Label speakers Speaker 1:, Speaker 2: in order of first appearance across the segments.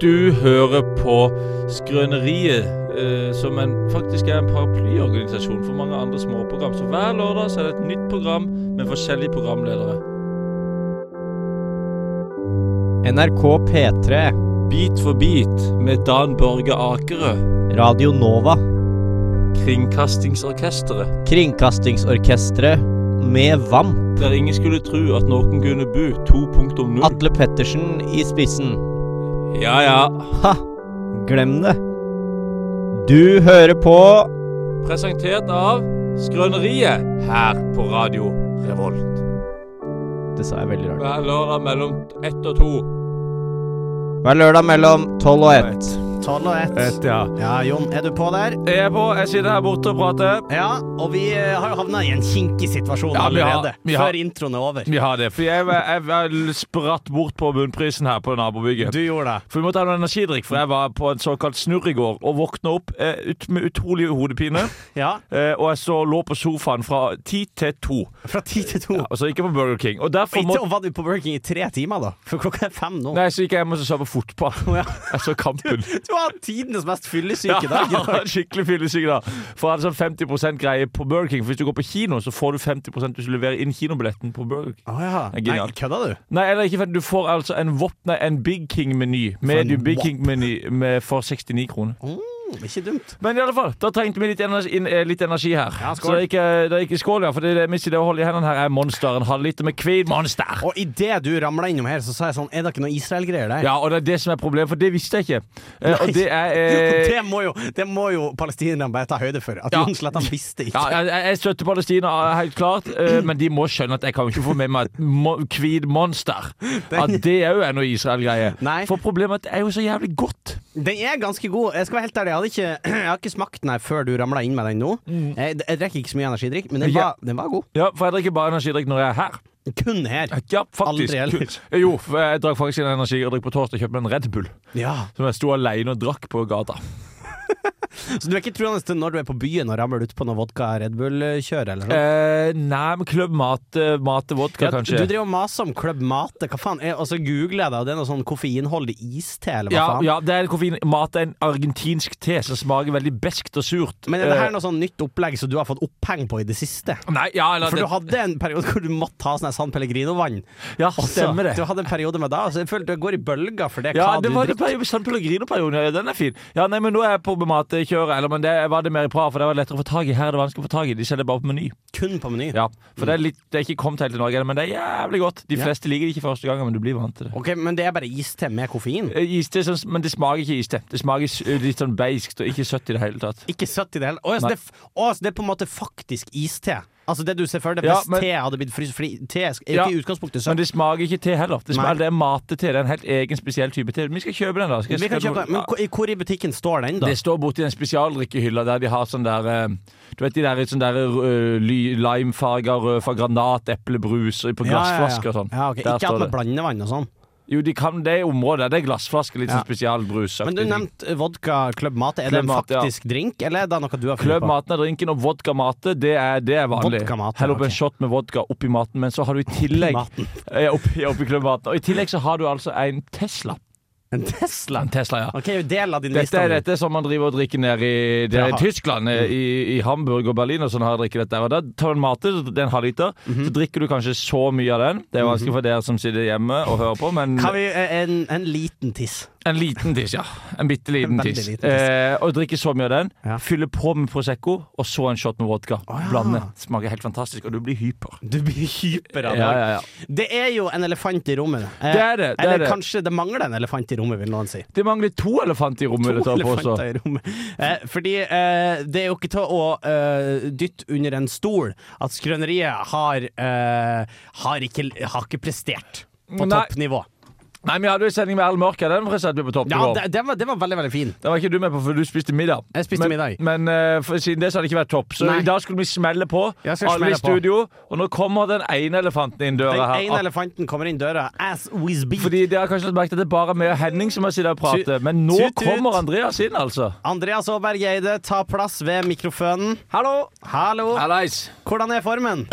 Speaker 1: Du hører på Skrøneriet, eh, som en, faktisk er en paraplyorganisasjon for mange andre småprogram. Så hver lørdag så er det et nytt program med forskjellige programledere.
Speaker 2: NRK P3,
Speaker 1: Bit for bit med Dan Børge Akerø,
Speaker 2: Radio Nova,
Speaker 1: Kringkastingsorkesteret.
Speaker 2: Kringkastingsorkestret med VAMP,
Speaker 1: Der ingen skulle tro at noen kunne bu 2.0.
Speaker 2: Atle Pettersen i spissen.
Speaker 1: Ja ja.
Speaker 2: Ha! Glem det. Du hører på
Speaker 1: Presentert av Skrøneriet her på Radio Revolt.
Speaker 2: Det sa jeg veldig rart.
Speaker 1: Hver lørdag mellom ett og to.
Speaker 2: Hver lørdag mellom tolv og ett.
Speaker 3: Tolv og ett.
Speaker 1: ja.
Speaker 3: Ja, Jon, er du på der?
Speaker 1: Jeg er på. Jeg sitter her borte og prater.
Speaker 3: Ja, og vi eh, har jo havna i en kinkig situasjon
Speaker 1: Ja, vi har-
Speaker 3: allerede.
Speaker 1: vi har-
Speaker 3: Før introen er over.
Speaker 1: Vi har det. For jeg, var- jeg, var spratt bort på bunnprisen her på nabobygget.
Speaker 3: Du gjorde det.
Speaker 1: For vi måtte ha noe energidrikk, for jeg var på en såkalt snurr i går og våkna opp eh, ut, med utrolig hodepine.
Speaker 3: Ja.
Speaker 1: Eh, og jeg så lå på sofaen fra ti til to.
Speaker 3: Fra ti til to.
Speaker 1: Altså ikke på Burger King. Og derfor
Speaker 3: Og
Speaker 1: må
Speaker 3: ikke var du på Burger King i tre timer, da? For klokka er fem nå.
Speaker 1: Nei, så gikk jeg hjem og så så på fotball.
Speaker 3: ja.
Speaker 1: Jeg så kampen.
Speaker 3: Du har hatt tidenes mest
Speaker 1: Ja,
Speaker 3: fyllesyke dag.
Speaker 1: jeg var skikkelig fyllesyk da. For jeg hadde sånn 50 greie på Burger King. For hvis du går på kino, så får du 50 hvis du leverer inn kinobilletten på Burger King.
Speaker 3: Å
Speaker 1: Det
Speaker 3: ja.
Speaker 1: er
Speaker 3: Nei,
Speaker 1: genialt.
Speaker 3: kødda du?
Speaker 1: Nei, eller ikke fett. Du får altså en Wop, nei, en Big King-meny. Medium
Speaker 3: en
Speaker 1: Big
Speaker 3: Wop.
Speaker 1: King-meny med- for 69 kroner.
Speaker 3: Mm, ikke dumt.
Speaker 1: Men i alle fall, da trengte vi litt energi, inn- eh, litt energi her.
Speaker 3: Ja,
Speaker 1: Så det er ikke, det er ikke skål, ja. For det, er det, mest i det å holde i hendene her er Monster. En halvliter med Queen Monster.
Speaker 3: Og idet du ramla innom her, så sa jeg sånn Er det ikke noe Israel-greier der?
Speaker 1: Ja, og det er det som er problemet, for det visste jeg ikke. Eh,
Speaker 3: Nei.
Speaker 1: og det er eh,
Speaker 3: Det må jo, det må jo palestinerne bare ta høyde for. At
Speaker 1: Ja.
Speaker 3: Jon Slettan visste ikke.
Speaker 1: ja, jeg, jeg støtter Palestina, eh, helt klart, eh, men de må skjønne at jeg kan jo ikke få med meg et mo- Queen Monster. At det òg er noe Israel-greie.
Speaker 3: Nei.
Speaker 1: For problemet er at det er jo så jævlig godt.
Speaker 3: Den er ganske god. Jeg skal være helt ærlig, jeg, hadde ikke, jeg har ikke smakt den her før du ramla inn med den nå. Jeg, jeg drikker ikke så mye energidrikk, men den
Speaker 1: Mm. Ja.
Speaker 3: var, den var god.
Speaker 1: Ja, for jeg drikker bare energidrikk når jeg er her.
Speaker 3: Kun her.
Speaker 1: Ja, faktisk.
Speaker 3: Aldri ellers.
Speaker 1: Ku- Jo, for jeg drakk faktisk en energidrikk på torsdag og kjøpte meg en Red Bull.
Speaker 3: Ja.
Speaker 1: Som jeg sto alene og drakk på gata.
Speaker 3: Så du er ikke troende til når du er på byen og ramler utpå noe vodka Red Bull-kjør, eller noe?
Speaker 1: Eh, nei, men Club Mate, mate Vodka,
Speaker 3: Ja, du
Speaker 1: kanskje.
Speaker 3: driver og maser om Club Mate, hva faen? er- Og så googler jeg det, og det er noe sånn koffeinholdig iste, eller hva
Speaker 1: ja,
Speaker 3: faen?
Speaker 1: ja, det er koffein. Mat er en argentinsk te som smaker veldig beskt og surt.
Speaker 3: Men er det her
Speaker 1: Eh,
Speaker 3: noe sånn nytt opplegg som du har fått oppheng på i det siste?
Speaker 1: Nei, ja, eller
Speaker 3: For du
Speaker 1: det,
Speaker 3: hadde en periode hvor du måtte ha sånn her San Pellegrino-vann.
Speaker 1: ja,
Speaker 3: Og så-
Speaker 1: stemmer det.
Speaker 3: Altså, Du hadde en periode med det, så jeg føler det går i bølger for det
Speaker 1: Ja,
Speaker 3: hva
Speaker 1: det
Speaker 3: du
Speaker 1: var
Speaker 3: drikker.
Speaker 1: det periode, San Pellegrino-perioden. Ja, den er fin. Ja, nei, men nå er jeg på matekjøret. Eller, men det var det mer i Praha, for det var lettere å få tak i. Her er det vanskelig å få tak i. De selger bare på Meny.
Speaker 3: Kun på Meny.
Speaker 1: Ja, for det er, litt, det er ikke kommet helt til Norge, men det er jævlig godt. De
Speaker 3: Ja.
Speaker 1: fleste liker det ikke første gangen, men du blir vant til det.
Speaker 3: Ok, Men det er bare iste med koffein?
Speaker 1: Eh, Iste, sånn- men det smaker ikke iste. Det smaker s- litt sånn beiskt og ikke søtt i det hele tatt.
Speaker 3: Ikke søtt i det hele Å, ja, så
Speaker 1: Nei.
Speaker 3: det, er f- å, så det er på en måte faktisk iste? Altså det du ser for deg,
Speaker 1: Ja,
Speaker 3: hvis
Speaker 1: men-
Speaker 3: te hadde blitt fryst Fordi te er jo
Speaker 1: Ja,
Speaker 3: ikke i utgangspunktet
Speaker 1: Men
Speaker 3: søtt.
Speaker 1: det smaker ikke te heller. Det,
Speaker 3: Nei.
Speaker 1: smaker, det er matete. Det er en helt egen, spesiell type te. Vi skal kjøpe den, da. Skal jeg-
Speaker 3: Vi kan
Speaker 1: skal
Speaker 3: kjøpe,
Speaker 1: du-
Speaker 3: men
Speaker 1: Ja.
Speaker 3: hvor- i- hvor i butikken står den, da?
Speaker 1: det står borti den spesialdrikkehylla der de har sånn der eh, Du vet de der, sånn der eh, ly- limefarga, rødfarga granat, eplebrus og på
Speaker 3: Ja, ja, ja.
Speaker 1: glassflasker og sånn.
Speaker 3: Ja, ok.
Speaker 1: Der
Speaker 3: Ikke
Speaker 1: står
Speaker 3: alt med
Speaker 1: det.
Speaker 3: blandevann og sånn.
Speaker 1: Jo, de kan det i området. Det er glassflasker, litt
Speaker 3: Ja.
Speaker 1: sånn spesialbrus.
Speaker 3: Men du nevnte vodka Club Mate. Er det
Speaker 1: Club
Speaker 3: en
Speaker 1: Mate, ja.
Speaker 3: faktisk drink, eller er det noe du har funnet
Speaker 1: Kløv
Speaker 3: på?
Speaker 1: maten er drinken, og vodka mate, det er, det er vanlig.
Speaker 3: Vodka mate,
Speaker 1: Hell opp
Speaker 3: ok.
Speaker 1: en shot med vodka oppi maten, men så har du i tillegg
Speaker 3: maten.
Speaker 1: Ja, oppi, oppi kløv maten. Og i tillegg så har du altså en Tesla.
Speaker 3: En Tesla?
Speaker 1: En Tesla, ja.
Speaker 3: OK, del av din liste.
Speaker 1: Dette er
Speaker 3: nå.
Speaker 1: dette som man driver og drikker nede i, det er i
Speaker 3: Jaha.
Speaker 1: Tyskland. eh,
Speaker 3: Mm.
Speaker 1: I, I Hamburg og Berlin og sånn har jeg drikket dette. her. Og da tar du en mate, så det er en halvliter.
Speaker 3: Mhm.
Speaker 1: Så drikker du kanskje så mye av den. Det er vanskelig for dere som sitter hjemme og hører på, men
Speaker 3: Kan vi eh, en, en liten tiss?
Speaker 1: en liten tiss, ja. En bitte liten
Speaker 3: En veldig
Speaker 1: tiss.
Speaker 3: liten tiss.
Speaker 1: Eh, og drikke så mye av den.
Speaker 3: Ja.
Speaker 1: Fylle på med Prosecco, og så en shot med vodka.
Speaker 3: ja.
Speaker 1: Blande. Smaker helt fantastisk, og du blir hyper.
Speaker 3: Du blir hyper av det.
Speaker 1: Ja, ja, ja.
Speaker 3: Det er jo en elefant i rommet. Eh,
Speaker 1: Det er det, det er
Speaker 3: eller
Speaker 1: det.
Speaker 3: kanskje det mangler en elefant i rommet, vil noen si.
Speaker 1: Det mangler to elefanter i rommet.
Speaker 3: To
Speaker 1: dette her på også.
Speaker 3: elefanter i rommet. Eh, fordi eh, det er jo ikke til å eh, dytte under en stol at skrøneriet har, eh, har, ikke, har ikke prestert på
Speaker 1: Nei.
Speaker 3: toppnivå.
Speaker 1: Nei, Vi hadde jo en sending med Al Mørk. Den satte vi på topp
Speaker 3: Ja,
Speaker 1: i går.
Speaker 3: det, det, var, det var veldig, veldig fin.
Speaker 1: Den var ikke du med på, for du spiste middag.
Speaker 3: Jeg spiste
Speaker 1: men,
Speaker 3: middag.
Speaker 1: Men eh, for, siden det så har det ikke vært topp. Så
Speaker 3: Nei.
Speaker 1: i dag skulle vi smelle på.
Speaker 3: Jeg skal
Speaker 1: Alle i
Speaker 3: smelle på.
Speaker 1: studio. Og nå kommer den ene elefanten inn
Speaker 3: Den
Speaker 1: døra
Speaker 3: ene
Speaker 1: her. Ah,
Speaker 3: elefanten kommer inn døra as we speak.
Speaker 1: Fordi Dere har kanskje lagt merke til at det er bare meg og Henning som har sittet og pratet.
Speaker 3: Tut,
Speaker 1: Men nå
Speaker 3: tut, tut.
Speaker 1: kommer Andreas inn, altså.
Speaker 3: Andreas Aaberg Eide, ta plass ved mikrofonen.
Speaker 1: Hallo.
Speaker 3: Hallo.
Speaker 1: Hallais.
Speaker 3: Hvordan er formen?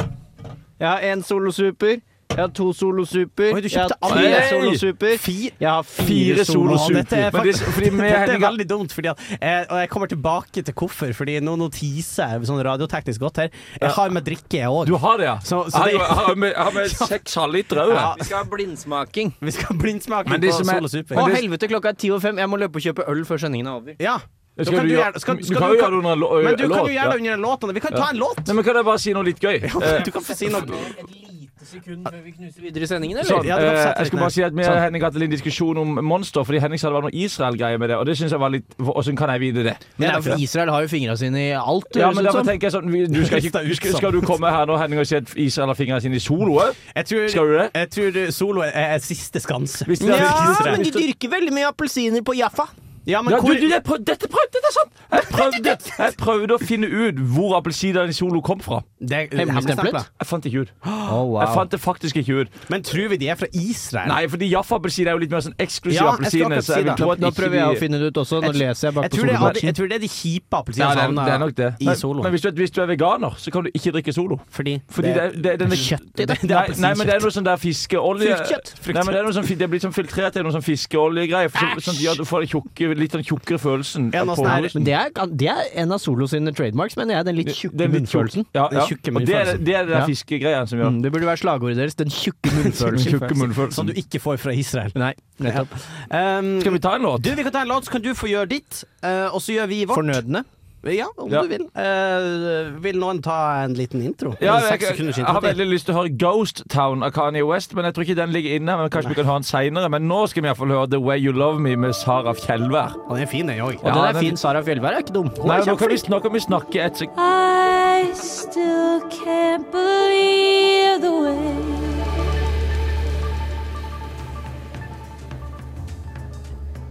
Speaker 4: Jeg har en solosuper, Jeg har to solosuper.
Speaker 3: Oi, du
Speaker 4: jeg har
Speaker 3: kjøpte alle?
Speaker 4: tre
Speaker 1: Nei!
Speaker 4: solosuper.
Speaker 3: Fi-
Speaker 4: Jeg har
Speaker 1: Fire
Speaker 4: fire
Speaker 1: solosuper.
Speaker 3: Å,
Speaker 4: solosuper.
Speaker 3: dette er
Speaker 1: Men det-
Speaker 3: faktisk-
Speaker 1: fordi vi er
Speaker 3: Dette er
Speaker 1: helga-
Speaker 3: veldig dumt, fordi at, eh, og jeg kommer tilbake til hvorfor, fordi nå, nå teaser jeg sånn radioteknisk godt her. Jeg har med drikke, jeg òg.
Speaker 1: Du har det, ja?
Speaker 3: Så- så
Speaker 1: jeg, har,
Speaker 3: det-
Speaker 1: jo- jeg har med, jeg har med seks halvliter òg.
Speaker 3: Ja.
Speaker 1: Ja.
Speaker 4: Vi skal ha blindsmaking.
Speaker 3: Vi skal blindsmake
Speaker 1: Men det
Speaker 3: på
Speaker 1: som er-
Speaker 3: Sol og Super.
Speaker 4: Å,
Speaker 1: Men det-
Speaker 4: helvete, klokka er ti over fem. Jeg må løpe og kjøpe øl før sendingen er over.
Speaker 3: Ja. Da
Speaker 1: Skal
Speaker 3: kan
Speaker 1: du,
Speaker 3: du
Speaker 1: gjøre-
Speaker 3: gjerne- skal-
Speaker 1: du
Speaker 3: skal
Speaker 1: kan
Speaker 3: du-
Speaker 1: jo gjøre det under en lå-
Speaker 3: Men du
Speaker 1: låt.
Speaker 3: kan jo gjøre
Speaker 1: ja.
Speaker 3: det under en låt. Anne. Vi kan ta en låt!
Speaker 1: Nei, men kan jeg bare si noe litt gøy? Eh,
Speaker 3: Du kan få si noe.
Speaker 4: Et lite sekund før vi knuser videre i sendingen,
Speaker 1: Sånn,
Speaker 3: Ja, du
Speaker 1: eh,
Speaker 3: kan få sette
Speaker 1: jeg
Speaker 3: litt
Speaker 1: skal bare
Speaker 3: ned.
Speaker 1: si at Vi og
Speaker 3: Sånn.
Speaker 1: Henning hadde en diskusjon om Monster, fordi Henning sa det var noe Israel-greie med det. Og det synes jeg var litt Åssen kan jeg vite det?
Speaker 4: Men det er for Israel har jo fingra sine i alt.
Speaker 1: Ja, men
Speaker 4: høres
Speaker 1: derfor
Speaker 4: det ut som.
Speaker 1: tenker jeg sånn vi- du skal, ikke, du skal, skal du komme her nå, Henning, og si at Israel har fingrene sine i soloet?
Speaker 3: Jeg tror,
Speaker 1: Skal du det?
Speaker 3: Jeg tror solo er, er siste skanse.
Speaker 1: Hvis det er-
Speaker 4: Ja,
Speaker 1: Hvis det er-
Speaker 4: men de dyrker veldig mye appelsiner på Jaffa.
Speaker 3: Ja, men
Speaker 1: Ja,
Speaker 3: hvor
Speaker 1: du, du, jeg prøv, dette, prøv, dette er sant! Jeg prøvde, jeg prøvde å finne ut hvor appelsinene i solo kom fra.
Speaker 3: det er
Speaker 4: Hemmeligstemplet?
Speaker 3: hemmeligstemplet.
Speaker 1: Jeg fant ikke ut.
Speaker 4: Oh,
Speaker 1: Jeg fant det faktisk ikke ut.
Speaker 3: Men tror vi de er fra Israel?
Speaker 1: Nei, fordi Jaffa-appelsin er jo litt mer sånn eksklusiv
Speaker 3: Ja, jeg skal
Speaker 1: appelsin.
Speaker 3: akkurat si
Speaker 1: Så jeg vil
Speaker 3: det.
Speaker 1: tro at
Speaker 4: Nå
Speaker 1: ikke
Speaker 4: prøver jeg
Speaker 1: de-
Speaker 4: å finne det ut også. Nå
Speaker 3: Jeg-
Speaker 4: leser jeg
Speaker 3: Jeg
Speaker 4: bak på
Speaker 3: tror, det er, alle-
Speaker 4: solobladet.
Speaker 3: jeg tror det er de kjipe
Speaker 1: Ja,
Speaker 3: appelsinene
Speaker 1: det, er, det er nok det.
Speaker 3: sånn, i
Speaker 1: Men-
Speaker 3: solo.
Speaker 1: Men hvis du, hvis du er veganer, så kan du ikke drikke solo.
Speaker 3: Fordi,
Speaker 1: Fordi det, det, det, det,
Speaker 4: kjøtt i det.
Speaker 3: Det
Speaker 1: nei,
Speaker 3: er
Speaker 1: nei, men det er noe sånn der fiskeolje
Speaker 4: Fruktkjøtt.
Speaker 1: Nei, men det, er noe sånn, fi- det blir sånn filtrert til noe sånn fiskeoljegreier. for Sånn, sånn, at de gjør at du får den tjukke, litt sånn tjukkere følelsen.
Speaker 3: Ja, nå
Speaker 1: på
Speaker 3: sånn her-
Speaker 1: hosten.
Speaker 4: Men det er, det er en av Solo sine trademarks, mener jeg. Den litt tjukke
Speaker 1: Den litt tjukke-
Speaker 4: munnfølelsen.
Speaker 1: Ja,
Speaker 3: Den
Speaker 1: ja.
Speaker 3: tjukke
Speaker 1: Og det er
Speaker 3: munnfølelsen.
Speaker 1: det, er det der
Speaker 4: Ja.
Speaker 1: fiskegreiene som gjør
Speaker 4: Mm, det burde være slagordet deres. Den tjukke
Speaker 1: den
Speaker 4: munnfølelsen.
Speaker 1: tjukke
Speaker 3: som du
Speaker 1: munnfølelsen.
Speaker 3: ikke får fra Israel.
Speaker 4: Nei, nettopp.
Speaker 3: Um,
Speaker 1: Skal vi ta en låt?
Speaker 3: Du, vi kan ta en låt, så kan du få gjøre ditt, eh, og så gjør vi vårt.
Speaker 4: Fornødne.
Speaker 3: Ja, om
Speaker 1: Ja.
Speaker 3: du vil. Eh, vil noen ta en liten intro?
Speaker 1: Ja,
Speaker 3: En
Speaker 1: jeg,
Speaker 3: seks
Speaker 1: jeg,
Speaker 3: sekunders
Speaker 1: jeg
Speaker 3: intro
Speaker 1: har
Speaker 3: til.
Speaker 1: veldig lyst til å høre Ghost Town av Kanye West, men jeg tror ikke den ligger inne. Men Kanskje vi kan ha den seinere. Men nå skal vi iallfall høre The Way You Love Me med Sara Fjellvær.
Speaker 3: Og den er fin, den òg.
Speaker 4: Og
Speaker 1: Ja,
Speaker 4: den er
Speaker 1: den-
Speaker 4: fin. Sara Fjellberg er ikke dum. Hun
Speaker 1: Nei,
Speaker 4: er
Speaker 1: nå, kan vi,
Speaker 4: kjempeflink.
Speaker 1: nå kan vi snakke et sekund.
Speaker 5: I still can't believe the way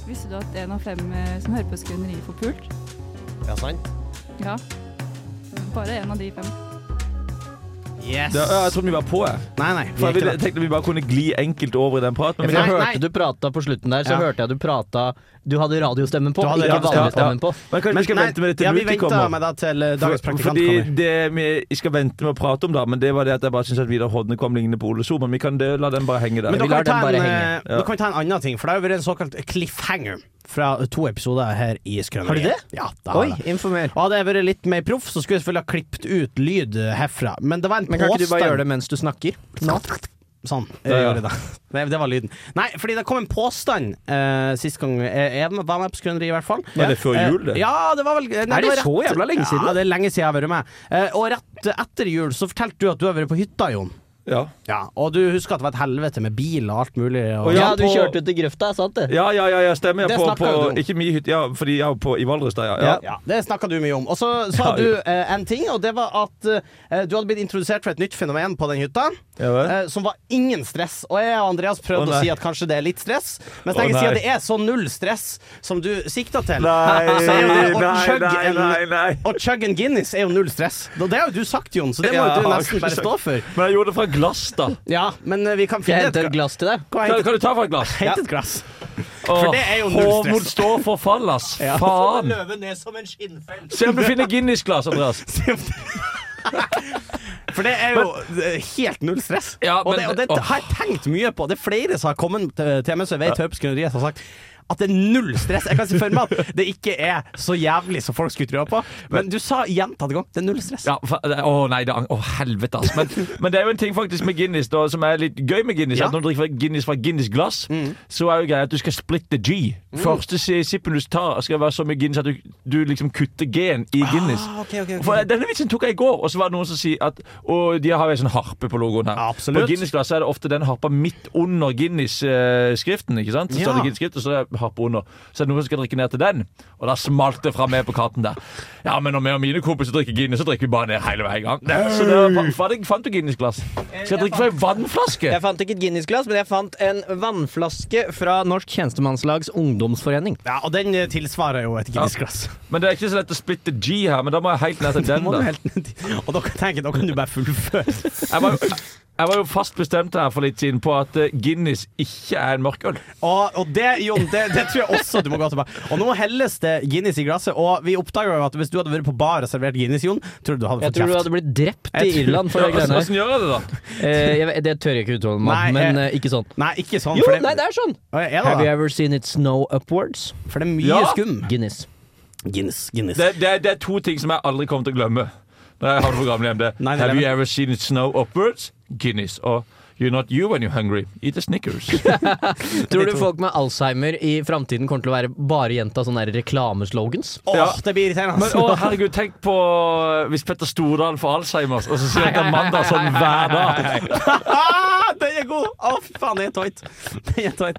Speaker 6: Visste du at en av fem eh, som hører på Skrøneriet, får pult?
Speaker 3: Ja, sant?
Speaker 6: Ja. Bare en av de fem.
Speaker 3: Yes.
Speaker 1: Ja, jeg trodde vi var på, jeg.
Speaker 3: Nei, nei.
Speaker 1: For jeg
Speaker 3: vi er
Speaker 1: ville,
Speaker 3: ikke det.
Speaker 1: tenkte vi bare kunne gli enkelt over i den praten. Men vi
Speaker 4: For
Speaker 1: kan
Speaker 4: jeg
Speaker 3: Nei,
Speaker 4: hørte
Speaker 3: nei.
Speaker 4: du prata på slutten der, så
Speaker 3: Ja.
Speaker 4: hørte jeg du prata Du hadde radiostemmen
Speaker 3: Du
Speaker 4: på,
Speaker 3: hadde
Speaker 4: ikke
Speaker 3: radiostemmen,
Speaker 4: vanlig stemmen på.
Speaker 1: Men kanskje
Speaker 3: Men
Speaker 1: vi skal
Speaker 3: nei,
Speaker 1: vente med det til
Speaker 3: ja, vi
Speaker 1: Muti
Speaker 3: venter
Speaker 1: kommer.
Speaker 3: med det til eh, dagens
Speaker 1: For-
Speaker 3: praktikant
Speaker 1: Fordi
Speaker 3: kommer.
Speaker 1: det vi skal vente med å prate om, da, men det var det at jeg bare syns at Vidar Hodne kom lignende på Ole So, men vi kan det, la den bare henge der.
Speaker 3: Men da
Speaker 4: vi
Speaker 3: kan
Speaker 4: lar
Speaker 3: vi ta en,
Speaker 4: den bare
Speaker 3: eh,
Speaker 4: henge.
Speaker 3: da kan vi ta en annen ting, for det har jo vært en såkalt cliffhanger fra to episoder her i Skrøneriet.
Speaker 4: Har du det?
Speaker 3: Ja, det har
Speaker 4: Oi,
Speaker 3: jeg.
Speaker 4: informer.
Speaker 3: Og Hadde jeg vært litt mer proff, så skulle jeg selvfølgelig ha klippet ut lyd eh, herfra. Men det var en
Speaker 4: Men kan ikke du bare
Speaker 3: påstand-
Speaker 4: gjøre det mens du snakker?
Speaker 3: Sånn.
Speaker 1: Ja,
Speaker 3: Jeg
Speaker 1: ja.
Speaker 3: gjør det. Det, det var lyden. Nei, fordi det kom en påstand eh, sist gang jeg jeg var med på Skrøneriet, i hvert fall.
Speaker 1: Var det før
Speaker 3: Eh,
Speaker 1: jul, det?
Speaker 3: Ja, det var vel nei,
Speaker 4: Er det
Speaker 3: var
Speaker 4: så
Speaker 3: rett-
Speaker 4: jævla lenge siden?
Speaker 3: Ja, det er lenge siden jeg har vært med. Eh, og rett etter jul så fortalte du at du har vært på hytta, Jon.
Speaker 1: Ja.
Speaker 3: Ja, og du husker at det var et helvete med bil og alt mulig. Og,
Speaker 1: Å,
Speaker 4: Ja,
Speaker 1: Ja,
Speaker 4: du
Speaker 1: på-
Speaker 4: kjørte til grøfta, sant det?
Speaker 1: ja, ja, ja, ja, stemmer.
Speaker 4: Det
Speaker 1: Jeg på,
Speaker 4: snakket
Speaker 1: på,
Speaker 4: du om.
Speaker 1: ikke min hytte, ja, fordi jeg var på, i Valdres der, ja. ja.
Speaker 3: Ja, det snakka du mye om. Og så
Speaker 1: Ja,
Speaker 3: sa du
Speaker 1: jo.
Speaker 3: eh, en ting, og det var at eh, du hadde blitt introdusert for et nytt fenomen på den hytta,
Speaker 1: Ja, vel.
Speaker 3: eh, som var ingen stress. Og jeg og Andreas
Speaker 1: Å,
Speaker 3: prøvde å
Speaker 1: nei.
Speaker 3: si at kanskje det er litt stress, mens
Speaker 1: Å,
Speaker 3: jeg
Speaker 1: nei.
Speaker 3: sier at det er så null stress som du sikta til.
Speaker 1: Nei,
Speaker 3: Så er jo det å
Speaker 1: nei,
Speaker 3: chugge
Speaker 1: nei,
Speaker 3: en-
Speaker 1: nei, nei.
Speaker 3: Å chugge en Guinness er jo null stress. Og Det har jo du sagt, Jon, så det må
Speaker 1: Ja,
Speaker 3: jo du
Speaker 1: har
Speaker 3: nesten
Speaker 1: ikke
Speaker 3: bare
Speaker 1: sagt.
Speaker 3: stå for.
Speaker 1: Men jeg gjorde det fra glass, da.
Speaker 3: Ja, men eh, vi kan
Speaker 4: Skal jeg
Speaker 3: finne
Speaker 4: hente et
Speaker 3: et
Speaker 4: glass til deg?
Speaker 3: Kan
Speaker 1: Kan,
Speaker 3: jeg
Speaker 1: kan du ta fra et glass?
Speaker 3: hente et glass?
Speaker 1: For
Speaker 3: det er jo null stress.
Speaker 1: Håvard står for fall, ass. Faen.
Speaker 4: Løve ned som en skinnfell.
Speaker 1: Se om du finner Guinness-glass, Andreas.
Speaker 3: For det er jo eh, helt null stress.
Speaker 1: Ja,
Speaker 3: og
Speaker 1: men-
Speaker 3: det, og det
Speaker 1: åh.
Speaker 3: har jeg tenkt mye på. Det er flere som har kommet til til meg, som jeg vet hører på Skrøneriet, som har sagt at det er null stress. Jeg kan si for meg at det ikke er så jævlig som folk skulle tro på, men du sa gjentatte ganger det er null stress.
Speaker 1: Ja, fa- det- å nei, det ang- Å, helvete, ass. Men, men det er jo en ting faktisk med Guinness da, som er litt gøy med Guinness.
Speaker 3: Ja. Mm.
Speaker 1: At Når du drikker Guinness fra Guinness-glass, så er jo greia at du skal split the G. Første si- sippen du tar, skal være så mye Guinness at du, du liksom kutter G-en i Guinness.
Speaker 3: Ah, ok, ok, ok.
Speaker 1: For Denne vitsen tok jeg i går, og så var det noen som sier at Og de har jo en sånn harpe på logoen her.
Speaker 3: Absolutt.
Speaker 1: På Guinness-glasset er det ofte den harpa midt under Guinness-skriften. ikke sant? Så
Speaker 3: Ja.
Speaker 1: står det Guinness-skrift, og så er det harpe under. Så er det noen som skal drikke ned til den, og da smalt det fra meg på katten der. Ja, men når vi og mine kompiser drikker Guinness, så drikker vi bare ned hele veien gang. Så det var, fa- faen, jeg fant du Guinness-glass? Skal jeg drikke fra ei vannflaske?
Speaker 4: Jeg fant ikke et Guinness-glass, men jeg fant en vannflaske fra Norsk tjenestemannslags ungdomsforening.
Speaker 3: Ja, og den eh, tilsvarer jo et Guinness-glass.
Speaker 1: Men det er ikke så lett å splitte G her, men da må jeg helt ned til
Speaker 3: Da
Speaker 1: den.
Speaker 3: må du
Speaker 1: da
Speaker 3: helt ned i- Og da kan jeg tenke, da kan du bare fullføre.
Speaker 1: Jeg var, Jeg var jo fast bestemt her for litt siden på at eh, Guinness ikke er en mørkøl.
Speaker 3: Og, og det, Jon, det, det tror jeg også du må gå tilbake Og nå helles det Guinness i glasset, og vi oppdager jo at hvis du hadde vært på bar og servert Guinness, Jon, tror du du hadde
Speaker 4: Jeg
Speaker 3: fått
Speaker 4: tror du
Speaker 3: kjeft.
Speaker 4: hadde blitt drept i
Speaker 3: Jeg tror-
Speaker 4: Irland for
Speaker 1: Ja, altså,
Speaker 4: det greiene
Speaker 1: Åssen gjør jeg det, da?
Speaker 4: Eh, jeg, det tør jeg ikke uttale meg
Speaker 3: Nei,
Speaker 4: om, men
Speaker 3: jeg-
Speaker 4: eh, ikke sånn.
Speaker 3: Nei, ikke sånn.
Speaker 4: Jo,
Speaker 3: for det,
Speaker 4: nei, det er sånn!
Speaker 3: Å, er
Speaker 4: Have
Speaker 3: det,
Speaker 4: you
Speaker 3: da?
Speaker 4: ever seen it snow upwards?
Speaker 3: For det er mye
Speaker 1: Ja.
Speaker 3: skum.
Speaker 4: Guinness.
Speaker 3: Guinness, Guinness.
Speaker 1: Det, det, det er to ting som jeg aldri kommer til å glemme. Når jeg har det programmet hjemme.
Speaker 3: Nei,
Speaker 1: Det.
Speaker 3: nei,
Speaker 1: Have
Speaker 3: nei.
Speaker 1: you ever seen it snow upwards? Guinness. Og You're not you when you're hungry. Eat a Snickers.
Speaker 4: Tror
Speaker 3: De
Speaker 4: du
Speaker 3: to.
Speaker 4: folk med alzheimer i framtiden kommer til å være bare gjenta sånne der reklameslogans?
Speaker 3: Åh,
Speaker 1: Ja.
Speaker 3: det blir irriterende. altså.
Speaker 1: Men å, herregud, tenk på eh, hvis Petter Stordalen får Alzheimers, og så sier han at det er mandag sånn hver dag.
Speaker 3: Ah, den er god! Å, fy faen, den er tight. Den er tight.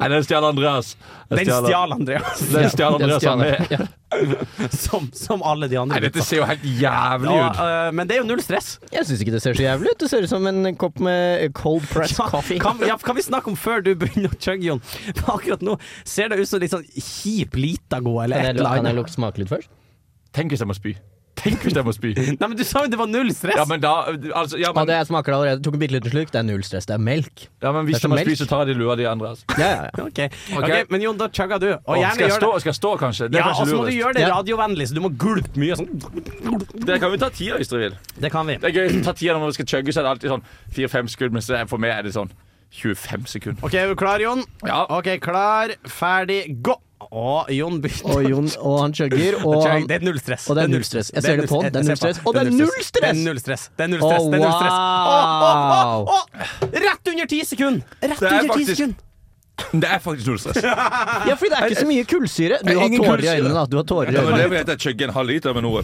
Speaker 1: Nei, den stjal Andreas. Den
Speaker 3: Den
Speaker 1: stjal-
Speaker 3: stjal Andreas,
Speaker 1: Den stjal
Speaker 4: Den
Speaker 1: Andreas han
Speaker 4: stjal-
Speaker 1: med.
Speaker 4: Ja.
Speaker 3: som, som alle de andre.
Speaker 1: Nei, dette
Speaker 3: gutta.
Speaker 1: ser jo helt jævlig
Speaker 3: Ja,
Speaker 1: ut.
Speaker 3: eh, men det er jo null stress.
Speaker 4: Jeg syns ikke det ser så jævlig ut. Det ser ut som en kopp med cold pressed
Speaker 3: Ja,
Speaker 4: coffee.
Speaker 3: Kan, ja, kan vi snakke om før du begynner å chugge, Jon? For Akkurat nå ser det ut som litt sånn kjip Litago
Speaker 4: Kan
Speaker 3: eller
Speaker 4: jeg,
Speaker 3: et
Speaker 4: lu-
Speaker 3: eller
Speaker 4: kan jeg
Speaker 3: annet.
Speaker 4: lukte smake litt først?
Speaker 1: Tenk hvis jeg må spy. Tenk hvis jeg må spy.
Speaker 3: Nei, men du sa jo det var null stress!
Speaker 1: Ja, men da altså, ja,
Speaker 4: Ja,
Speaker 1: men,
Speaker 4: det jeg smaker det allerede. Tok en bitte liten slurk. Det er null stress. Det er melk.
Speaker 1: ja, men hvis
Speaker 4: det er
Speaker 1: jeg må
Speaker 4: melk.
Speaker 1: spy, så tar jeg det i lua di, Andreas.
Speaker 4: Ja, ja, ja.
Speaker 3: Ok, Ok, Men Jon, da chugger du. Og
Speaker 1: Å,
Speaker 3: gjerne
Speaker 1: skal, jeg
Speaker 3: gjør
Speaker 1: stå,
Speaker 3: det.
Speaker 1: skal jeg stå, kanskje? Det er
Speaker 3: Ja, og
Speaker 1: kanskje
Speaker 3: så må du
Speaker 1: lurest.
Speaker 3: gjøre det
Speaker 4: Ja.
Speaker 3: radiovennlig, så du må gulpe mye sånn.
Speaker 1: Det kan vi ta tida hvis dere vil.
Speaker 3: Det kan vi.
Speaker 1: Det er gøy ta tida når vi skal chugge, så er det alltid sånn fire-fem skudd, mens det- for meg er det sånn 25 sekunder.
Speaker 3: OK, er du klar, Jon?
Speaker 1: Ja.
Speaker 3: OK, klar, ferdig, gå! Og Jon begynner
Speaker 4: Og Jon og han chugger, og
Speaker 3: Chug,
Speaker 4: han
Speaker 3: Det er null stress.
Speaker 4: og det er null stress. Jeg ser det på han. Det er
Speaker 3: Jeg
Speaker 4: null
Speaker 3: ser
Speaker 4: stress. Og det er null stress!
Speaker 3: Det er null stress. Det er null stress.
Speaker 4: Å,
Speaker 3: Det er null stress. Å,
Speaker 4: wow.
Speaker 3: å, å, å. Rett under ti sekunder! Rett
Speaker 1: Det er
Speaker 3: under ti
Speaker 1: faktisk-
Speaker 3: sekunder.
Speaker 1: Det er faktisk null stress. Det
Speaker 4: Ja, fordi det er ikke så mye kullsyre. Du har
Speaker 1: Ingen
Speaker 4: tårer i
Speaker 1: kullsyre.
Speaker 4: øynene, da. Du har tårer i
Speaker 1: var
Speaker 4: øynene.
Speaker 1: det vi heter chugge en halv liter med noe.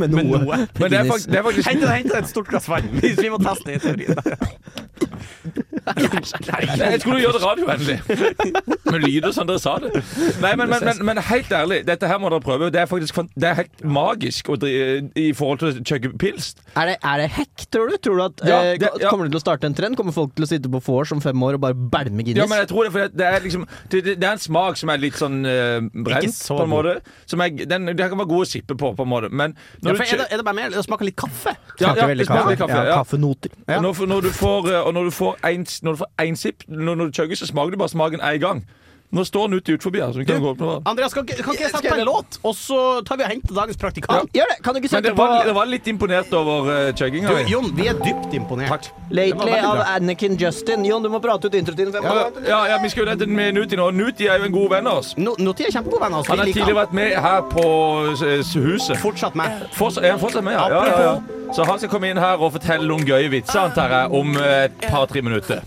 Speaker 4: Med noe.
Speaker 1: Men det er fakt- det er faktisk
Speaker 3: Hent deg- hent deg et stort glass vann hvis vi må teste den teorien.
Speaker 1: Nei, Jeg skulle gjøre det radiovennlig. Med lyder som dere sa det. Nei, men, men, men, men helt ærlig, dette her må dere prøve. Det er faktisk fan- det er helt magisk å dri i forhold til å chugge pils.
Speaker 4: Er det, er det hekk, tror du? Tror du at
Speaker 1: Ja,
Speaker 4: eh,
Speaker 1: det- ja.
Speaker 4: Kommer det til å starte en trend? Kommer folk til å sitte på vors om fem år og bare bælme Guinness?
Speaker 1: Ja, men jeg tror det, for det, det er liksom det, det, det er en smak som er litt sånn eh,
Speaker 3: Ikke
Speaker 1: brent,
Speaker 3: så
Speaker 1: på en
Speaker 3: god.
Speaker 1: måte. Som er, den, den kan være god å sippe på, på en måte. Men
Speaker 3: Ja,
Speaker 1: når
Speaker 3: for
Speaker 1: du
Speaker 3: er,
Speaker 1: chug-
Speaker 3: det, er det bare mer å smake litt kaffe?
Speaker 1: Ja, ja, det smaker litt kaffe, ja.
Speaker 4: Kaffenoter.
Speaker 3: Ja.
Speaker 1: Og Når, når du får, eh, og når du får en, når du får en sipp, når, når du chugger, så smaker du bare smaken én gang. Nå står den ute utforbi her, så du kan gå opp med den.
Speaker 3: Andreas, kan, ikke- kan ikke jeg sette
Speaker 4: Skal
Speaker 3: på
Speaker 4: jeg-
Speaker 3: en låt, og så tar vi og henter dagens praktikant?
Speaker 4: Gjør det! Kan du ikke
Speaker 1: Men
Speaker 4: sette
Speaker 1: det
Speaker 4: på
Speaker 1: var, det var litt imponert over uh, chugginga.
Speaker 3: Du, Jon, vi er dypt imponert.
Speaker 1: Takk.
Speaker 4: Lately
Speaker 3: Det var
Speaker 4: av
Speaker 3: veldig
Speaker 4: Anakin Justin? Jon, du må prate ut introtiden. for jeg må-
Speaker 1: Ja, ja, vi skal jo ned med Nuti nå. Nuti er jo en god venn av oss.
Speaker 3: No, Noti er kjempegod venn av oss.
Speaker 1: Han har
Speaker 3: Vi liker
Speaker 1: tidligere vært med her på eh, huset.
Speaker 3: Fortsatt med.
Speaker 1: Forts er han fortsatt med? Ja, ja, ja, ja. Så han skal komme inn her og fortelle noen gøye vitser antar jeg, om eh, et par-tre minutter.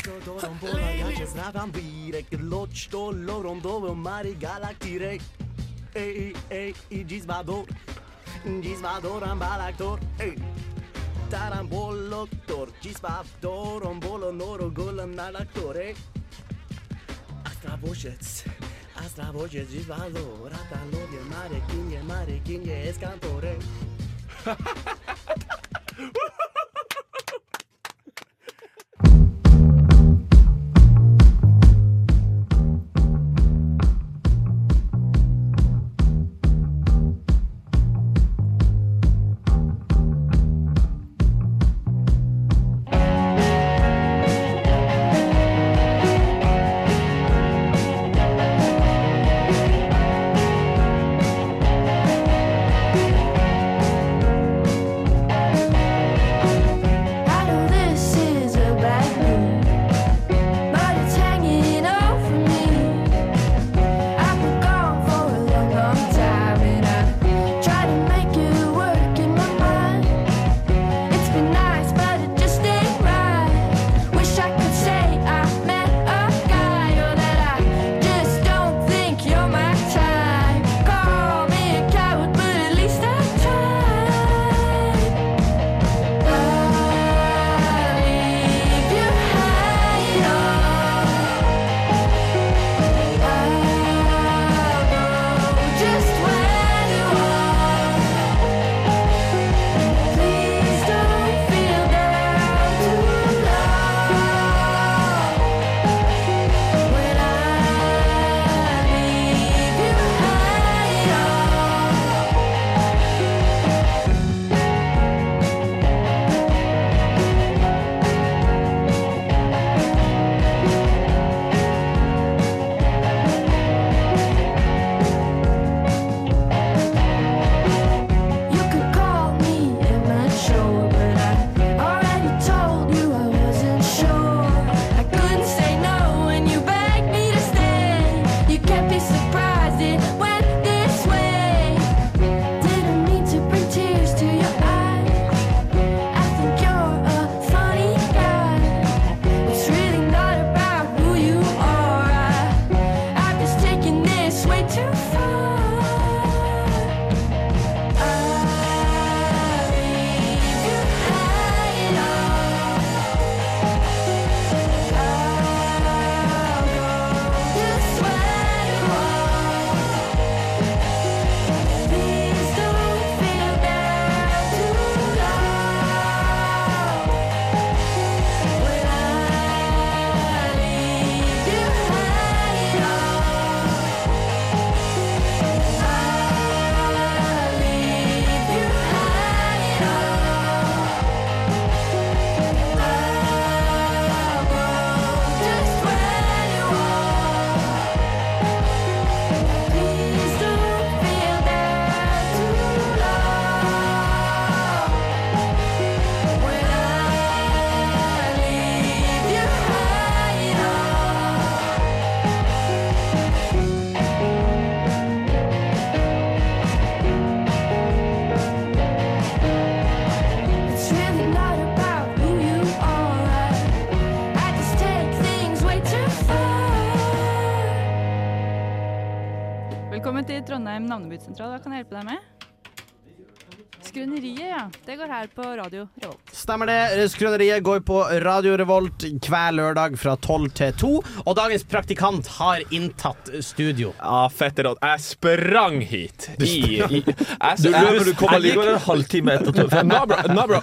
Speaker 6: Velkommen til Trondheim navnebudsentral. Hva kan jeg hjelpe deg med? Skrøneriet, ja. Det går her på radio Revolt.
Speaker 3: Stemmer det. Eh, Skrøneriet går på Radio Revolt hver lørdag fra 12 til 2. Og dagens praktikant har inntatt studio.
Speaker 7: Ja, fette rått. Jeg sprang hit. I, i, jeg,
Speaker 1: Du
Speaker 7: jeg-
Speaker 1: løper, du kommer
Speaker 7: jeg gikk-
Speaker 1: likevel en halvtime etter to- fem.
Speaker 7: Nå, bra. Nå, bra.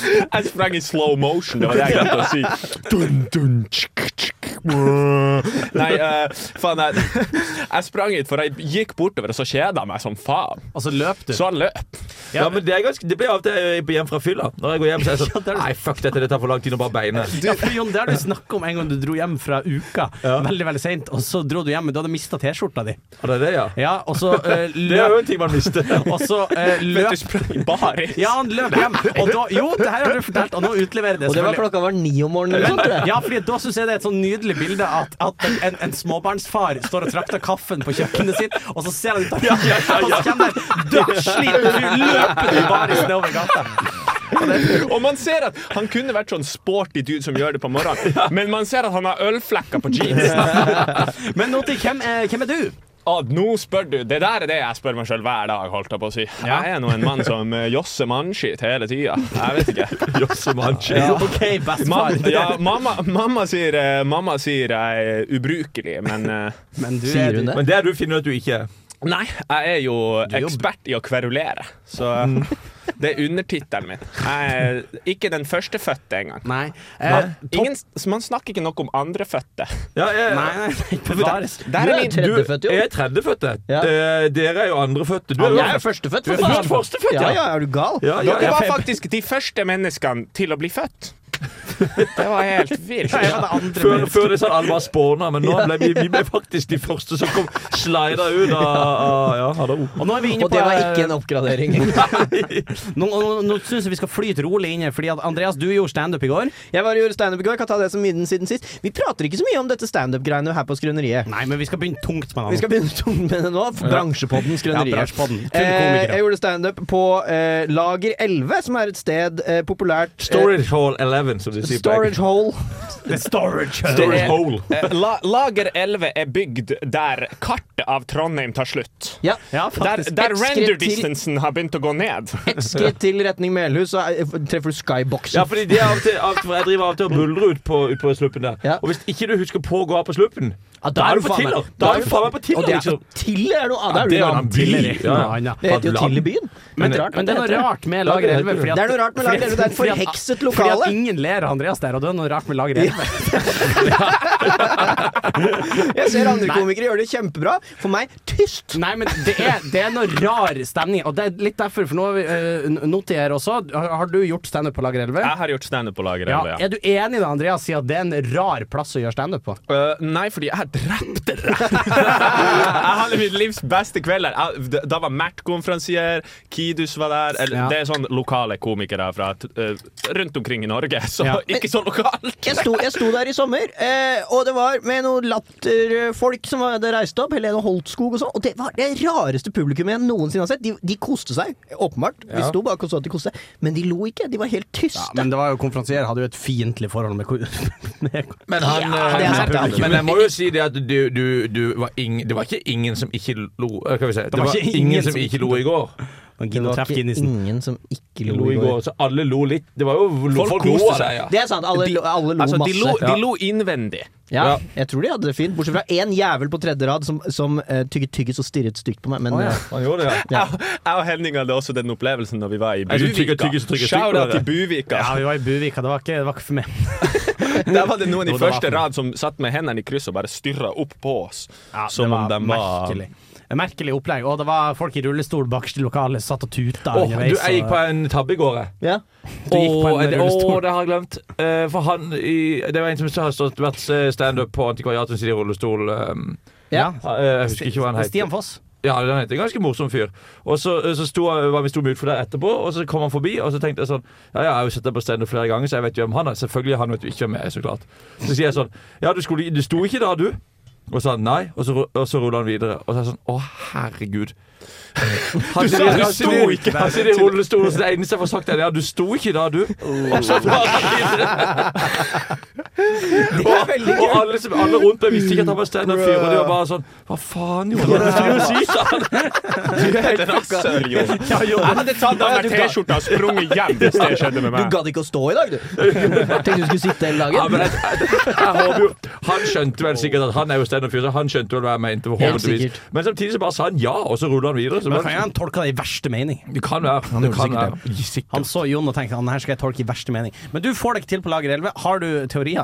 Speaker 7: Jeg sprang i slow motion, det var det jeg glemte å si. Dun, dun, tsk, tsk, brr. Nei, eh, faen, jeg, jeg sprang hit, for jeg gikk bortover, og så kjeda jeg meg som faen.
Speaker 3: Og så løp du.
Speaker 7: Så jeg løp.
Speaker 1: Ja, men det, er ganske, det blir av og til jeg er hjem fra fylla. Når jeg går hjem, så er jeg sånn Nei, fuck dette, det tar for lang tid å bare beine.
Speaker 3: Ja, for Jon, det har du snakka om en gang du dro hjem fra uka. Veldig veldig seint. Og så dro du hjem, men du hadde mista T-skjorta di.
Speaker 1: Og det er det, ja.
Speaker 3: Ja, og så eh,
Speaker 1: Det er jo
Speaker 3: løp
Speaker 1: en ting man mister.
Speaker 3: Og så eh,
Speaker 7: Vet du,
Speaker 3: løp
Speaker 7: sprang i baris.
Speaker 3: Ja, han løp hjem. Og da, jo, det her har du fortalt, og nå utleverer jeg det.
Speaker 4: Og det var
Speaker 3: selvfølgelig.
Speaker 4: klokka var ni om morgenen eller noe sånt, tror jeg.
Speaker 3: Ja, fordi da syns jeg det er et sånn nydelig bilde at, at en- en, en småbarnsfar står og trakter kaffen på kjøkkenet sitt, og så ser han ut av vinduet, og så kommer det en dødssliten fyr løpende i baris nedover gata.
Speaker 7: Og man ser at han kunne vært sånn sporty dude som gjør det på morgenen, men man ser at han har ølflekker på jeans.
Speaker 3: Men nå til hvem, eh, hvem er du?
Speaker 7: Ah, nå spør du. Det der er det jeg spør meg sjøl hver dag, holdt jeg på å si. Jeg er nå en mann som eh, josser mannskitt hele tida. Jeg vet ikke.
Speaker 1: Josse Manchi.
Speaker 3: OK, bestefar.
Speaker 7: Mamma, ja, mamma, mamma sier eh, Mamma sier jeg er ubrukelig, men eh,
Speaker 3: Men du
Speaker 4: Sier hun det?
Speaker 1: Men det er du finner ut du ikke er.
Speaker 7: Nei, jeg er jo ekspert i å kverulere, så
Speaker 3: Mm.
Speaker 7: det er undertittelen min. Jeg er ikke den førstefødte engang.
Speaker 3: Nei. Eh,
Speaker 7: Ingen, man snakker ikke noe om andrefødte.
Speaker 1: Ja, jeg,
Speaker 3: nei, nei, nei, bevares.
Speaker 7: Der
Speaker 4: Du
Speaker 7: er
Speaker 4: er
Speaker 7: min
Speaker 4: tredjefødt,
Speaker 1: jeg
Speaker 4: jo.
Speaker 1: er tredjefødte.
Speaker 4: Ja.
Speaker 1: Eh, Dere er jo andrefødte. Du er
Speaker 4: Jeg er
Speaker 1: jo
Speaker 4: jo førstefødt,
Speaker 1: Du er
Speaker 4: for faen.
Speaker 1: først førstefødt, ja.
Speaker 4: Ja, ja, er du gal?
Speaker 1: ja, ja,
Speaker 7: Dere
Speaker 1: ja.
Speaker 7: var faktisk de første menneskene til å bli født. Det var helt vilt.
Speaker 3: Nei, jeg var det andre
Speaker 1: Før,
Speaker 3: mennesket.
Speaker 1: før det sånn alle var spåna, men nå ble vi, vi ble faktisk de første som kom slida ut av, av Ja, hallo.
Speaker 3: Og nå er vi inne
Speaker 4: Og
Speaker 3: på eh,
Speaker 4: det var ikke en oppgradering.
Speaker 3: Nå, nå, nå syns jeg vi skal flyte rolig inn her, fordi at Andreas, du gjorde standup i går.
Speaker 4: Jeg var og gjorde standup i går. Kan ta det som midden siden sist. Vi prater ikke så mye om dette standup-greiene her på Skrøneriet.
Speaker 3: Nei, men vi skal begynne tungt med
Speaker 4: Vi skal begynne tungt med det nå. Bransjepodden Skrøneriet.
Speaker 3: Ja, bransjepodden. Kun
Speaker 4: eh,
Speaker 3: komikere.
Speaker 4: jeg gjorde standup på eh, Lager 11, som er et sted eh, populært eh,
Speaker 1: Storage Hall 11, som de sier. på engelsk.
Speaker 4: Storage Hole.
Speaker 3: storage.
Speaker 1: Storage Hole.
Speaker 7: Eh, La, lager 11 er bygd der kartet av Trondheim tar slutt.
Speaker 4: Ja.
Speaker 3: Ja,
Speaker 7: Der,
Speaker 3: faktisk.
Speaker 7: der
Speaker 4: Et skritt
Speaker 7: render
Speaker 4: til.
Speaker 7: distansen har begynt å gå ned.
Speaker 4: Ett skritt til retning Melhus, så er- treffer du skyboxen.
Speaker 1: Ja, fordi de er av og til, av, og til- for jeg driver av og til og buldrer ut på, ut på sluppen der.
Speaker 4: Ja.
Speaker 1: Og hvis ikke du husker på å gå av på sluppen,
Speaker 4: Ja,
Speaker 1: da er du på
Speaker 4: faen meg-
Speaker 1: Tiller. Da er du faen meg på Tiller,
Speaker 4: Og det er,
Speaker 1: liksom.
Speaker 4: Tiller er noe annet.
Speaker 1: det er jo en
Speaker 4: en
Speaker 1: liksom.
Speaker 4: annen
Speaker 1: by.
Speaker 4: by.
Speaker 1: Ja, ja.
Speaker 3: Ja, ja.
Speaker 4: Det heter jo
Speaker 1: Land.
Speaker 4: Til i byen.
Speaker 3: Men,
Speaker 4: Men
Speaker 3: det,
Speaker 4: rart
Speaker 3: men
Speaker 4: at
Speaker 3: det er
Speaker 4: det
Speaker 3: noe
Speaker 4: heter
Speaker 3: rart med Lager
Speaker 1: Ja, det
Speaker 3: 11.
Speaker 1: heter
Speaker 3: Fordi at,
Speaker 4: Eh, Det er noe rart med Lager 11, det er et
Speaker 3: fordi at-
Speaker 4: forhekset
Speaker 3: Fordi
Speaker 4: lokale.
Speaker 3: at ingen ler av Andreas der, og det er noe rart med Lager 11.
Speaker 4: Jeg ser andre
Speaker 3: Nei.
Speaker 4: komikere gjøre det kjempebra. For meg tyst.
Speaker 3: Nei, men det er, det er noe rar stemning, og det er litt derfor, for nå har vi uh, noter også. Har, har du gjort standup på Lager 11?
Speaker 7: Jeg har gjort standup på Lager
Speaker 3: Ja.
Speaker 7: 11, ja.
Speaker 3: Er du enig da, Andreas, i at det er en rar plass å gjøre standup på?
Speaker 7: Øh, nei, fordi jeg drepte dere. jeg hadde mitt livs beste kveld der. Jeg- d- Da var Mert konferansier, Kidus var der. Eller,
Speaker 3: Ja.
Speaker 7: Det er sånn lokale komikere fra t- øh, rundt omkring i Norge, så
Speaker 3: Ja.
Speaker 7: ikke så lokalt.
Speaker 4: Jeg sto, jeg sto der i sommer, eh, og det var med noen latterfolk som hadde reist opp. Helene Holtskog og sånn. Og det var det rareste publikummet jeg noensinne har sett. De, de koste seg, åpenbart. De sto bak og så at de koste seg, men de lo ikke. De var helt tyste.
Speaker 3: Ja, men det var jo konferansier hadde jo et fiendtlig forhold med, ko- med
Speaker 1: Men han
Speaker 4: Ja, det er sant, det er
Speaker 1: Men jeg må jo si det at du, du, du var ing, Det var ikke ingen som ikke lo eh, Hva skal vi si? Det
Speaker 3: var
Speaker 1: var
Speaker 3: ikke
Speaker 1: ingen
Speaker 3: ingen
Speaker 1: som
Speaker 3: som
Speaker 1: ikke lo i går.
Speaker 4: det
Speaker 3: Gino
Speaker 4: var
Speaker 3: Treff
Speaker 4: ikke
Speaker 3: Guinnessen.
Speaker 4: ingen som ikke lo,
Speaker 1: Lo i går, Så alle lo litt. Det var jo lo,
Speaker 7: Folk
Speaker 1: Folk
Speaker 7: koste
Speaker 1: lo av
Speaker 7: seg.
Speaker 1: deg, ja.
Speaker 4: Det er sant. Alle, lo- alle lo
Speaker 7: Altså, de
Speaker 4: masse.
Speaker 7: lo,
Speaker 1: Ja.
Speaker 7: de lo innvendig.
Speaker 4: ja,
Speaker 1: Ja.
Speaker 4: Jeg tror de hadde det fint, bortsett fra én jævel på tredje rad som, som eh, tygget tyggis og stirret stygt på meg. Men eh,
Speaker 1: Han gjorde det, ja.
Speaker 4: Ja.
Speaker 7: Jeg, jeg og Henning hadde også den opplevelsen da vi var i
Speaker 1: Jeg skulle tygge,
Speaker 7: Buvika.
Speaker 1: tygge, så tygge, tygge
Speaker 7: Shout-out
Speaker 1: på
Speaker 7: til
Speaker 1: det.
Speaker 7: Buvika.
Speaker 3: Ja, vi var i Buvika, det var ikke, det var ikke for meg.
Speaker 7: Der var det noen i
Speaker 3: Jo, det var
Speaker 7: første
Speaker 3: for meg.
Speaker 7: rad som satt med hendene i kryss og bare styrra opp på oss.
Speaker 3: Ja, det
Speaker 7: som om de var
Speaker 3: merkelig. Et Merkelig opplegg. Og det var folk i rullestol bakst i lokalet, satt og tuta
Speaker 1: Åh, du,
Speaker 3: underveis.
Speaker 1: jeg gikk på
Speaker 3: og-
Speaker 1: en tabbe i går, jeg.
Speaker 4: ja.
Speaker 3: Du gikk på en
Speaker 1: Åh, er det-
Speaker 3: rullestol.
Speaker 1: åh, det har jeg glemt. Eh, for han i, Det var en som har stått, vært eh, standup på Antikvariatet sin i rullestol. eh,
Speaker 3: ja.
Speaker 1: eh, jeg husker ikke hva han het.
Speaker 3: Stian Foss.
Speaker 1: Ja, han heter en ganske morsom fyr. Og så, så sto, han- var vi sto med utfor der etterpå, og så kom han forbi, og så tenkte jeg sånn Ja, ja, jeg har jo sett deg på standup flere ganger, så jeg vet jo hvem han er. Selvfølgelig, han vet jo ikke hvem jeg er, så klart. Så sier jeg sånn Ja, du, skulle, du sto ikke da, du? Og sa han nei, og så, ru- og så rulla han videre. Og så er jeg sånn Å, herregud. Han
Speaker 7: Du sa
Speaker 1: sitter-
Speaker 7: du
Speaker 1: han
Speaker 7: sto
Speaker 1: sitter-
Speaker 7: ikke.
Speaker 1: Han sitter i rullestol, og så Altså, det eneste jeg får sagt, er ja, du sto ikke da, du. Og så drar han videre. Og, og alle, som, alle rundt meg visste ikke at han var standup-fyr, og de var bare sånn Hva faen, Jon? Hva skal du si, sa han?
Speaker 7: Rasshøl, Jon.
Speaker 3: jo.
Speaker 7: Jeg hadde tatt av meg T-skjorta og sprunget hjem hvis det skjedde med
Speaker 4: Du
Speaker 7: meg.
Speaker 4: gadd ikke å stå i dag, du. Tenkte du skulle sitte hele
Speaker 1: Ja, men
Speaker 4: dagen.
Speaker 1: jeg, jeg, jeg håper jo Han skjønte vel sikkert at han er jo standup-fyr, så han skjønte vel hva jeg mente. forhåpentligvis
Speaker 4: sikkert.
Speaker 1: Men samtidig så bare sa han ja, og så rulla han videre. Så
Speaker 3: Men
Speaker 1: bare,
Speaker 3: kan han tolka det i verste mening?
Speaker 1: det kan være. Det
Speaker 4: gjorde
Speaker 1: kan
Speaker 4: sikkert
Speaker 1: være. Sikkert.
Speaker 3: Han så Jon og tenkte han her skal jeg tolke i verste mening. Men du får det ikke til på Lager 11. Har du teorier?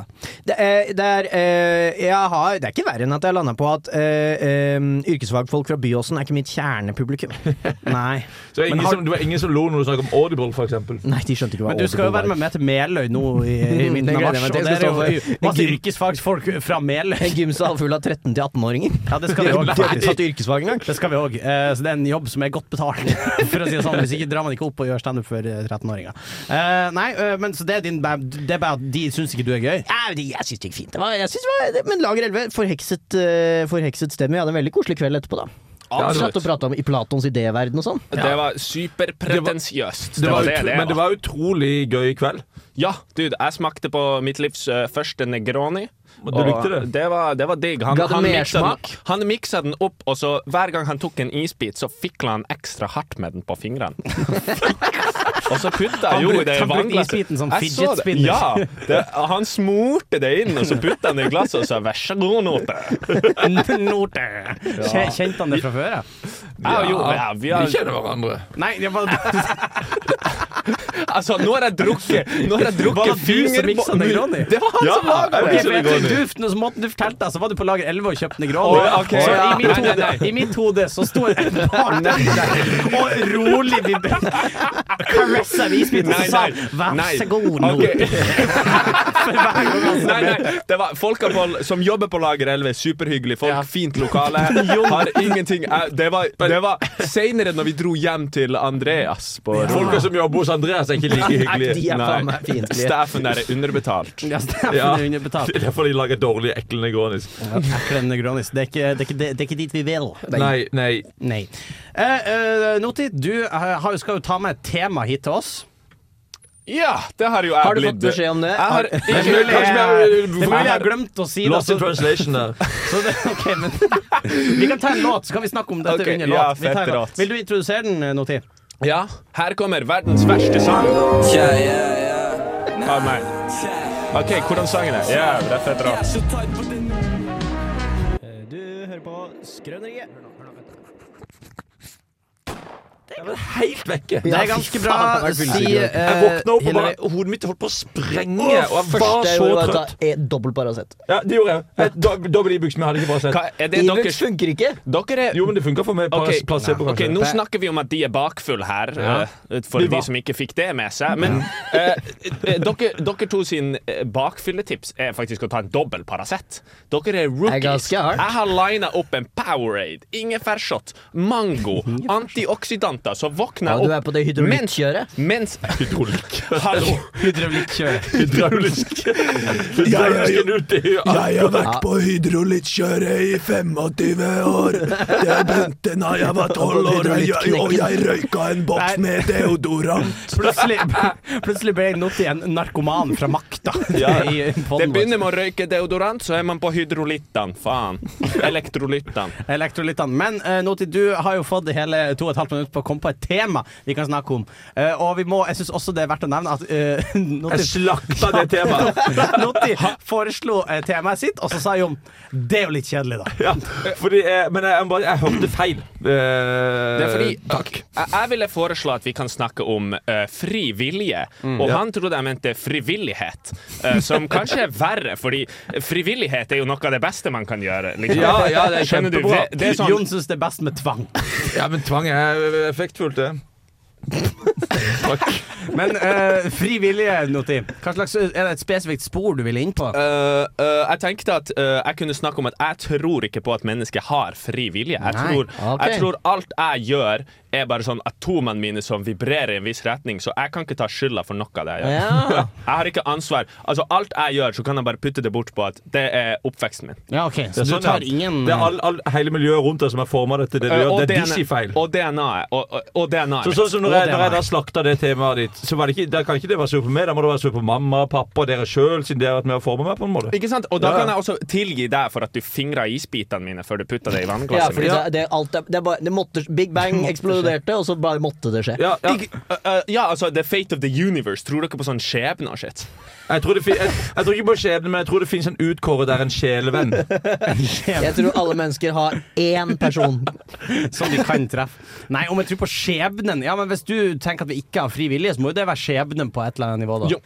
Speaker 4: Det er, det er, eh, jeg har, det er ikke verre enn at jeg landa på at eh, eh, yrkesfagfolk fra Byåsen er ikke mitt kjernepublikum.
Speaker 3: Nei.
Speaker 1: Så det er
Speaker 3: Men
Speaker 1: ingen
Speaker 3: har-
Speaker 1: som, det var ingen som lo når du snakket om Audible, for eksempel.
Speaker 4: Nei, de skjønte ikke hva
Speaker 3: Men du skal jo
Speaker 4: Audible
Speaker 3: være
Speaker 4: var.
Speaker 3: med meg til Meløy nå i, i midten
Speaker 4: Det
Speaker 3: av
Speaker 4: gleder
Speaker 3: mars,
Speaker 4: jeg
Speaker 3: og
Speaker 4: meg til.
Speaker 3: der
Speaker 4: Jeg
Speaker 3: er
Speaker 4: skal
Speaker 3: jo
Speaker 4: stå for-
Speaker 3: masse
Speaker 4: En gym-
Speaker 3: yrkesfagsfolk fra Meløy.
Speaker 4: En gymsal full av 13- til 18-åringer.
Speaker 3: Ja, det skal vi òg,
Speaker 4: De har ikke
Speaker 3: faktisk.
Speaker 4: tatt yrkesfag engang.
Speaker 3: Det skal vi òg. Eh, så det er en jobb som er godt betalt, for å si det sånn. Hvis ikke drar man ikke opp og gjør standup for eh, 13-åringer. Eh, nei, eh, men så det er din bæ- Det er bare at de syns ikke du er gøy.
Speaker 4: Ja, men det- jeg syns det gikk fint. Det var, jeg synes det var, men Lager 11, forhekset, eh, forhekset stemme. Vi hadde en veldig koselig kveld etterpå, da.
Speaker 7: Ja,
Speaker 1: Altså,
Speaker 7: det var-
Speaker 4: Satt og prata om i Platons idéverden og sånn.
Speaker 7: Det var superpretensiøst.
Speaker 1: Det var
Speaker 7: det
Speaker 1: utro-
Speaker 7: det
Speaker 1: men det var utrolig gøy kveld.
Speaker 7: Ja, dude, jeg smakte på mitt livs eh, første Negroni.
Speaker 1: Men du likte det?
Speaker 7: Det var, det var digg. Han,
Speaker 4: Ga det
Speaker 7: han miksa den,
Speaker 4: mersmak?
Speaker 7: han miksa den opp, og så hver gang han tok en isbit, så fikla han ekstra hardt med den på fingrene. og så putta
Speaker 3: Han
Speaker 7: jo i
Speaker 3: brukte-
Speaker 7: det
Speaker 3: han brukte
Speaker 7: vannglasset.
Speaker 3: isbiten som
Speaker 7: Jeg
Speaker 3: fidget
Speaker 7: så det.
Speaker 3: spinner.
Speaker 7: Ja, det, han smurte det inn, og så putta han det i glasset og sa 'vær så god, Note'.
Speaker 3: Norte. Kje- Kjente han det fra før? Ja?
Speaker 7: Jeg og Jo, ja, vi har,
Speaker 1: kjenner hverandre.
Speaker 3: Nei, det var,
Speaker 7: altså, nå har jeg drukket Nå har jeg
Speaker 3: Var
Speaker 7: drukket
Speaker 3: det du som miksa
Speaker 7: fingerbo-
Speaker 3: Negroni?
Speaker 7: Det var han
Speaker 1: Ja,
Speaker 7: som laga
Speaker 1: jeg
Speaker 7: det!
Speaker 3: Ok,
Speaker 1: miksa
Speaker 3: for jeg
Speaker 1: Negroni.
Speaker 3: vet du, duften og så måten du fortalte deg, så var du på Lager 11 og kjøpte Negroni.
Speaker 7: Å, ok.
Speaker 3: Så i mitt,
Speaker 7: Nei, nei,
Speaker 3: hode,
Speaker 7: nei.
Speaker 3: i mitt hode så sto en bartender der og rolig vibrerte. Karessa visbiten og
Speaker 7: Nei,
Speaker 3: så sa
Speaker 7: nei,
Speaker 3: han, vær
Speaker 7: nei.
Speaker 3: så god, nå.
Speaker 7: Ok. nei, nei. Det var folka på, som jobber på Lager 11, superhyggelige folk, fint lokale. Har ingenting eh, Det var, det var seinere, når vi dro hjem til Andreas. På
Speaker 1: Folka som jobber hos Andreas, er ikke like
Speaker 4: Nei, de
Speaker 1: hyggelige.
Speaker 4: er faen
Speaker 7: Nei.
Speaker 4: meg fiendtlige.
Speaker 7: Staffen der er underbetalt.
Speaker 3: Ja, Steffen
Speaker 1: Ja.
Speaker 3: er underbetalt.
Speaker 1: Det er derfor de lager dårlige, ekle Negronis.
Speaker 3: Ekle Negronis. Det er, ikke, det, er ikke, det er ikke dit vi vil.
Speaker 1: Nei, nei.
Speaker 3: Nei. Eh, eh, Noti, du eh, har, jo- skal jo ta med et tema hit til oss.
Speaker 7: Ja, det har jo jeg
Speaker 4: Har du
Speaker 7: blitt.
Speaker 4: fått beskjed om det?
Speaker 7: Jeg har
Speaker 4: Har-
Speaker 7: ikke
Speaker 1: mulig jeg-
Speaker 3: det er mulig jeg har glemt å si det.
Speaker 1: Lost in
Speaker 3: så-
Speaker 1: translation der.
Speaker 3: så det ok, men, vi kan ta en låt, så kan vi snakke om dette
Speaker 7: Ok,
Speaker 3: under
Speaker 7: ja,
Speaker 3: låt. Vi tar en
Speaker 7: fett
Speaker 3: låt.
Speaker 7: rått.
Speaker 3: Vil du introdusere den, eh, Noti?
Speaker 7: Ja, her kommer verdens verste sang. Av meg. OK, hvordan sangen er? Ja, det er fett rart.
Speaker 4: Du hører på Skrøneriet.
Speaker 1: Helt vekke.
Speaker 3: Det er ganske bra. Si eh,
Speaker 1: Jeg våkna opp, og bare,
Speaker 3: Hilary.
Speaker 1: hodet mitt holdt på å sprenge. Og
Speaker 4: Første
Speaker 1: jeg var
Speaker 4: jeg
Speaker 1: så
Speaker 4: gjorde, var å ta
Speaker 1: trøtt.
Speaker 4: en dobbel Paracet.
Speaker 1: Ja, det gjorde jeg. Eh, Et dob- Dobbel Ibux, men jeg hadde ikke bare
Speaker 7: Hva,
Speaker 1: sett.
Speaker 7: er det
Speaker 4: Ibux
Speaker 7: deres
Speaker 4: funker ikke.
Speaker 7: Dere er
Speaker 1: Jo, men det funka for meg.
Speaker 7: Ok,
Speaker 1: Okay. Placebo,
Speaker 7: ok,
Speaker 1: kanskje.
Speaker 7: Nå snakker vi om at de er bakfull her, eh, for
Speaker 1: De var-
Speaker 7: de som ikke fikk det med seg. Men eh, eh, dere, dere to sin eh, bakfylletips er faktisk å ta en dobbel Paracet. Dere er
Speaker 4: Det er
Speaker 7: rookies.
Speaker 4: ganske hardt.
Speaker 7: Jeg har lina opp en Powerade, ingefærshot, mango, antioksidanter. Så
Speaker 4: Ja,
Speaker 7: våkner
Speaker 4: du
Speaker 7: jeg
Speaker 4: er
Speaker 7: opp
Speaker 4: på det hydraulikkjøret.
Speaker 7: mens Hydraulikk. Hallo.
Speaker 3: Hydraulikkjør.
Speaker 1: Hydraulisk. Hydraulisk nulltid.
Speaker 8: Jeg har vært på hydrolytkjøret i 25 år. Jeg begynte da jeg var 12 år, og jeg, og jeg røyka en boks med deodorant.
Speaker 3: Plutselig, plutselig ble Noti en narkoman fra makta. i
Speaker 7: Det
Speaker 3: podden vår.
Speaker 7: begynner med å røyke deodorant, så er man på hydrolittene. Faen. Elektrolyttene.
Speaker 3: Elektrolyttene. Men eh, Noti, du har jo fått hele to og et halvt minutt på å komme på et tema vi kan snakke om. Eh, og vi må, jeg syns også det er verdt å nevne at eh,
Speaker 1: Jeg
Speaker 3: Noti,
Speaker 1: slakta det temaet.
Speaker 3: Noti foreslo eh, temaet sitt, og så sa Jon det er jo litt kjedelig, da.
Speaker 1: Ja, fordi, jeg- men jeg, jeg, bare- jeg hørte feil. Eh,
Speaker 7: Det er fordi
Speaker 1: takk.
Speaker 7: jeg, jeg ville foreslå at vi kan snakke om eh, fri vilje,
Speaker 1: Mm.
Speaker 7: og han trodde jeg mente frivillighet. eh, som kanskje er verre, fordi frivillighet er jo noe av det beste man kan gjøre. Liksom.
Speaker 1: Ja, ja, det er
Speaker 7: Skjønner du?
Speaker 1: kjempebra.
Speaker 7: Det, det er sånn,
Speaker 3: Jon syns det er best med tvang.
Speaker 1: Ja, men eh, tvang er effektfullt, det. Takk.
Speaker 3: Men uh, fri vilje, Noti. Hva slags, er det et spesifikt spor du vil inn på?
Speaker 7: Eh, eh, jeg tenkte at eh, jeg kunne snakke om at jeg tror ikke på at mennesket har fri vilje. Jeg
Speaker 3: Nei,
Speaker 7: tror,
Speaker 4: ok.
Speaker 7: jeg tror alt jeg gjør, er bare sånn atomene mine som vibrerer i en viss retning, så jeg kan ikke ta skylda for noe av det jeg gjør.
Speaker 4: Ja.
Speaker 7: Jeg har ikke ansvar. Altså, alt jeg gjør, så kan jeg bare putte det bort på at det er oppveksten min.
Speaker 3: Ja, ok,
Speaker 1: Det
Speaker 3: Så
Speaker 1: er
Speaker 3: du
Speaker 1: sånn,
Speaker 3: tar
Speaker 1: ja.
Speaker 3: ingen
Speaker 1: Det er all, all, hele miljøet rundt deg som er forma til det du gjør. Det er
Speaker 7: DNA
Speaker 1: dizzy-feil.
Speaker 7: Eh, Og DNA-et. Og, og, og DNA-et
Speaker 1: Så
Speaker 7: mitt.
Speaker 1: sånn som når
Speaker 3: Og
Speaker 1: jeg,
Speaker 3: det
Speaker 1: når jeg
Speaker 3: var-
Speaker 1: da slakta det temaet ditt, så var det ikke, da kan ikke det være sur på meg. Da må det være sur på mamma, pappa og dere sjøl, siden dere har vært med å forme meg på en måte.
Speaker 7: Ikke sant? Og da
Speaker 1: Ja.
Speaker 7: kan jeg også tilgi deg for at du fingra isbitene mine før du putta det i
Speaker 4: Ja,
Speaker 7: vannglasset
Speaker 4: fordi
Speaker 7: mitt.
Speaker 4: det, det, er alt, det, er bare, det måtte, Big Bang eksploderte, og så bare måtte det skje.
Speaker 1: Ja, ja.
Speaker 7: Ikke- eh, eh, ja, altså The fate of the universe. Tror dere på sånn skjebne og shit?
Speaker 1: Jeg, tror det fin, jeg, jeg tror ikke på skjebne, men jeg tror det fins en utkåret der en sjelevenn.
Speaker 4: Jeg tror alle mennesker har én person.
Speaker 3: som de kan treffe. Nei, om jeg tror på skjebnen Ja, men Hvis du tenker at vi ikke har fri vilje, så må jo det være skjebnen på et eller annet nivå. da
Speaker 7: Jo,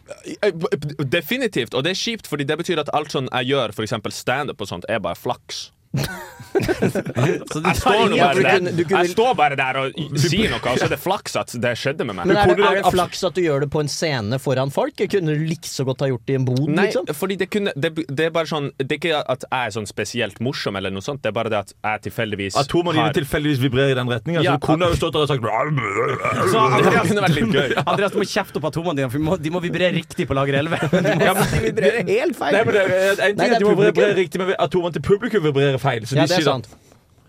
Speaker 7: eh, eh, definitivt. Og det er kjipt, fordi det betyr at alt sånn jeg gjør, f.eks. standup og sånt, er bare flaks.
Speaker 3: Så du
Speaker 7: Jeg
Speaker 3: tar
Speaker 7: står, nå
Speaker 3: ingen-
Speaker 4: Ja,
Speaker 7: bare
Speaker 4: du
Speaker 7: der.
Speaker 4: kunne- du kunne-
Speaker 7: jeg står bare der og sier noe, og så er det flaks at det skjedde med meg.
Speaker 4: Men er det,
Speaker 1: kunne
Speaker 4: er
Speaker 1: lage
Speaker 4: det
Speaker 1: abs-
Speaker 4: flaks at du gjør det på en scene foran folk? Jeg kunne du like så godt ha gjort det i en bod?
Speaker 7: Nei,
Speaker 4: liksom?
Speaker 7: fordi det kunne det, det er bare sånn Det er ikke at jeg er sånn spesielt morsom, eller noe sånt. Det er bare det at jeg tilfeldigvis
Speaker 1: Atomene dine
Speaker 7: har-
Speaker 1: tilfeldigvis vibrerer i den retninga,
Speaker 7: Ja.
Speaker 1: så du kunne jo stått der og sagt
Speaker 3: Så
Speaker 7: Det
Speaker 3: Andreas,
Speaker 7: kunne vært litt gøy.
Speaker 3: Andreas, du må kjefte opp atomene dine, for de må, de må vibrere riktig på lager 11.
Speaker 1: ja, men,
Speaker 4: vibrerer helt feil.
Speaker 1: Nei, men det, er- en ting
Speaker 4: Nei, det
Speaker 1: er
Speaker 4: er
Speaker 1: at de må
Speaker 4: publikum.
Speaker 1: vibrere riktig, men atomene til publikum vibrerer feil. Så
Speaker 4: Ja,
Speaker 1: de
Speaker 4: det er
Speaker 1: sier da,
Speaker 4: sant.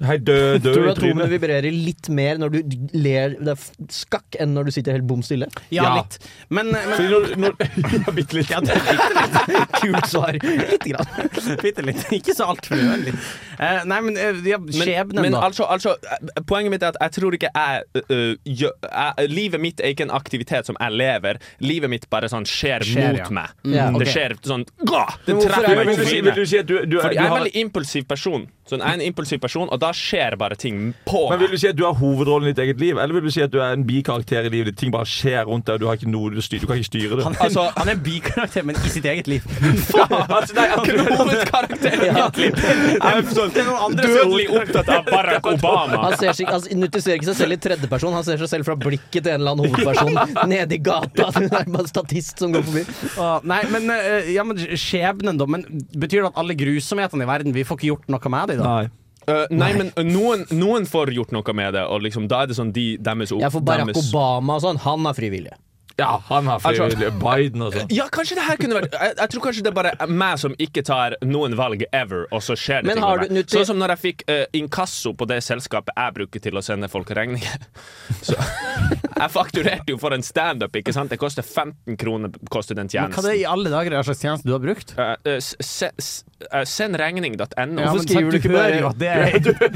Speaker 1: Hei, dø, dø
Speaker 4: Tror du
Speaker 1: i
Speaker 4: atomene
Speaker 1: trynet.
Speaker 4: vibrerer litt mer når du ler det er f- skakk, enn når du sitter helt bom stille?
Speaker 3: Ja,
Speaker 1: Ja.
Speaker 3: litt. Men, men
Speaker 1: Fordi når- når- Ja, bitte litt.
Speaker 3: ja, det er litt,
Speaker 4: Kult svar. Lite grann.
Speaker 3: bitte litt. Ikke så altfor nødvendig. Eh, nei, men eh, ja, skjebnen,
Speaker 7: men
Speaker 3: da.
Speaker 7: altså, altså, eh, poenget mitt er at jeg tror ikke jeg, ø, ø, gjø- jeg eh, Livet mitt er ikke en aktivitet som jeg lever. Livet mitt bare sånn skjer,
Speaker 3: Skjer,
Speaker 7: mot
Speaker 3: ja.
Speaker 7: meg.
Speaker 4: Ja, ok.
Speaker 7: Det skjer sånn Gå!
Speaker 4: Men
Speaker 7: Det
Speaker 4: hvorfor er
Speaker 7: treffer
Speaker 4: det-
Speaker 7: meg
Speaker 1: Vil
Speaker 7: i
Speaker 1: du si, vil du
Speaker 7: trynet.
Speaker 1: si at du, du, er- du
Speaker 7: Fordi jeg er en
Speaker 1: har
Speaker 7: veldig impulsiv person, sånn, jeg er en impulsiv person og da skjer bare ting på
Speaker 1: men vil
Speaker 7: meg.
Speaker 1: du si at du har hovedrollen i ditt eget liv, eller vil du si at du er en bikarakter i livet ditt? Ting bare skjer rundt deg, og du, har ikke noe, du, styr, du kan ikke styre det.
Speaker 3: Han, er-
Speaker 7: altså-
Speaker 3: han er en bikarakter, men i sitt eget liv.
Speaker 1: altså, nei,
Speaker 7: Jeg er Hovedkarakteren i mitt liv. Jeg er sånn
Speaker 3: Det er noen andre som er
Speaker 7: dødelig opptatt av Barack Obama.
Speaker 4: Han ser seg, altså, identifiserer ikke seg selv i tredjeperson, han ser seg selv fra blikket til en eller annen hovedperson nede i gata. Det er bare en statist som går forbi.
Speaker 3: Åh, nei, men, eh, ja, men skjebnen, da. Men betyr det at alle grusomhetene i verden Vi får ikke gjort noe med dem, da?
Speaker 1: Nei.
Speaker 7: Uh, nei, men uh, noen, noen får gjort noe med det, og liksom, da er det sånn de, deres
Speaker 4: Jeg får Barack
Speaker 7: deres-
Speaker 4: Obama og sånn. Han har frivillige.
Speaker 1: Ja, han har
Speaker 7: Altså-
Speaker 1: frivillig Biden og sånn.
Speaker 7: Ja, kanskje det her kunne vært jeg, jeg tror kanskje det er bare meg som ikke tar noen valg ever, og så skjer det
Speaker 4: Men
Speaker 7: ting
Speaker 4: har
Speaker 7: med
Speaker 4: du
Speaker 7: meg.
Speaker 4: nyttig-
Speaker 7: Sånn som når jeg fikk eh, inkasso på det selskapet jeg bruker til å sende folk regninger. Så jeg fakturerte jo for en standup, ikke sant? Det koster 15 kroner koster den
Speaker 3: Men hva er det
Speaker 7: tjenesten.
Speaker 3: i alle dager er slags tjeneste du har brukt?
Speaker 7: Eh, eh, s- se- s- eh, Sendregning.no.
Speaker 3: Ja, men sant, du hører jo at det er,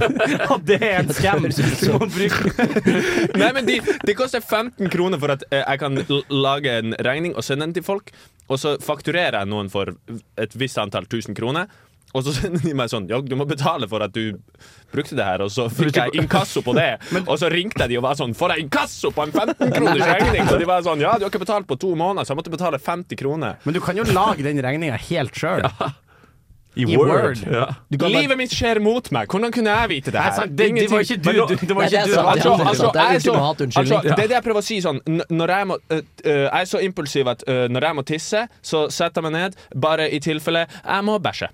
Speaker 3: at det er en skam. Du må bruke
Speaker 7: Nei, men de, de koster 15 kroner for at eh, jeg kan l lage en regning og sende den til folk. Og så fakturerer jeg noen for et visst antall tusen kroner. Og så sender de meg sånn Ja, du må betale for at du brukte det her. Og så fikk jeg inkasso på det. Og så ringte jeg de og var sånn Får jeg inkasso på en 15 kroners regning?! Og de var sånn Ja, du har ikke betalt på to måneder, så jeg måtte betale 50 kroner.
Speaker 3: Men du kan jo lage den regninga helt sjøl.
Speaker 1: I,
Speaker 3: I
Speaker 1: Word.
Speaker 3: Word.
Speaker 1: Ja.
Speaker 7: Livet mitt skjer mot meg! Hvordan kunne jeg vite det her?
Speaker 3: Det, det var ikke du.
Speaker 1: Men nå-
Speaker 3: du- Det var
Speaker 4: Nei,
Speaker 3: ikke
Speaker 4: det er
Speaker 3: du.
Speaker 4: sant,
Speaker 7: Altså,
Speaker 4: det er
Speaker 7: altså,
Speaker 4: sant. Det er
Speaker 7: jeg er så,
Speaker 4: ultimat unnskyldning.
Speaker 7: altså, det er det jeg prøver å si sånn n- Når jeg, må, øh, øh, jeg er så impulsiv at øh, når jeg må tisse, så setter jeg meg ned, bare i tilfelle jeg må bæsje.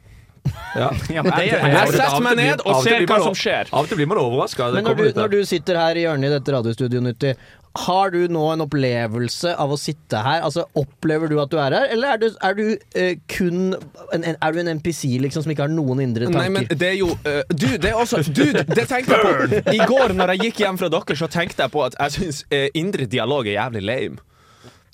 Speaker 1: Ja.
Speaker 3: Ja, men det gjør
Speaker 7: Jeg
Speaker 3: jeg.
Speaker 7: setter meg ned og ser hva som skjer.
Speaker 1: Av og til blir man overraska.
Speaker 4: Men når du, når du sitter her i hjørnet i dette radiostudioet, Nytti, har du nå en opplevelse av å sitte her? Altså, Opplever du at du er her, eller er du, er du eh, kun en, en, Er du en NPC liksom som ikke har noen indre tanker?
Speaker 7: Nei, men det er jo øh, Du, det er også Du, det tenkte jeg på. I går når jeg gikk hjem fra dere, så tenkte jeg på at jeg syns indre dialog er jævlig lame.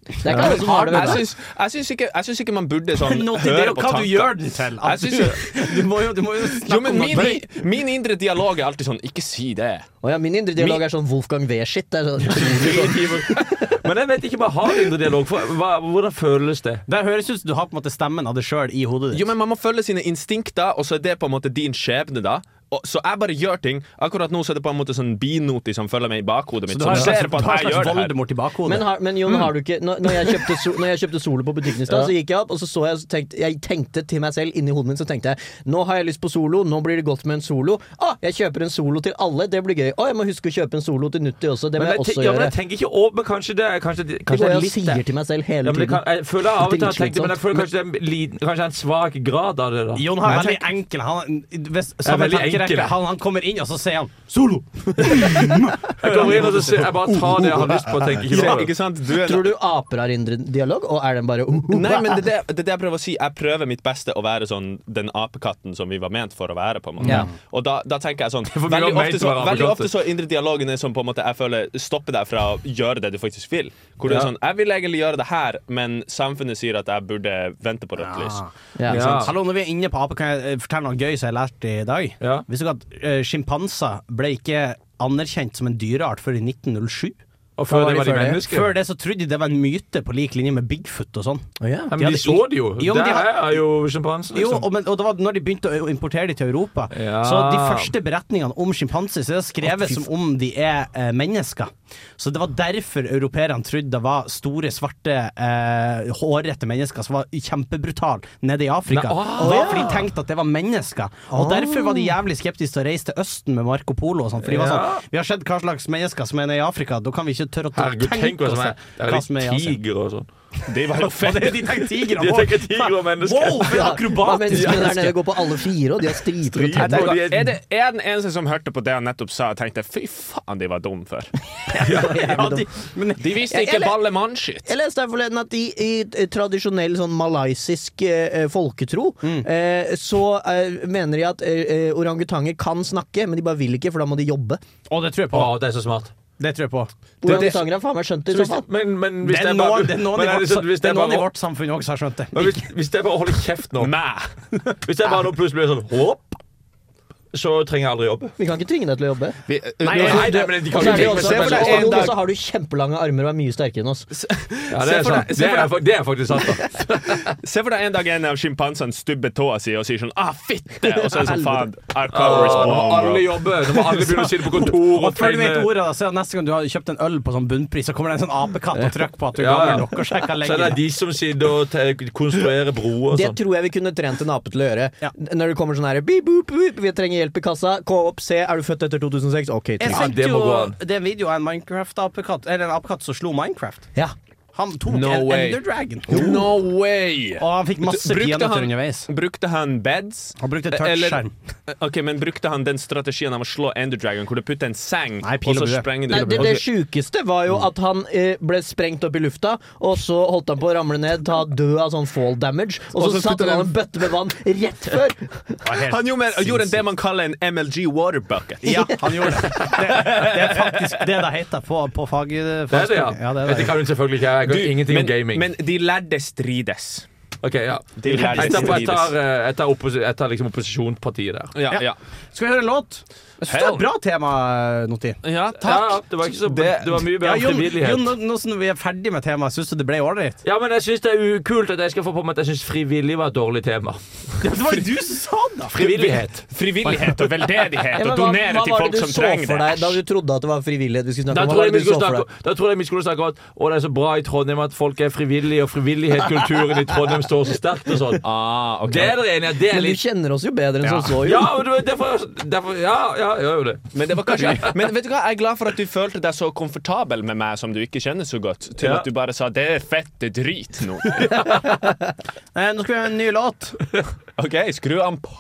Speaker 4: det er ikke alle som har det
Speaker 7: Jeg
Speaker 4: vel, da.
Speaker 7: syns- jeg syns ikke, jeg syns ikke man burde sånn
Speaker 3: Nå til det er
Speaker 7: høre
Speaker 3: jo
Speaker 7: på
Speaker 3: hva du
Speaker 7: tanker.
Speaker 3: gjør den til. At
Speaker 7: Jeg
Speaker 3: du, du må jo, du må jo
Speaker 7: Jo,
Speaker 3: snakke
Speaker 7: men
Speaker 3: om
Speaker 7: min,
Speaker 3: noe.
Speaker 7: min indre dialog er alltid sånn Ikke si det.
Speaker 4: Å ja, min indre dialog er sånn Wolfgang V-shit. Det er sånn
Speaker 1: Men jeg vet ikke om jeg har indre dialog. For, hva, hvordan føles det?
Speaker 3: Det høres ut som du har på en måte stemmen av det sjøl i hodet
Speaker 7: Jo,
Speaker 3: ditt.
Speaker 7: men Man må følge sine instinkter, og så er det på en måte din skjebne. da Og, så jeg bare gjør ting. Akkurat nå så er det på en måte sånn binote som følger meg i bakhodet mitt.
Speaker 3: Du har
Speaker 7: Som
Speaker 3: en
Speaker 7: ser på
Speaker 3: slags,
Speaker 7: at jeg gjør det her.
Speaker 3: Voldemort i bakhodet.
Speaker 4: Men, har, men Jon,
Speaker 1: Mm.
Speaker 4: har du ikke Når, når, jeg, kjøpte so, når jeg kjøpte Solo på butikken i stad, så gikk jeg opp og så så jeg, så tenkte, jeg tenkte til meg selv inni hodet mitt Så tenkte jeg nå har jeg lyst på Solo, nå blir det godt med en Solo. Å, jeg kjøper en Solo til alle, det blir gøy. Å, jeg må huske å kjøpe en Solo til Nutti også, det må
Speaker 1: Men
Speaker 4: jeg
Speaker 1: jeg,
Speaker 4: også
Speaker 1: te- ja, men
Speaker 4: gjøre.
Speaker 1: jeg tenker ikke over men kanskje det kanskje, det-
Speaker 4: Det
Speaker 1: kanskje det
Speaker 4: går jeg
Speaker 1: er
Speaker 4: og
Speaker 1: litt det.
Speaker 4: sier til meg selv
Speaker 1: Ja,
Speaker 4: hele
Speaker 1: men det kan,
Speaker 4: tiden.
Speaker 1: jeg føler av og
Speaker 4: Det
Speaker 1: til
Speaker 4: er
Speaker 1: at jeg tenkte, men jeg
Speaker 4: slitsomt.
Speaker 1: føler kanskje det er en, liten, kanskje en svak grad av det. da
Speaker 3: Jon har veldig enkel Han, hvis, samme
Speaker 1: veldig
Speaker 3: tankerekke.
Speaker 1: enkel.
Speaker 3: han, han kommer inn, og så sier han
Speaker 9: Solo!
Speaker 1: Jeg kommer inn og så ser jeg bare tar
Speaker 3: Oh,
Speaker 1: det jeg har lyst på. og tenker ikke
Speaker 7: Ja,
Speaker 1: over det.
Speaker 7: ikke sant? Du er
Speaker 4: Tror du aper har indre dialog, og er den bare
Speaker 7: Nei, men det er det, det er det jeg prøver å si. Jeg prøver mitt beste å være sånn den apekatten som vi var ment for å være. på en måte
Speaker 4: Ja.
Speaker 7: Og da, da tenker jeg sånn
Speaker 1: vi var
Speaker 7: Veldig
Speaker 1: ment
Speaker 7: ofte så,
Speaker 1: for å være
Speaker 7: veldig
Speaker 1: apekatter.
Speaker 7: ofte så er indre dialogen er sånn på en måte jeg føler stopper deg fra å gjøre det du faktisk vil. Hvor det er
Speaker 1: Ja.
Speaker 7: sånn Jeg vil egentlig gjøre det her, men samfunnet sier at jeg burde vente på rødt lys.
Speaker 4: Ja.
Speaker 1: Ja.
Speaker 3: Hallo, når vi er inne på ape, kan jeg eh, fortelle noe gøy som jeg lærte i dag?
Speaker 1: Ja.
Speaker 3: Visste dere at eh, sjimpanser ble ikke anerkjent som en dyreart før i 1907?
Speaker 1: Og før
Speaker 4: var
Speaker 1: det
Speaker 4: de
Speaker 1: var de
Speaker 4: før det?
Speaker 1: mennesker.
Speaker 3: Før det så trodde de det var en myte på lik linje med Bigfoot og sånn.
Speaker 1: Ja,
Speaker 3: de
Speaker 1: men de
Speaker 3: hadde
Speaker 1: så det jo.
Speaker 3: Jo, men de
Speaker 1: Der
Speaker 3: hadde-
Speaker 1: er jo sjimpansen.
Speaker 3: Jo,
Speaker 1: Liksom.
Speaker 3: og, men, og det var når de begynte å importere de til Europa.
Speaker 1: Ja.
Speaker 3: Så de første beretningene om sjimpanser så er det skrevet som om de er eh, mennesker. Så det var derfor europeerne trodde det var store, svarte, eh, hårete mennesker som var kjempebrutale nede i Afrika.
Speaker 1: Nei, ah,
Speaker 3: det var fordi de tenkte at det var mennesker. Og derfor var de jævlig skeptiske til å reise til Østen med Marco Polo og sånn. For de var
Speaker 1: Ja.
Speaker 3: sånn Vi har sett hva slags mennesker som er nede i Afrika, da kan vi ikke tørre å ta-
Speaker 1: Herregud, tenk hva som er Det er
Speaker 3: hva som er i
Speaker 1: litt
Speaker 3: Asia.
Speaker 1: tiger og sånn.
Speaker 7: Det var jo
Speaker 3: Og
Speaker 7: fett.
Speaker 3: det- De tenker tigre
Speaker 1: De
Speaker 3: og-
Speaker 1: tenker tiger og mennesker.
Speaker 3: Wow, for en
Speaker 4: Ja,
Speaker 3: akrobatisk
Speaker 4: menneskene der
Speaker 3: menneske.
Speaker 4: nede går på alle fire, og de har striper og
Speaker 1: Striper.
Speaker 4: tenner.
Speaker 7: Er jeg den eneste som hørte på det han nettopp sa og tenkte 'fy faen, de var dum før'?
Speaker 3: Ja, de, men
Speaker 7: De visste
Speaker 4: ikke
Speaker 7: ikke ballemannskitt.
Speaker 4: Jeg leste her forleden at de i eh, tradisjonell sånn malaysisk eh, eh, folketro, eh, så eh, mener de at eh, eh, orangutanger kan snakke, men de bare vil ikke, for da må de jobbe.
Speaker 3: Å, det tror jeg på.
Speaker 1: Å, det er så smart.
Speaker 3: Det tror jeg på.
Speaker 4: Orangutanger har faen meg skjønt det, i
Speaker 1: Hvis
Speaker 4: så fall.
Speaker 1: men, men
Speaker 3: Det
Speaker 1: hvis
Speaker 3: er
Speaker 1: jeg
Speaker 3: noen,
Speaker 1: bare-
Speaker 3: det er noen,
Speaker 1: men
Speaker 3: i,
Speaker 1: er
Speaker 3: vårt,
Speaker 1: det sånn- hvis
Speaker 3: det
Speaker 1: jeg
Speaker 3: er noen i
Speaker 1: bare-
Speaker 3: vårt samfunn òg som har skjønt
Speaker 1: Men
Speaker 3: det.
Speaker 1: hvis, hvis jeg bare holder kjeft nå Hvis jeg bare nå plutselig blir sånn hopp, så trenger jeg aldri jobbe.
Speaker 4: Vi kan ikke tvinge deg til å jobbe.
Speaker 1: Nei, nei, nei, men de
Speaker 4: Og
Speaker 1: kan
Speaker 4: så
Speaker 1: jo
Speaker 4: er det jo
Speaker 1: tenke
Speaker 4: også,
Speaker 1: seg
Speaker 4: for
Speaker 1: selv.
Speaker 4: det er
Speaker 7: en
Speaker 4: også noen
Speaker 7: dag-
Speaker 4: som har du kjempelange armer og er mye sterkere enn oss.
Speaker 1: Ja, det er sant. Det er, fa- det er faktisk sant. da.
Speaker 7: Se for deg en dag en av sjimpansene stubber tåa si og sier sånn 'ah, fitte', og så er det sånn faen. Our cover is
Speaker 1: Nå må
Speaker 7: bomb, bro.
Speaker 1: alle jobbe. Nå må alle begynne å sitte på kontor
Speaker 3: Og
Speaker 1: og
Speaker 3: før du vet
Speaker 1: finne
Speaker 3: ordet, da, så er det neste gang du har kjøpt en øl på sånn bunnpris, så kommer det en sånn apekatt og trykker på at du er
Speaker 1: Ja, ja.
Speaker 3: gammel nok og
Speaker 1: Så
Speaker 3: sjekker
Speaker 1: er det
Speaker 3: lenger.
Speaker 1: de som sitter og te- konstruerer broer og
Speaker 4: Det
Speaker 1: sånn.
Speaker 4: tror jeg vi kunne trent en ape til å gjøre.
Speaker 3: Ja.
Speaker 4: Når det kommer sånn her beep, boop, boop, Vi trenger hjelp i kassa. Gå opp, se. Er du født etter 2006? OK,
Speaker 3: Jeg
Speaker 4: trykk.
Speaker 3: sendte
Speaker 1: det må
Speaker 3: jo
Speaker 1: gå an.
Speaker 3: det er en video av en Minecraft-apekatt Eller en apekatt som slo Minecraft.
Speaker 4: Ja.
Speaker 3: Han tok
Speaker 7: No
Speaker 3: en
Speaker 7: way.
Speaker 3: Ender Dragon.
Speaker 7: No way!
Speaker 3: Og han fikk masse
Speaker 7: Brukte
Speaker 3: peanøtter
Speaker 7: han-
Speaker 3: underveis.
Speaker 7: Brukte han beds?
Speaker 3: Han brukte
Speaker 7: Eller-
Speaker 3: touchskjerm.
Speaker 7: Ok, men Brukte han den strategien av å slå Ender Dragon, hvor du putter en seng,
Speaker 3: Nei, pil
Speaker 7: og
Speaker 3: og
Speaker 7: så
Speaker 3: bue.
Speaker 7: sprenger du
Speaker 4: Nei, det, det sjukeste var jo at han eh, ble sprengt opp i lufta, og så holdt han på å ramle ned, ta død av sånn fall damage, og så,
Speaker 9: Og så
Speaker 4: satte
Speaker 9: spytter
Speaker 4: han
Speaker 9: han-
Speaker 4: en bøtte med vann rett før.
Speaker 7: Han gjorde, mer- gjorde det man kaller en MLG water bucket.
Speaker 3: Ja, han gjorde det. Det, det er faktisk det det heter på, på fag...
Speaker 1: Det er det, ja.
Speaker 3: ja det er
Speaker 1: Dette
Speaker 3: det.
Speaker 1: kan hun selvfølgelig ikke. Jeg kan ingenting
Speaker 7: men,
Speaker 1: om gaming.
Speaker 7: men de lærde strides.
Speaker 1: Ok, ja.
Speaker 7: De lærde
Speaker 1: Jeg tar, jeg tar,
Speaker 7: strides.
Speaker 1: eh, jeg tar, oppos- jeg tar liksom opposisjonspartiet der.
Speaker 7: Ja, ja.
Speaker 3: Skal vi høre en låt? Jeg synes det er et bra tema, Noti.
Speaker 7: ja,
Speaker 1: Ja, ja,
Speaker 7: takk.
Speaker 1: det var ikke så Det var mye
Speaker 3: Ja,
Speaker 1: bedre enn
Speaker 3: Jon, Jon,
Speaker 1: frivillighet.
Speaker 3: nå, nå som vi er ferdig med temaet, syns du det ble ålreit?
Speaker 1: Ja, men jeg syns det er ukult at jeg skal få på meg at jeg syns frivillig var et dårlig tema.
Speaker 3: Det var jo du som sa det!
Speaker 1: Frivillighet.
Speaker 7: Frivillighet og veldedighet
Speaker 4: Ja, men
Speaker 7: og
Speaker 4: hva,
Speaker 7: donere
Speaker 4: hva
Speaker 7: til
Speaker 4: var
Speaker 7: folk
Speaker 4: det
Speaker 7: som
Speaker 4: du så
Speaker 7: trenger
Speaker 4: for
Speaker 7: det.
Speaker 4: deg da du trodde at det var frivillighet vi skulle
Speaker 1: Da
Speaker 4: snakke om? Hva
Speaker 1: tror
Speaker 4: var
Speaker 1: jeg vi
Speaker 4: det du
Speaker 1: skulle
Speaker 4: så for
Speaker 1: snakke
Speaker 4: deg?
Speaker 1: Da tror jeg vi skulle snakke om at Å, det er så bra i Trondheim at folk er frivillige, og frivillighetskulturen i Trondheim står så sterkt og sånn.
Speaker 7: Ah, ok.
Speaker 1: Det er dere enige i? Det er
Speaker 4: Men du
Speaker 1: litt
Speaker 4: kjenner oss jo bedre enn som så, jo.
Speaker 1: Ja, men du vet, derfor, derfor Ja, ja, jeg gjør jo det.
Speaker 7: Men, det var kanskje, men vet du hva, jeg er glad for at du følte deg så komfortabel med meg som du ikke kjenner så godt, til
Speaker 1: Ja.
Speaker 7: at du bare sa 'det er fette drit nå'.
Speaker 3: Eh, nå skal vi ha en ny låt.
Speaker 7: OK, skru an på.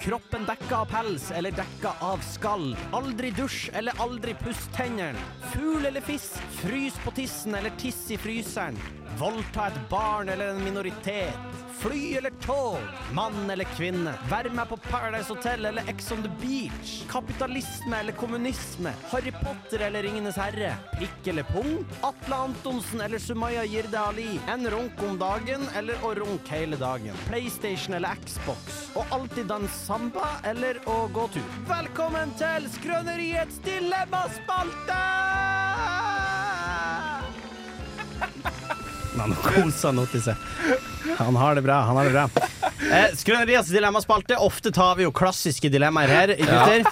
Speaker 3: Kroppen dekka av pels eller dekka av skall. Aldri dusj eller aldri puss tennene. Fugl eller fisk. Frys på tissen eller tiss i fryseren. Voldta et barn eller en minoritet. Fly eller tog. Mann eller kvinne. Vær med på Paradise Hotel eller Ex on the Beach. Kapitalisme eller kommunisme. Harry Potter eller Ringenes herre. Prikk eller pung. Atle Antonsen eller Sumaya Jirde Ali. En runk om dagen eller å runke hele dagen. PlayStation eller Xbox. Og alltid danse samba eller å gå tur. Velkommen til Skrøneriets dilemmaspalte! Nei, nå koser han Otti seg. Han har det bra. han har det bra Eh, Skrønerias dilemmaspalte. Ofte tar vi jo klassiske dilemmaer her, gutter.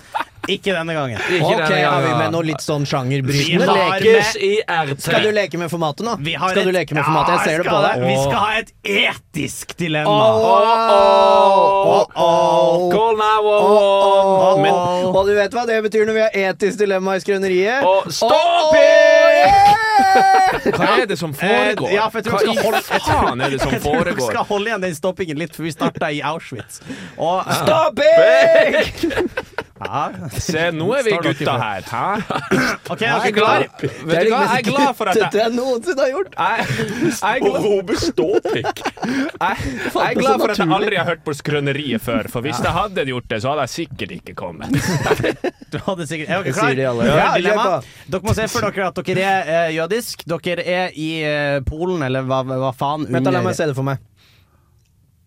Speaker 3: Ikke denne gangen.
Speaker 1: denne
Speaker 4: Ok,
Speaker 1: gangen,
Speaker 4: har vi
Speaker 1: ja.
Speaker 4: med noe litt sånn sjangerbrytende?
Speaker 3: Vi har-
Speaker 4: Leke.
Speaker 1: Lekes i RT.
Speaker 4: Skal du leke med formatet nå?
Speaker 3: Vi har
Speaker 4: Skal du
Speaker 3: et-
Speaker 4: leke med formatet? Jeg
Speaker 3: Ja,
Speaker 4: ser det på
Speaker 3: skal
Speaker 4: deg.
Speaker 3: Vi skal ha et etisk dilemma.
Speaker 1: Åh, åh, åh. Call now, åh, åh.
Speaker 4: Åh, åh, og du vet hva det betyr når vi har etisk dilemma i Skrøneriet?
Speaker 1: Åh,
Speaker 4: Åh,
Speaker 1: Stopp!
Speaker 4: yeah!
Speaker 7: Hva er det som foregår?
Speaker 3: Eh, ja, for jeg tror jeg skal
Speaker 7: Hva i faen er det som
Speaker 3: Jeg tror dere
Speaker 7: foregår?
Speaker 3: skal holde igjen den stoppingen litt, for vi starta i Auschwitz. Og, eh, ja.
Speaker 7: Se, nå er vi
Speaker 3: Står dere
Speaker 7: gutta her. Hæ?
Speaker 3: OK, er dere
Speaker 7: glad.
Speaker 3: klare?
Speaker 7: Vet du hva, jeg er glad for at jeg
Speaker 4: Dette jeg noensinne har gjort.
Speaker 7: jeg, jeg, er glad,
Speaker 1: Robe ståpikk.
Speaker 7: jeg er glad for at jeg aldri har hørt på Skrøneriet før, for hvis jeg hadde gjort det, så hadde jeg sikkert ikke kommet.
Speaker 3: Du hadde sikkert Er dere
Speaker 4: Det sier de alle.
Speaker 3: klare? Ja,
Speaker 4: Ja,
Speaker 3: dilemma.
Speaker 4: kjør
Speaker 3: Dere må se for dere at dere er eh, jødisk. Dere er i eh, Polen, eller hva, hva faen.
Speaker 4: Vent, da, la
Speaker 3: under-
Speaker 4: meg se det for meg.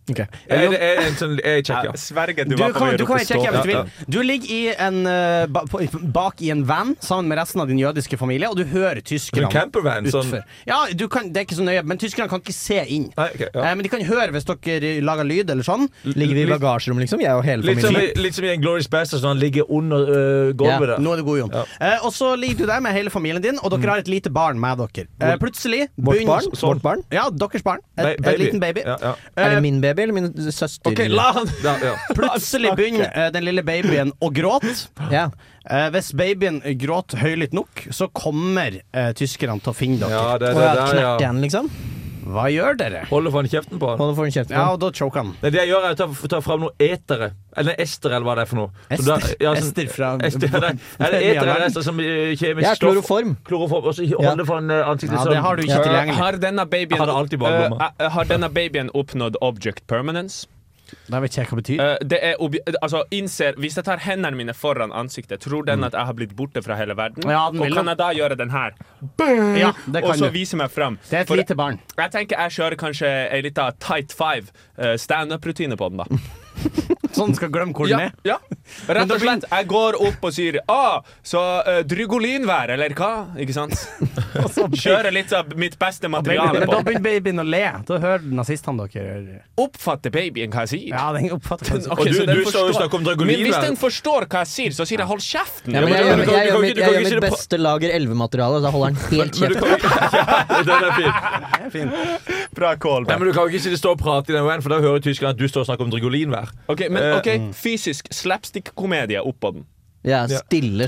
Speaker 1: Er det er det en sånn Jeg sjekker.
Speaker 7: Sverger,
Speaker 3: Du kan, du kan sjekke hvis du vil. Du ligger i en, eh, ba, på, bak i en van sammen med resten av din jødiske familie, og du hører tyskerne
Speaker 1: En campervan, sånn-
Speaker 3: utfor. Ja, du kan, det er ikke så nøye, men tyskerne kan ikke se inn.
Speaker 1: Nei, ok, ja.
Speaker 3: Eh, Men de kan høre hvis dere lager lyd eller sånn.
Speaker 4: Ligger vi i bagasjerommet, liksom? Jeg og hele
Speaker 1: Litt som,
Speaker 4: familien.
Speaker 1: i- litt som i en Glorious Bastards når han ligger under øh, gulvet der.
Speaker 3: Nå er du god, Jon. Eh, og så ligger du der med hele familien din, og dere har et lite barn med dere. Eh, plutselig
Speaker 4: Vårt
Speaker 3: begynner- sånn-
Speaker 4: barn? Vårt barn?
Speaker 3: Ja, deres barn.
Speaker 1: Ba-
Speaker 3: Et, en liten baby.
Speaker 1: Ja, ja.
Speaker 4: Er
Speaker 3: Eh,
Speaker 4: det min baby eller min søster?
Speaker 7: Ok, la han
Speaker 1: Ja, ja.
Speaker 3: Plutselig begynner eh, den lille babyen å gråte.
Speaker 4: Ja.
Speaker 3: Eh, hvis babyen gråter høylytt nok, så kommer eh, tyskerne til å finne dere.
Speaker 1: ja, det er
Speaker 4: Og
Speaker 1: det
Speaker 4: jeg
Speaker 1: der,
Speaker 4: knerte
Speaker 1: ja.
Speaker 4: han, liksom?
Speaker 3: Hva gjør dere?
Speaker 1: Holder for han kjeften på han.
Speaker 4: Og da får han kjeft på
Speaker 3: Ja,
Speaker 4: han.
Speaker 3: og da choker han.
Speaker 1: Nei, det jeg gjør, er å ta, ta fram noe etere. Eller ester, eller hva det er for noe. Så da-
Speaker 3: Ester?
Speaker 1: ja,
Speaker 3: Ester fra-
Speaker 1: ester, ja, det, er det eter eller ester som øh, kjemisk
Speaker 4: Jeg er
Speaker 1: stoff?
Speaker 4: kloroform.
Speaker 1: Kloroform. Og så holde for han øh, ansiktet
Speaker 3: Ja,
Speaker 1: sånn.
Speaker 3: det har du ikke
Speaker 4: Ja.
Speaker 3: tilgjengelig.
Speaker 7: Har denne babyen,
Speaker 1: Jeg hadde alltid baklomma.
Speaker 7: Eh, eh, har denne babyen oppnådd object permanence?
Speaker 3: Da vet ikke jeg hva det betyr.
Speaker 7: Eh, det er obje eh, altså, innser, hvis jeg tar hendene mine foran ansiktet, tror den at jeg har blitt borte fra hele verden?
Speaker 3: Mm. Ja, den
Speaker 7: og
Speaker 3: vil
Speaker 7: kan
Speaker 3: det.
Speaker 7: jeg da gjøre den her,
Speaker 3: Ja, det
Speaker 7: og
Speaker 3: kan
Speaker 7: så
Speaker 3: du.
Speaker 7: vise meg fram?
Speaker 3: Det er et
Speaker 7: For
Speaker 3: lite barn.
Speaker 7: jeg tenker jeg kjører kanskje ei lita tight five eh, standup-rutine på den, da.
Speaker 3: Sånn skal glemme hvor
Speaker 7: Ja,
Speaker 3: den er.
Speaker 7: ja. Rett og slett. Jeg går opp og sier ah, så uh, Drygolin-vær, eller hva? Ikke sant? Kjører litt av mitt beste materiale
Speaker 3: Men da
Speaker 7: på.
Speaker 3: begynner babyen å le. Da hører nazistene dere.
Speaker 7: Oppfatter babyen hva jeg sier?
Speaker 3: Ja, den oppfatter kanskje
Speaker 7: Ok,
Speaker 1: Og
Speaker 7: så
Speaker 1: du- du
Speaker 7: den
Speaker 1: sa jo
Speaker 7: forstår-
Speaker 1: snakk om Drygolin-vær.
Speaker 7: Men hvis den forstår hva jeg sier, så sier jeg 'hold kjeften'.
Speaker 4: Ja, men
Speaker 1: Ja,
Speaker 4: jeg,
Speaker 1: men
Speaker 4: gjør mitt-
Speaker 1: du kan- du kan
Speaker 4: jeg, gjør mitt-
Speaker 1: ikke- du
Speaker 4: jeg
Speaker 1: kan
Speaker 4: gjør
Speaker 1: ikke si
Speaker 4: mitt
Speaker 1: det på-
Speaker 4: beste lager 11-materiale, så holder han helt kjeft.
Speaker 1: Ja, den er fin.
Speaker 7: Bra call.
Speaker 1: Nei, men Du kan jo ikke si det står og prate i den veien, for da hører tyskerne at du står og snakker om Drigolinvær.
Speaker 7: Ok, men
Speaker 1: Eh, mm.
Speaker 7: ok, fysisk slapstick-komedie oppå den.
Speaker 4: Ja, stille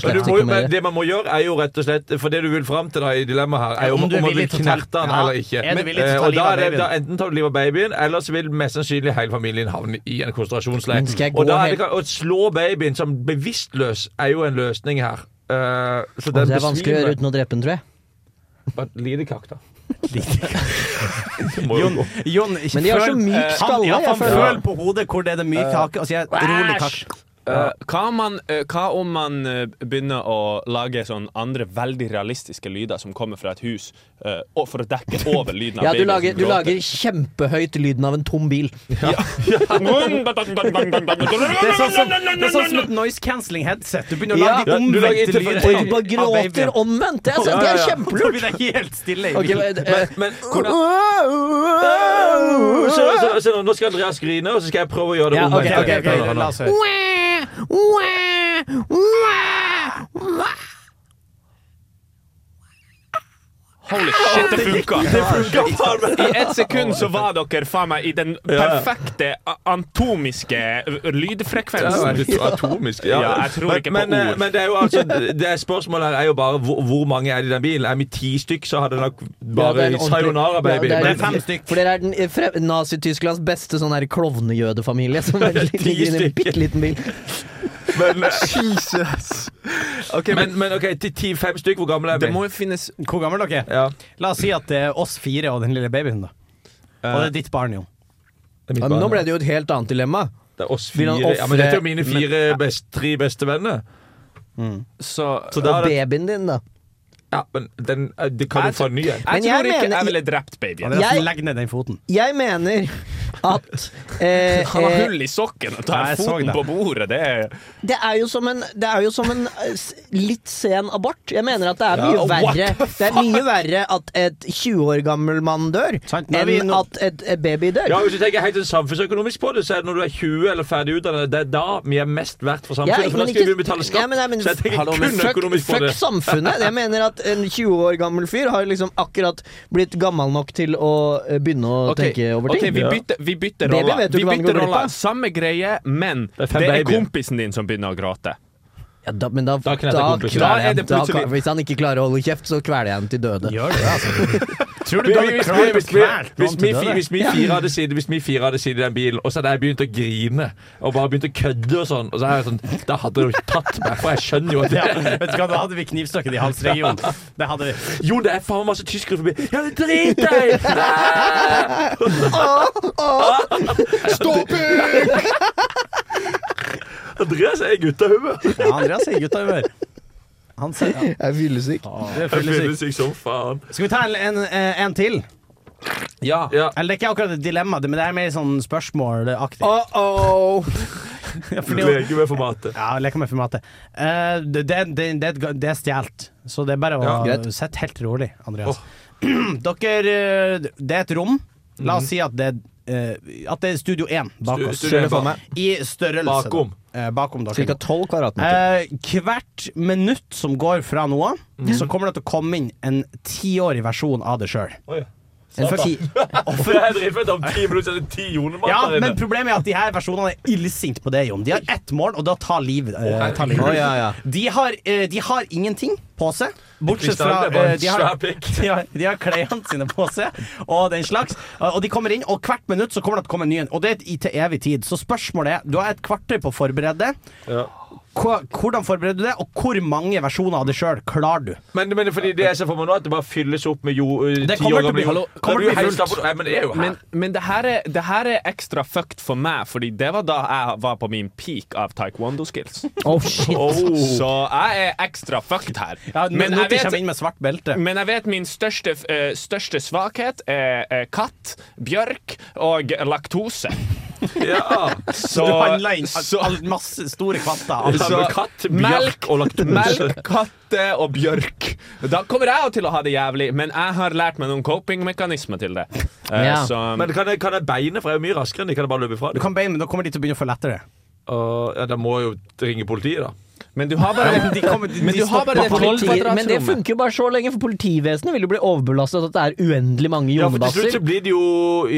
Speaker 1: Men, du
Speaker 4: slett
Speaker 1: må, jo-
Speaker 4: ikke med
Speaker 1: men
Speaker 4: det.
Speaker 1: det man må gjøre, er jo rett og slett For det du vil fram til da i dilemmaet her, er jo
Speaker 3: Om
Speaker 1: om,
Speaker 3: du er
Speaker 1: om man vil
Speaker 3: villig til å ta-
Speaker 1: knerte han
Speaker 3: Ja,
Speaker 1: eller ikke.
Speaker 3: er du villig til å
Speaker 1: Eh,
Speaker 3: ta
Speaker 1: og da
Speaker 3: livet av
Speaker 1: er det,
Speaker 3: babyen?
Speaker 1: da enten tar du livet av babyen, eller så vil mest sannsynlig hele familien havne i en konsentrasjonsleir.
Speaker 4: Men skal jeg gå
Speaker 1: Og da er det,
Speaker 4: helt-
Speaker 1: ka- Å slå babyen som bevisstløs er jo en løsning her. Eh, så
Speaker 4: Det
Speaker 1: den
Speaker 4: er vanskelig å gjøre
Speaker 1: besvimer.
Speaker 4: uten å drepe den, tror jeg.
Speaker 1: Bare et lite kakk, da.
Speaker 3: Jon, Jon
Speaker 4: Men de har så
Speaker 3: føl-
Speaker 4: myk
Speaker 3: eh, han-
Speaker 4: skalle,
Speaker 3: Ja,
Speaker 4: jeg
Speaker 3: han
Speaker 4: føler- Eh.
Speaker 3: føler på hodet hvor det er det myke hake, og sier rolig kakk.
Speaker 7: Eh, hva, om man, eh, hva om man eh, begynner å lage sånn andre veldig realistiske lyder som kommer fra et hus, eh, og for å dekke over lyden av
Speaker 4: Ja, du
Speaker 7: babyen
Speaker 4: lager,
Speaker 7: som
Speaker 4: du
Speaker 7: gråter?
Speaker 4: lager kjempehøyt lyden av en tom bil.
Speaker 3: Det er sånn som, det er sånn som et noise cancelling headset. Du begynner å lage de
Speaker 1: Ja, du lager
Speaker 3: omvendte
Speaker 1: interfer-
Speaker 4: Og du bare
Speaker 3: lyder av babyen.
Speaker 4: gråter omvendt! Det er, så- det er kjempelurt!
Speaker 3: Så blir det helt stille. i
Speaker 4: Ok,
Speaker 3: bilen.
Speaker 4: men, eh,
Speaker 1: Men hvordan så, så, så, Nå skal Andreas grine, og så skal jeg prøve å gjøre det
Speaker 4: Ja,
Speaker 1: om.
Speaker 4: ok, ok, ok,
Speaker 3: la oss høre.
Speaker 7: Holy shit, det funka!
Speaker 4: sånn
Speaker 7: I ett sekund så var dere faen meg i den perfekte a- anatomiske ø, lydfrekvensen.
Speaker 1: Atomisk.
Speaker 7: Ja, jeg tror ikke på
Speaker 1: men, eh,
Speaker 7: ord.
Speaker 1: Men det er jo altså det er Spørsmålet her er jo bare hvor, hvor mange er det i den bilen. Er vi ti stykk, så hadde det nok
Speaker 4: Ja, det
Speaker 1: bare
Speaker 4: er en ordentlig-
Speaker 1: sayonara, baby.
Speaker 4: Ja,
Speaker 1: Men
Speaker 3: Det er fem stykk.
Speaker 4: For dere er den eh, fre- Nazi-Tysklands beste sånn her klovnejødefamilie. Som er litt,
Speaker 1: Ti
Speaker 4: ligger i en
Speaker 1: stykker.
Speaker 4: bitte liten bil.
Speaker 1: men, Ok, men, men ok, til ti-fem stykk, hvor gammel er vi?
Speaker 7: Det må jo finnes
Speaker 3: Hvor gammel er dere?
Speaker 1: ja.
Speaker 3: La oss si at det er oss fire og den lille babyen, da. Og det er ditt barn, Jon.
Speaker 1: Det er mitt
Speaker 4: Ja, men nå
Speaker 1: barn.
Speaker 4: ble det jo et helt annet dilemma.
Speaker 1: Det er oss
Speaker 4: Vil
Speaker 1: fire.
Speaker 4: han
Speaker 1: Ja, men dette er jo
Speaker 4: offre-
Speaker 1: mine fire best, tre beste venner.
Speaker 7: så
Speaker 1: Så da
Speaker 4: Og
Speaker 1: er det,
Speaker 4: babyen din, da.
Speaker 1: ja, men den, eh, det kan du få en ny en.
Speaker 7: Jeg
Speaker 4: Men jeg
Speaker 7: tror ikke
Speaker 4: mener-
Speaker 7: jeg ville drept babyen.
Speaker 4: Jeg-
Speaker 3: Legg ned den foten.
Speaker 4: Jeg mener at eh,
Speaker 7: Han har
Speaker 4: eh,
Speaker 7: hull i sokken og
Speaker 3: Ja,
Speaker 7: tar
Speaker 3: jeg så
Speaker 7: foten
Speaker 3: det.
Speaker 7: på bordet. Det er
Speaker 4: det, er jo som en, det er jo som en eh, s- litt sen abort. Jeg mener at det er mye
Speaker 7: Ja, what
Speaker 4: verre Det er mye verre at et 20 år gammel mann dør,
Speaker 3: Sant, nå er vi
Speaker 4: enn
Speaker 3: nå-
Speaker 4: at et, et baby dør.
Speaker 1: Ja, Hvis du tenker helt sånn samfunnsøkonomisk på det, så er det når du er 20 eller ferdig utdannet, det er da vi er mest verdt for
Speaker 4: Ja,
Speaker 1: samfunnet. for da
Speaker 4: men
Speaker 1: skal vi
Speaker 4: ikke-
Speaker 1: betale skatt.
Speaker 4: Ja, men- ja, men-
Speaker 1: så jeg tenker
Speaker 4: hallo, men
Speaker 1: kun
Speaker 4: fuck,
Speaker 1: økonomisk på
Speaker 4: fuck
Speaker 1: det.
Speaker 4: samfunnet. Jeg mener at en 20 år gammel fyr har liksom akkurat blitt gammel nok til å eh, begynne å
Speaker 7: Ok,
Speaker 4: tenke over ting.
Speaker 7: ok, vi bytter, vi bytter
Speaker 4: Baby
Speaker 7: roller.
Speaker 4: vet jo
Speaker 7: Vi
Speaker 4: ikke hva han
Speaker 7: bytter
Speaker 4: går glipp av.
Speaker 7: roller. Samme greie, men
Speaker 1: er
Speaker 7: det
Speaker 1: fem babyer.
Speaker 7: er kompisen din som begynner å gråte.
Speaker 4: Ja, da, men da, da,
Speaker 1: knetter kompisen.
Speaker 4: kveler
Speaker 7: Da er
Speaker 4: jeg-
Speaker 7: det
Speaker 4: da
Speaker 7: plutselig-
Speaker 4: kveler- Hvis han ikke klarer å holde kjeft, så kveler jeg ham til døde.
Speaker 3: Gjør det, altså. Tror du
Speaker 1: Hvis vi-
Speaker 3: du hadde
Speaker 1: hvis vi-
Speaker 3: klart å
Speaker 1: hvis vi- hvis
Speaker 3: kvele noen
Speaker 1: vi
Speaker 3: til
Speaker 1: fi-
Speaker 3: døde?
Speaker 1: Hvis vi fire hadde sittet Hvis vi fire hadde sittet i den bilen, og så hadde jeg begynt å grine og bare begynt å kødde og sånn, og så er jeg sånn Da hadde du tatt meg, for jeg skjønner jo at
Speaker 3: Ja,
Speaker 1: det
Speaker 3: vet du hva, da hadde vi knivstukket i halsregionen. Det hadde vi.
Speaker 1: Jo, det er faen masse tyskere forbi. Ja, det drit deg! Nei!
Speaker 4: Stopp!
Speaker 1: Andreas er guttehumør.
Speaker 3: Ja, Andreas er i guttehumør. Han ser ja,
Speaker 4: Jeg er fyllesyk.
Speaker 3: det er
Speaker 1: Jeg
Speaker 3: fyllesyk.
Speaker 1: føler seg som faen.
Speaker 3: Skal vi ta en, en, en til?
Speaker 1: Ja. ja.
Speaker 3: Eller det er ikke akkurat et dilemma, det- men det er mer sånn spørsmålaktig.
Speaker 4: Uh-oh.
Speaker 3: Ja, fordi-
Speaker 1: Leker med formatet.
Speaker 3: ja, leker med formatet. Eh, det, det, det, det, er et ga- det er stjålet, så det er bare å
Speaker 4: Greit.
Speaker 3: sitte helt rolig, Andreas. Dere eh, Det er et rom. La
Speaker 4: Mhm.
Speaker 3: oss si at det, er, eh, at det er Studio 1 bak oss.
Speaker 1: Studio 1 bak.
Speaker 3: I størrelse. da.
Speaker 1: Bakom.
Speaker 3: Eh, bakom dere.
Speaker 4: Cirka 12 kvadratmeter.
Speaker 3: Eh, hvert minutt som går fra nå av,
Speaker 4: Mm.
Speaker 3: så kommer det til å komme inn en tiårig versjon av det sjøl.
Speaker 1: Oi.
Speaker 4: En ti-
Speaker 1: For jeg driver med om ti minutter, så er det ti jonemann
Speaker 3: Ja,
Speaker 1: der inne.
Speaker 3: men problemet er at de her versjonene er illsinte på det, Jon. De har ett mål, og da tar livet eh, tar livet.
Speaker 4: Å, ja, ja.
Speaker 3: De, har, eh, de har ingenting på seg, bortsett
Speaker 1: Kristian,
Speaker 3: fra
Speaker 1: det er bare
Speaker 3: eh,
Speaker 1: en
Speaker 3: de, har,
Speaker 1: svær pikk.
Speaker 3: de, har, de har klærne sine på seg og den slags. Og de kommer inn, og hvert minutt så kommer det til å komme en ny en. Og det er i- til evig tid. Så spørsmålet er Du har et kvarter på å forberede deg.
Speaker 1: Ja.
Speaker 3: Hva- Hvordan forbereder du det, og hvor mange versjoner av det sjøl klarer du?
Speaker 1: Men, men fordi det jeg ser for meg nå, at det bare fylles opp med jo, eh,
Speaker 3: Det
Speaker 1: ti
Speaker 3: kommer
Speaker 1: år
Speaker 3: til å
Speaker 1: gamle
Speaker 3: bli-
Speaker 1: jo-
Speaker 3: hallo,
Speaker 1: Da
Speaker 3: kommer
Speaker 1: blir
Speaker 3: til å bli
Speaker 1: helt
Speaker 3: fullt.
Speaker 1: stappet- Nei, men det er jo her.
Speaker 7: Men, men det, her er, det her er ekstra fucked for meg, Fordi det var da jeg var på min peak av taekwondo skills.
Speaker 4: Oh, shit.
Speaker 7: Så jeg er ekstra fucked her.
Speaker 3: men
Speaker 7: men,
Speaker 3: når
Speaker 7: jeg
Speaker 3: de kommer
Speaker 7: vet,
Speaker 3: inn med svart belte.
Speaker 7: men jeg vet min største, eh, største svakhet er eh, katt, bjørk og laktose.
Speaker 1: Ja.
Speaker 7: Så,
Speaker 3: du handler inn all, masse store kvanta.
Speaker 1: Ja,
Speaker 7: Så-
Speaker 1: men katt, bjørk og laktose.
Speaker 7: Melk, katte og bjørk. Da kommer jeg jo til å ha det jævlig, men jeg har lært meg noen coping-mekanismer til det. Eh,
Speaker 4: Ja.
Speaker 7: Så
Speaker 1: Men kan jeg, kan jeg beine, for jeg er jo mye raskere enn de. Kan jeg bare løpe ifra
Speaker 3: Du
Speaker 1: dem?
Speaker 3: kan be, men da kommer de til å begynne å følge etter det.
Speaker 1: Åh, ja, da må jeg jo ringe politiet, da.
Speaker 7: Men du har bare,
Speaker 3: De kommer, de,
Speaker 7: men du har bare det tolv
Speaker 4: Politiet, men det
Speaker 7: kvadratrommet.
Speaker 4: funker jo bare så lenge, for politivesenet vil jo bli overbelastet at det er uendelig mange
Speaker 1: Ja, for til slutt
Speaker 4: jonebasser.
Speaker 1: så blir det jo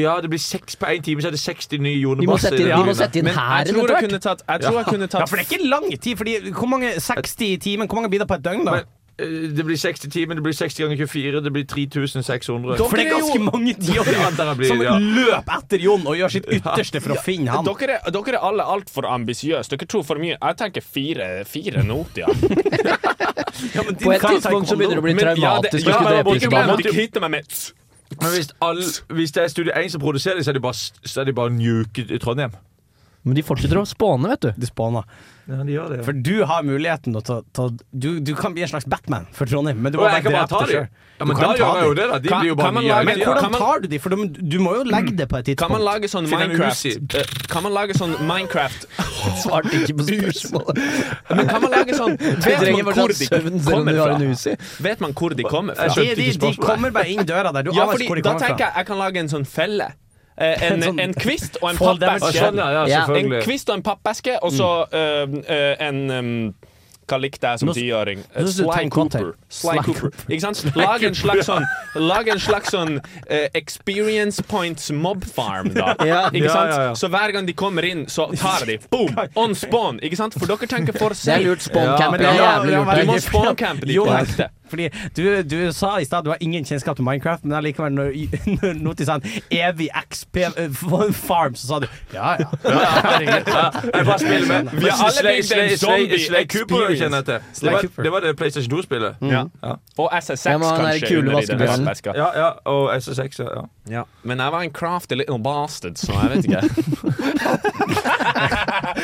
Speaker 1: Ja, det blir seks på én time, så er det 60 nye
Speaker 4: Vi må
Speaker 1: jonebasser.
Speaker 4: sette inn,
Speaker 1: i
Speaker 4: vi må
Speaker 1: bilene.
Speaker 4: sette inn
Speaker 7: Men jeg
Speaker 4: hæren
Speaker 7: tror
Speaker 4: etter
Speaker 7: jeg
Speaker 4: hvert.
Speaker 7: kunne tatt, jeg tror jeg kunne
Speaker 3: Ja,
Speaker 7: tatt
Speaker 3: for det er ikke lang tid. Fordi hvor mange 60 i timen? Hvor mange blir det på et døgn, da?
Speaker 1: Men- Eh, Det blir 60 timer, det blir 60 ganger 24, det blir 3600.
Speaker 3: For det er ganske mange
Speaker 1: Ja,
Speaker 3: tiåringer
Speaker 1: der blir-
Speaker 3: som
Speaker 1: ja.
Speaker 3: løp etter Jon og gjør sitt ytterste for å finne han.
Speaker 7: dere, dere er alle altfor ambisiøse. Dere tror for mye. Jeg tenker fire, fire noter. Ja.
Speaker 4: På et tidspunkt så begynner det å bli
Speaker 7: Men ja, det-
Speaker 4: traumatisk å
Speaker 7: ja,
Speaker 4: skulle drepe
Speaker 7: jeg må ikke-
Speaker 4: disse
Speaker 7: jeg må
Speaker 4: damene.
Speaker 7: ikke kvitte meg med
Speaker 1: Men hvis, all, hvis det er Studio 1 som produserer det, så er det bare, så er det bare nuke Trondheim.
Speaker 4: Men de fortsetter å spåne, vet du.
Speaker 3: Du spåner.
Speaker 1: Ja, de gjør det. Ja.
Speaker 3: For du har muligheten til å ta- ta du, du kan bli en slags Batman for Trondheim, men du
Speaker 1: Å,
Speaker 3: må
Speaker 1: jeg
Speaker 3: bare
Speaker 1: kan bare
Speaker 3: drepe
Speaker 1: ta
Speaker 3: deg
Speaker 1: de.
Speaker 3: sjøl.
Speaker 1: Ja, men da gjør jeg jo det, da. De blir jo bare nye.
Speaker 3: Men
Speaker 1: Ja.
Speaker 7: Kan
Speaker 3: hvordan
Speaker 7: man-
Speaker 3: tar du de? For du, du må jo legge det på et
Speaker 7: Kan man
Speaker 3: tidspunkt.
Speaker 7: lage sånn
Speaker 1: Finn en
Speaker 7: Minecraft
Speaker 1: Uzi.
Speaker 7: eh, Kan man lage sånn Minecraft
Speaker 4: Svarte ikke på spørsmålet.
Speaker 7: Men kan man lage sånn
Speaker 4: Du
Speaker 7: Vet
Speaker 4: trenger
Speaker 7: man hvor
Speaker 4: fortsatt
Speaker 7: de
Speaker 4: søvn selv om
Speaker 7: kommer
Speaker 4: du har en
Speaker 7: fra?
Speaker 4: usi.
Speaker 7: Vet man hvor de kommer
Speaker 1: Jeg
Speaker 7: fra?
Speaker 1: skjønte
Speaker 3: De, de,
Speaker 1: ikke
Speaker 3: de
Speaker 1: spørsmålet.
Speaker 3: kommer bare inn døra der. Du
Speaker 7: Ja,
Speaker 3: aner ikke
Speaker 7: fordi
Speaker 3: hvor de
Speaker 7: da
Speaker 3: kommer
Speaker 7: tenker
Speaker 3: fra.
Speaker 7: jeg jeg kan lage en sånn felle. Eh, En,
Speaker 3: En
Speaker 7: en,
Speaker 3: sånn-
Speaker 7: kvist og en
Speaker 3: Fall damage.
Speaker 7: pappeske.
Speaker 1: Sånn, ja, ja,
Speaker 4: Ja.
Speaker 7: En
Speaker 1: selvfølgelig.
Speaker 7: kvist og en pappeske, og så eh, eh, en em, hva likte jeg som
Speaker 3: Nå s-
Speaker 7: tiåring? Eh,
Speaker 3: nå synes du
Speaker 7: Sly
Speaker 3: tegn
Speaker 7: Cooper.
Speaker 3: content.
Speaker 7: Sly
Speaker 3: Sly
Speaker 7: Cooper. Ikke sant? Lag en slags sånn, lag en slags sånn eh, Experience Points Mob Farm, da.
Speaker 4: Ja.
Speaker 7: Ikke sant?
Speaker 1: Ja, ja, ja.
Speaker 7: Så hver gang de kommer inn, så tar jeg de. Boom! On spawn. Ikke sant? For dere tenker for
Speaker 4: Det er
Speaker 7: seg.
Speaker 4: lurt spawncamp.
Speaker 3: men
Speaker 4: Det er
Speaker 3: ja,
Speaker 4: jævlig
Speaker 3: ja,
Speaker 4: lurt.
Speaker 3: men-
Speaker 7: Du må spawncampe de
Speaker 3: Jo,
Speaker 7: på ekte.
Speaker 3: Fordi du, du sa i stad du har ingen kjennskap til Minecraft, men allikevel når, når Noti sa en evig XP eh, farm, så sa du ja ja.
Speaker 1: Jeg bare spiller med.
Speaker 7: Vi har alle
Speaker 1: Slay-
Speaker 7: bygd en
Speaker 1: Slay- Slay-
Speaker 7: zombie
Speaker 1: Slay Cooper,
Speaker 7: experience.
Speaker 1: kjenner jeg til.
Speaker 3: Slay
Speaker 1: Det var-
Speaker 3: Cooper.
Speaker 1: Det var det PlayStation 2-spillet.
Speaker 7: Ja. Og SS6
Speaker 4: Ja, men han er
Speaker 7: kanskje
Speaker 4: kule
Speaker 7: under i den
Speaker 4: vaskebjørnen.
Speaker 7: pappeska.
Speaker 1: Mm. Ja, ja, og SS6, ja. ja.
Speaker 7: Ja. Men jeg var en crafty little bastard, så jeg vet ikke.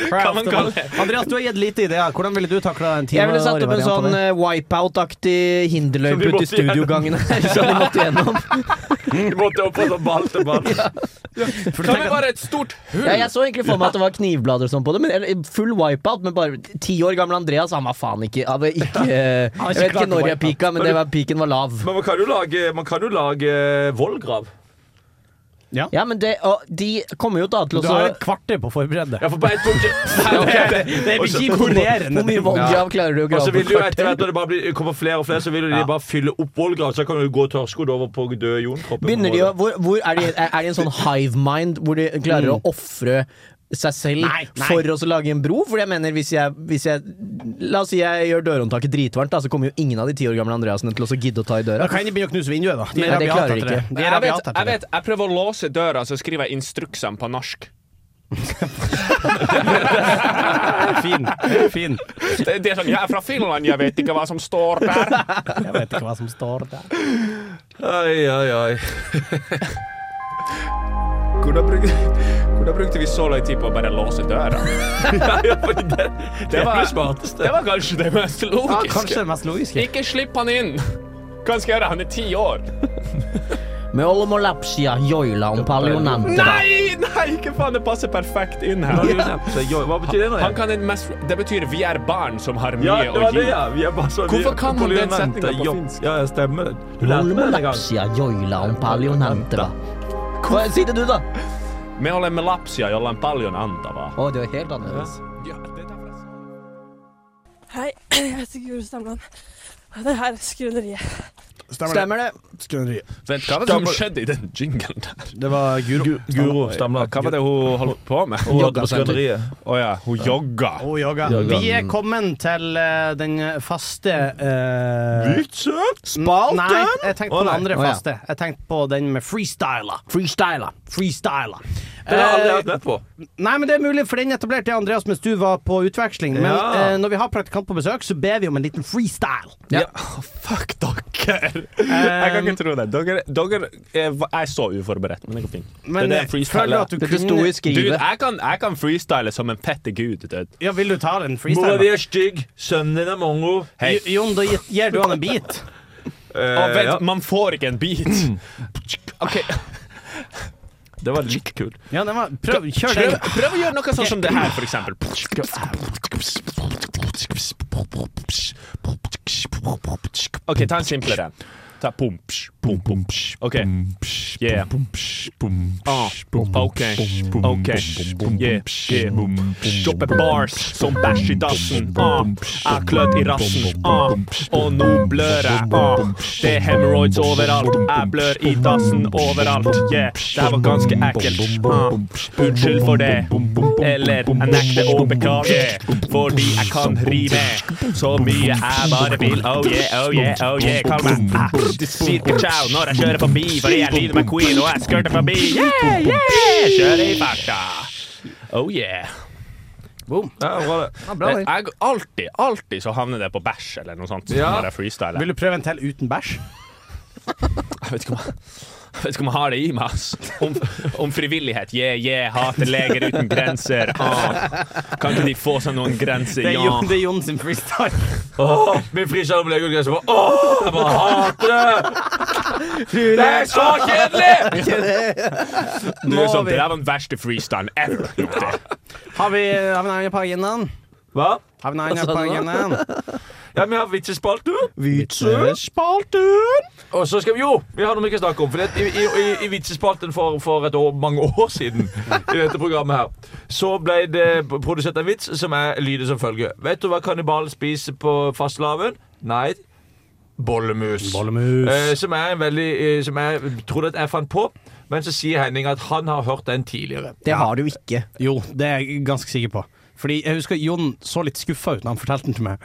Speaker 7: Hva man kaller det?
Speaker 3: Andreas, du har gitt lite ideer. Hvordan ville du takla en time?
Speaker 4: Jeg ville satt opp en sånn eh, wipeout-aktig hinderløype ute i studiogangen her. Som de måtte gjennom.
Speaker 1: Du måtte opp og så ball til ball.
Speaker 7: Kan vi bare et stort hull?
Speaker 4: Ja, jeg så egentlig for meg at det var knivblader og sånn på det, men eller, full wipeout. Men bare ti år gamle Andreas, han var faen ikke, han var ikke Jeg vet ikke når jeg pika, men det var, piken var lav.
Speaker 1: Men man kan jo lage, man kan jo lage eh, vollgrav.
Speaker 4: Ja, men det, og de kommer jo da til å
Speaker 3: Du
Speaker 4: så
Speaker 3: har et kvarter på å forberede deg.
Speaker 1: Ja, for på et punkt
Speaker 3: Det er ikke imponerende.
Speaker 4: Hvor mye vollgrav klarer du å
Speaker 1: Og så
Speaker 4: grave
Speaker 1: vil
Speaker 4: på
Speaker 1: du jo etter
Speaker 4: kvarter?
Speaker 1: hvert når det bare blir, kommer flere og flere, så vil jo de bare fylle opp vollgrav. Så kan du gå tørrskodd over på døde jonkroppen.
Speaker 4: Begynner de å hvor, hvor er, de, er de en sånn hive mind hvor de klarer å ofre seg selv
Speaker 3: Nei, nei.
Speaker 4: for å så lage en bro? For jeg mener, hvis jeg, hvis jeg La oss si jeg gjør dørhåndtaket dritvarmt, da, så kommer jo ingen av de ti år gamle Andreasene til å så gidde å ta i
Speaker 3: Da
Speaker 4: døra.
Speaker 3: kan de begynne å knuse vinduet, da. De
Speaker 4: Nei, det
Speaker 3: rabiate
Speaker 4: klarer de
Speaker 3: etter det.
Speaker 4: ikke.
Speaker 3: De er
Speaker 7: Jeg vet,
Speaker 3: rabiate
Speaker 7: jeg
Speaker 3: etter det.
Speaker 7: vet, jeg prøver å låse døra, så skriver jeg instruksene på norsk.
Speaker 3: Fin. Det er Fin.
Speaker 7: Det, det er sånn, Jeg er fra Finland, jeg vet ikke hva som står der.
Speaker 3: Jeg vet ikke hva som står der.
Speaker 1: Oi, oi, oi.
Speaker 7: Hvordan brukte, hvordan brukte vi så lang tid på å bare låse døra?
Speaker 1: Ja, fordi det, det var det smarteste.
Speaker 7: Det var kanskje det mest
Speaker 3: Ja,
Speaker 7: logiske.
Speaker 3: kanskje det mest logiske.
Speaker 7: Ikke slipp han inn! Hva skal jeg gjøre? Han er ti år.
Speaker 4: Med olmolapsia, joila om palionantera.
Speaker 7: Nei, nei, ikke faen! Det passer perfekt inn her.
Speaker 1: Så, jo, hva betyr det nå?
Speaker 7: Han
Speaker 1: igjen?
Speaker 7: kan en mest, det betyr vi er barn som har mye
Speaker 1: Ja, det
Speaker 7: å
Speaker 1: var
Speaker 7: gi.
Speaker 1: det, ja. Vi er bare så, vi
Speaker 7: Hvorfor
Speaker 1: er
Speaker 7: kan man den
Speaker 1: polyanente,
Speaker 7: setningen på
Speaker 1: jo.
Speaker 7: finsk?
Speaker 1: Ja, ja, stemmer det. Du lærte meg den en gang.
Speaker 4: Olmolapsia, joila om palionantera. Hva si det du, da?
Speaker 7: Me olemme lapsia, jolla on paljon antavaa.
Speaker 4: Å, det var helt annerledes.
Speaker 5: Hei, jeg heter Guro Stamland. Og det her er Skrøneriet.
Speaker 4: Stemmer det.
Speaker 7: Vent, hva var det som skjedde i den jinglen der?
Speaker 3: Det var Guro.
Speaker 1: Guro Stamland.
Speaker 7: Hva var det hun holdt på med? Å
Speaker 1: Jogga på skrøneriet.
Speaker 7: ja, hun jogga.
Speaker 3: Oh, yoga. Vi er kommet til eh, den faste uh,
Speaker 4: Spalten!
Speaker 3: Nei, jeg tenkte på den andre
Speaker 4: Å, ja.
Speaker 3: faste. Jeg tenkte på den med freestyler.
Speaker 4: Freestyler.
Speaker 3: Freestyler.
Speaker 1: Det har jeg aldri
Speaker 3: Eh,
Speaker 1: vært med på.
Speaker 3: Nei, men det er mulig, for den etablerte jeg, Andreas mens du var på utveksling. Men
Speaker 1: Ja.
Speaker 3: eh, når vi har praktikant på besøk, så ber vi om en liten freestyle.
Speaker 7: Ja. Fuck dere! jeg kan ikke tro det. Dere, dere er, jeg er så uforberedt, men det går fint.
Speaker 3: Men
Speaker 7: det er
Speaker 3: eh,
Speaker 7: freestyle,
Speaker 3: føler du
Speaker 7: ja.
Speaker 3: at du
Speaker 4: Dette sto
Speaker 3: kunne
Speaker 4: i
Speaker 7: Dude,
Speaker 4: skrivet.
Speaker 7: jeg kan, jeg kan freestyle som en fette gud. Dude.
Speaker 3: Ja, vil du ta den
Speaker 1: Mora di
Speaker 3: freestylen?
Speaker 1: er stygg, sønnen din er mongo.
Speaker 7: Hei.
Speaker 3: Jo- Jon, da gir- gir du han en bit.
Speaker 1: Eh,
Speaker 7: Å, vent, man får ikke en beat. OK,
Speaker 1: Det var litt kult.
Speaker 3: Ja, den var, prøv, kjør
Speaker 7: prøv,
Speaker 3: den.
Speaker 7: prøv å gjøre noe sånn som det her, for eksempel. OK, ta en simplere. Ta pum, psh, pum, pum, psh. OK. Yeah. Ah, OK. OK. Yeah. yeah. Droppe bars som bæsj i dassen. Ah, er klødd i rassen. Ah, og nå blør jeg. Ah, det er hemoroids overalt. Jeg blør i dassen overalt. Yeah, det her var ganske ekkelt. Ah, unnskyld for det. Eller jeg nekter å beklage, fordi jeg kan rime så mye jeg bare vil. Oh yeah, oh yeah, oh yeah. Kall meg ah, du sier ikke ciao når jeg kjører forbi, fordi jeg lyder med queen og jeg skørter forbi. Yeah, yeah, kjører i farta. Oh yeah.
Speaker 1: Ja, bra det.
Speaker 7: Jeg, jeg, alltid, alltid så havner det på bæsj eller noe sånt
Speaker 1: Ja.
Speaker 7: når jeg freestyler.
Speaker 3: Vil du prøve en til uten bæsj?
Speaker 7: Jeg vet ikke om jeg, jeg, vet ikke om jeg har det i meg, ass. Om, om frivillighet. Yeah, yeah, hater leger uten grenser. Ah. Kan ikke de få seg noen grenser?
Speaker 3: Det er
Speaker 7: Ja.
Speaker 3: Jon, det er Jon sin freestyle.
Speaker 1: Åh, min frisør ble jo gresset på. Åh, jeg bare hater det! Det er så kjedelig!
Speaker 7: Du
Speaker 3: Må
Speaker 7: er sånn,
Speaker 3: vi-
Speaker 7: det der var den verste freestylen ever.
Speaker 3: Har vi, har vi en annen på agendaen?
Speaker 1: Hva?
Speaker 3: Har vi en
Speaker 2: Altså,
Speaker 3: annen
Speaker 4: Hva sa
Speaker 3: på
Speaker 4: du
Speaker 3: agendaen?
Speaker 4: da?
Speaker 1: Ja, vi har vitsespalten.
Speaker 3: Spalten!
Speaker 1: Og så skal vi Jo, vi har noe vi kan snakke om. For det, i, i, i, I vitsespalten for, for et år, mange år siden, i dette programmet her, så ble det produsert en vits som er lyder som følger. Vet du hva kannibaler spiser på fastelavn? Nei. Bollemus. Eh, som er en veldig eh, Som jeg trodde at jeg fant på, men så sier Henning at han har hørt den tidligere.
Speaker 4: Det har du ikke.
Speaker 3: Jo, det er jeg ganske sikker på. Fordi jeg husker Jon så litt skuffa ut da han fortalte den til meg.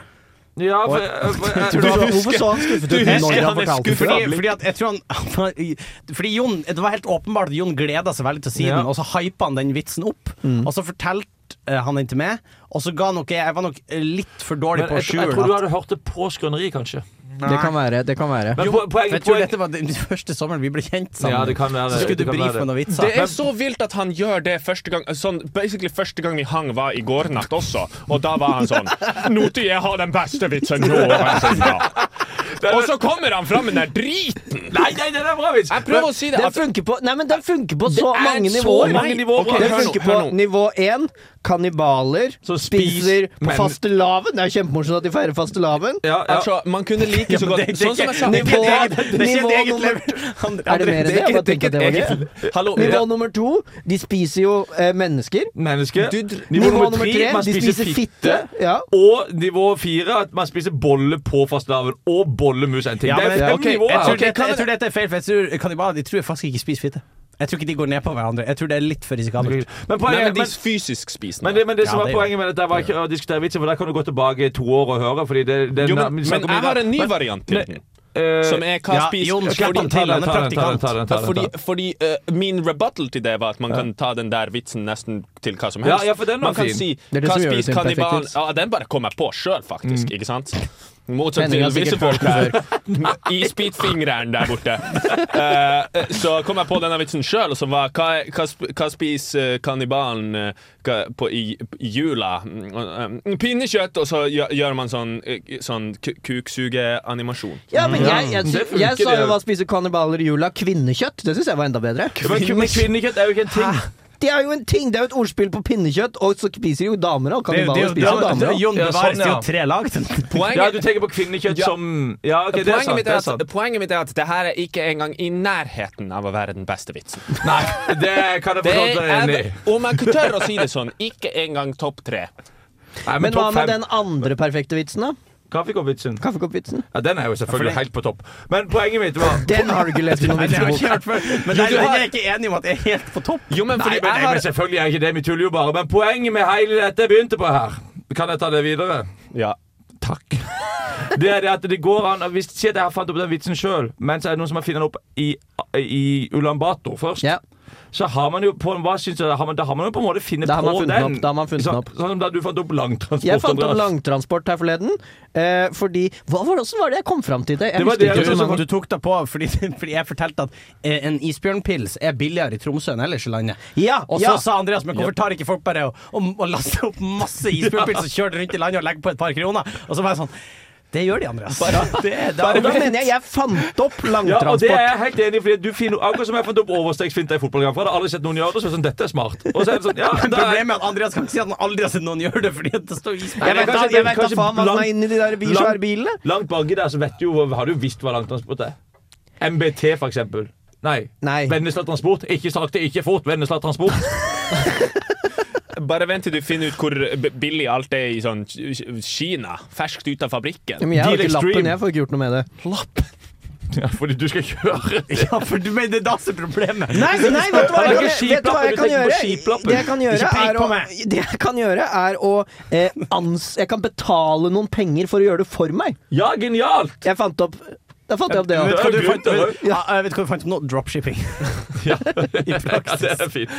Speaker 1: Ja, for, eh, for, jeg,
Speaker 4: Hvorfor så han skuffet ut
Speaker 3: Jeg-
Speaker 4: når
Speaker 3: jeg-
Speaker 4: jeg
Speaker 3: han er
Speaker 4: fortalte det?
Speaker 3: skuffet, fordi, fordi at jeg tror han Fordi Jon, Det var helt åpenbart at Jon gleda seg veldig til å si
Speaker 1: Ja.
Speaker 3: den, og så hypa han den vitsen opp. Og så fortalte eh, han den til meg, og så ga nok jeg Jeg var nok eh, litt for dårlig
Speaker 1: men
Speaker 3: på å
Speaker 1: jeg, jeg
Speaker 3: skjule
Speaker 1: tror du
Speaker 3: at
Speaker 1: hadde hørt det på skrøneri, kanskje.
Speaker 2: Det kan være. det kan være
Speaker 1: Men po- poenget
Speaker 3: Jeg tror
Speaker 1: poenget-
Speaker 3: dette var den første sommeren vi ble kjent sammen.
Speaker 1: Ja, det kan være det.
Speaker 3: Så skulle
Speaker 1: Det
Speaker 3: du
Speaker 1: kan være
Speaker 3: brife
Speaker 1: det.
Speaker 3: med noen vitser.
Speaker 7: Det er så vilt at han gjør det første gang Sånn, basically første gang vi hang var i går natt også Og da var han sånn Nå til jeg har den beste vitsen nå Og så kommer han fram med den der driten
Speaker 1: Nei, nei, det er bra vits!
Speaker 7: Jeg prøver å si det
Speaker 2: Den
Speaker 7: at
Speaker 2: funker på, nei, men den funker på så
Speaker 7: er
Speaker 2: mange
Speaker 7: så
Speaker 2: nivåer.
Speaker 7: mange nivåer. Ok,
Speaker 2: den
Speaker 7: hør nå,
Speaker 2: funker på
Speaker 7: hør nå.
Speaker 2: nivå én. Kannibaler
Speaker 1: Som
Speaker 2: spiser
Speaker 1: spiser
Speaker 2: på
Speaker 1: menn.
Speaker 2: fastelavn. Det er kjempemorsomt at de feirer fastelavn.
Speaker 1: Ja, ja.
Speaker 7: Altså, man kunne like så godt Sånn som jeg sa
Speaker 2: Nivå, nivå,
Speaker 3: eget
Speaker 2: nummer, er det
Speaker 3: André,
Speaker 2: mer enn det? Jeg bare tenker at det var gøy.
Speaker 7: Hallo,
Speaker 2: Nivå
Speaker 7: ja.
Speaker 2: nummer to. De spiser jo eh, mennesker.
Speaker 1: Menneske.
Speaker 2: Nivå,
Speaker 1: Nivå nummer
Speaker 2: nummer
Speaker 1: tre,
Speaker 2: tre.
Speaker 1: man
Speaker 2: De
Speaker 1: spiser
Speaker 2: spiser fitte.
Speaker 1: fitte.
Speaker 2: Ja.
Speaker 1: Og nivå fire, at man spiser bolle på fastelavn og bollemus. En ting.
Speaker 3: Ja,
Speaker 1: det
Speaker 3: men-
Speaker 1: er fem
Speaker 3: ok, jeg,
Speaker 1: nivåer. her.
Speaker 3: tror
Speaker 1: Ok,
Speaker 3: dette,
Speaker 1: kan
Speaker 3: jeg
Speaker 1: det-
Speaker 3: tror dette er feil, for jeg tror kannibaler de tror jeg faktisk ikke spiser fitte. Jeg tror ikke de går ned på hverandre. Jeg tror det er litt for risikabelt.
Speaker 1: Men
Speaker 7: Nei,
Speaker 1: poenget
Speaker 7: men de
Speaker 1: men-
Speaker 7: fysisk spisende
Speaker 1: men det, men det
Speaker 3: Ja,
Speaker 1: som var
Speaker 3: det er jo-
Speaker 1: poenget med dette, var ikke å diskutere vitsen, for der kan du gå tilbake to år og høre. Fordi det, det,
Speaker 7: jo,
Speaker 1: vi
Speaker 7: men, men
Speaker 1: snakker om i
Speaker 7: jeg
Speaker 1: dag.
Speaker 7: har en ny
Speaker 1: Men-
Speaker 7: variant til den
Speaker 1: eh,
Speaker 7: Som er hva
Speaker 3: ja,
Speaker 7: spiser
Speaker 3: Jon, slipp
Speaker 7: fordi-
Speaker 3: han til, han er
Speaker 1: ta den, ta den, ta den,
Speaker 3: praktikant.
Speaker 1: ta den, ta
Speaker 7: Fordi,
Speaker 1: den.
Speaker 7: fordi eh, Min rebuttal til det var at man kan ta den der vitsen nesten til hva som helst.
Speaker 1: Ja, ja, for den var
Speaker 7: man kan
Speaker 1: fin.
Speaker 7: si
Speaker 2: er det
Speaker 7: hva
Speaker 2: som gjør det
Speaker 7: spiser
Speaker 2: til en perfekt
Speaker 7: kannibalen
Speaker 2: vits.
Speaker 7: ja, Den bare kom jeg på sjøl,
Speaker 1: Mm.
Speaker 7: faktisk. Ikke sant? Motsatt
Speaker 2: Henning
Speaker 7: til
Speaker 2: har
Speaker 7: visse
Speaker 2: sikkert
Speaker 7: folk der. I spyttfingeren der borte. Eh, eh, så kom jeg på denne vitsen sjøl, og så var hva, hva, sp- hva spiser kannibalen eh, hva- på- i, i jula? Mm, eh, Pinnekjøtt, og så gjør, gjør man sånn, eh, sånn ku- kuksugeanimasjon.
Speaker 2: Ja, men jeg, jeg,
Speaker 1: Det
Speaker 2: jeg,
Speaker 1: funker,
Speaker 2: sa jo
Speaker 1: det.
Speaker 2: hva spiser kannibaler i jula? Kvinnekjøtt. Det syns jeg var enda bedre.
Speaker 1: Men kvinne- men kvinnekjøtt er jo ikke en ting.
Speaker 2: Det er jo en ting, det er jo et ordspill på pinnekjøtt, og så spiser jo damer òg.
Speaker 3: Det er jo- det er
Speaker 2: Kannibaler
Speaker 3: jo-
Speaker 2: spiser jo
Speaker 3: det er
Speaker 2: damer
Speaker 3: jo-
Speaker 2: òg.
Speaker 3: Jon
Speaker 1: Ja,
Speaker 3: bevares,
Speaker 1: sånn,
Speaker 3: det er
Speaker 1: ja.
Speaker 3: jo tre lag.
Speaker 7: Poenget,
Speaker 1: Ja, du tenker på kvinnekjøtt
Speaker 7: Ja.
Speaker 1: som Ja, ok, det er
Speaker 7: poenget,
Speaker 1: sant.
Speaker 7: mitt
Speaker 1: Det
Speaker 7: er
Speaker 1: er
Speaker 7: at,
Speaker 1: sant.
Speaker 7: poenget mitt er at det her er ikke engang i nærheten av å være den beste vitsen.
Speaker 1: Nei, det kan jeg
Speaker 7: Det
Speaker 1: forstå deg
Speaker 7: er,
Speaker 1: enig i.
Speaker 7: om jeg tør å si det sånn, ikke engang topp tre.
Speaker 1: Nei,
Speaker 2: Men hva
Speaker 1: topp
Speaker 2: med
Speaker 1: fem.
Speaker 2: den andre perfekte vitsen, da?
Speaker 1: Kaffekoppvitsen.
Speaker 2: Kaffekoppvitsen?
Speaker 1: Ja, den er jo selvfølgelig helt på topp. Men poenget mitt var
Speaker 2: Den har du ikke lest i noen
Speaker 3: Nei, det har jeg
Speaker 2: vitsebok.
Speaker 3: ikke hørt før. Men
Speaker 7: Jo,
Speaker 3: nei,
Speaker 7: du
Speaker 3: den
Speaker 7: har-
Speaker 3: er jeg ikke enig om at jeg er helt på topp.
Speaker 7: Jo, men fordi
Speaker 1: Nei, men,
Speaker 7: jeg
Speaker 1: men
Speaker 7: har
Speaker 1: selvfølgelig er ikke det. Vi tuller jo bare. Men poenget med hele dette jeg begynte på her Kan jeg ta det videre?
Speaker 7: ja.
Speaker 1: Takk. Det er det at det går an Hvis Si at jeg har fant opp den vitsen sjøl, men så er det noen som har funnet den opp i, i Ulan Bator først.
Speaker 2: Ja.
Speaker 1: Så har man jo på en, hva synes du, da har man, da har man jo på en måte funnet
Speaker 2: Da har
Speaker 1: på
Speaker 2: man funnet den
Speaker 1: den.
Speaker 2: opp, da har man funnet den
Speaker 1: Så-
Speaker 2: opp.
Speaker 1: Sånn som da du fant opp langtransport.
Speaker 2: Jeg fant opp
Speaker 1: Andreas.
Speaker 2: langtransport her forleden. Eh, fordi Hva var det, hvordan var det jeg kom fram til det? Jeg
Speaker 1: Det var
Speaker 2: husker
Speaker 1: det jeg
Speaker 2: ikke.
Speaker 1: også som-
Speaker 3: sånn Du, du tok deg på fordi, fordi jeg fortalte at eh, en isbjørnpils er billigere i Tromsø enn ellers i landet.
Speaker 2: Ja,
Speaker 3: Og så
Speaker 2: ja.
Speaker 3: sa Andreas men hvorfor tar ikke folk bare og, og, og laster opp masse isbjørnpils og kjører det rundt i landet og legger på et par kroner? Og så var jeg sånn Det gjør de, Andreas. det, er- da-
Speaker 2: Og da mener jeg jeg fant opp
Speaker 1: Ja, og det er
Speaker 2: langtransport.
Speaker 1: jeg helt enig i, fordi du finner akkurat som jeg fant opp overstegsfinta i fotballkamp. Jeg hadde aldri sett noen gjøre det, så er det sånn, dette er smart. Og så er det sånn, ja,
Speaker 3: Men
Speaker 1: da er
Speaker 3: Problemet er at Andreas kan ikke si at han aldri har sett noen gjøre det fordi at det står isbjørn.
Speaker 1: Nei,
Speaker 2: Jeg vet da
Speaker 1: kanskje-
Speaker 2: jeg vet da
Speaker 1: kanskje
Speaker 2: faen hva som
Speaker 1: langt-
Speaker 2: er inni de der bi-
Speaker 1: langt-
Speaker 2: svære bilene.
Speaker 1: Langt baki der så vet du jo, har du visst hva langtransport er. MBT, for eksempel. Nei.
Speaker 2: Nei.
Speaker 1: Vennesla Transport. Ikke sakte, ikke fort. Vennesla Transport.
Speaker 7: Bare vent til du finner ut hvor b- billig alt er i sånn K- Kina. Ferskt ut av fabrikken.
Speaker 2: Men jeg har jo
Speaker 1: Deal
Speaker 2: ikke lappen,
Speaker 1: Extreme.
Speaker 2: jeg får ikke gjort noe med det.
Speaker 1: Ja, fordi du skal kjøre.
Speaker 3: Ja, for du mener det er da som er problemet.
Speaker 2: Nei, nei, vet du hva
Speaker 1: Han har
Speaker 2: jeg,
Speaker 1: ikke
Speaker 2: kan- vet du hva jeg
Speaker 1: skiplappen, du tenker på skiplappen.
Speaker 2: kan gjøre? Det jeg kan gjøre,
Speaker 3: Ikke pek
Speaker 2: er
Speaker 3: på
Speaker 2: å,
Speaker 3: meg.
Speaker 2: det jeg kan gjøre er å eh, ans... Jeg kan betale noen penger for å gjøre det for meg.
Speaker 1: Ja, genialt!
Speaker 2: Jeg fant opp Da fant jeg opp det
Speaker 3: Vet du hva
Speaker 2: òg.
Speaker 3: du fant,
Speaker 1: Ja.
Speaker 3: vet, ja, jeg vet hva du fant nå? Dropshipping. I
Speaker 1: Ja, det
Speaker 3: praksis.
Speaker 1: er fint.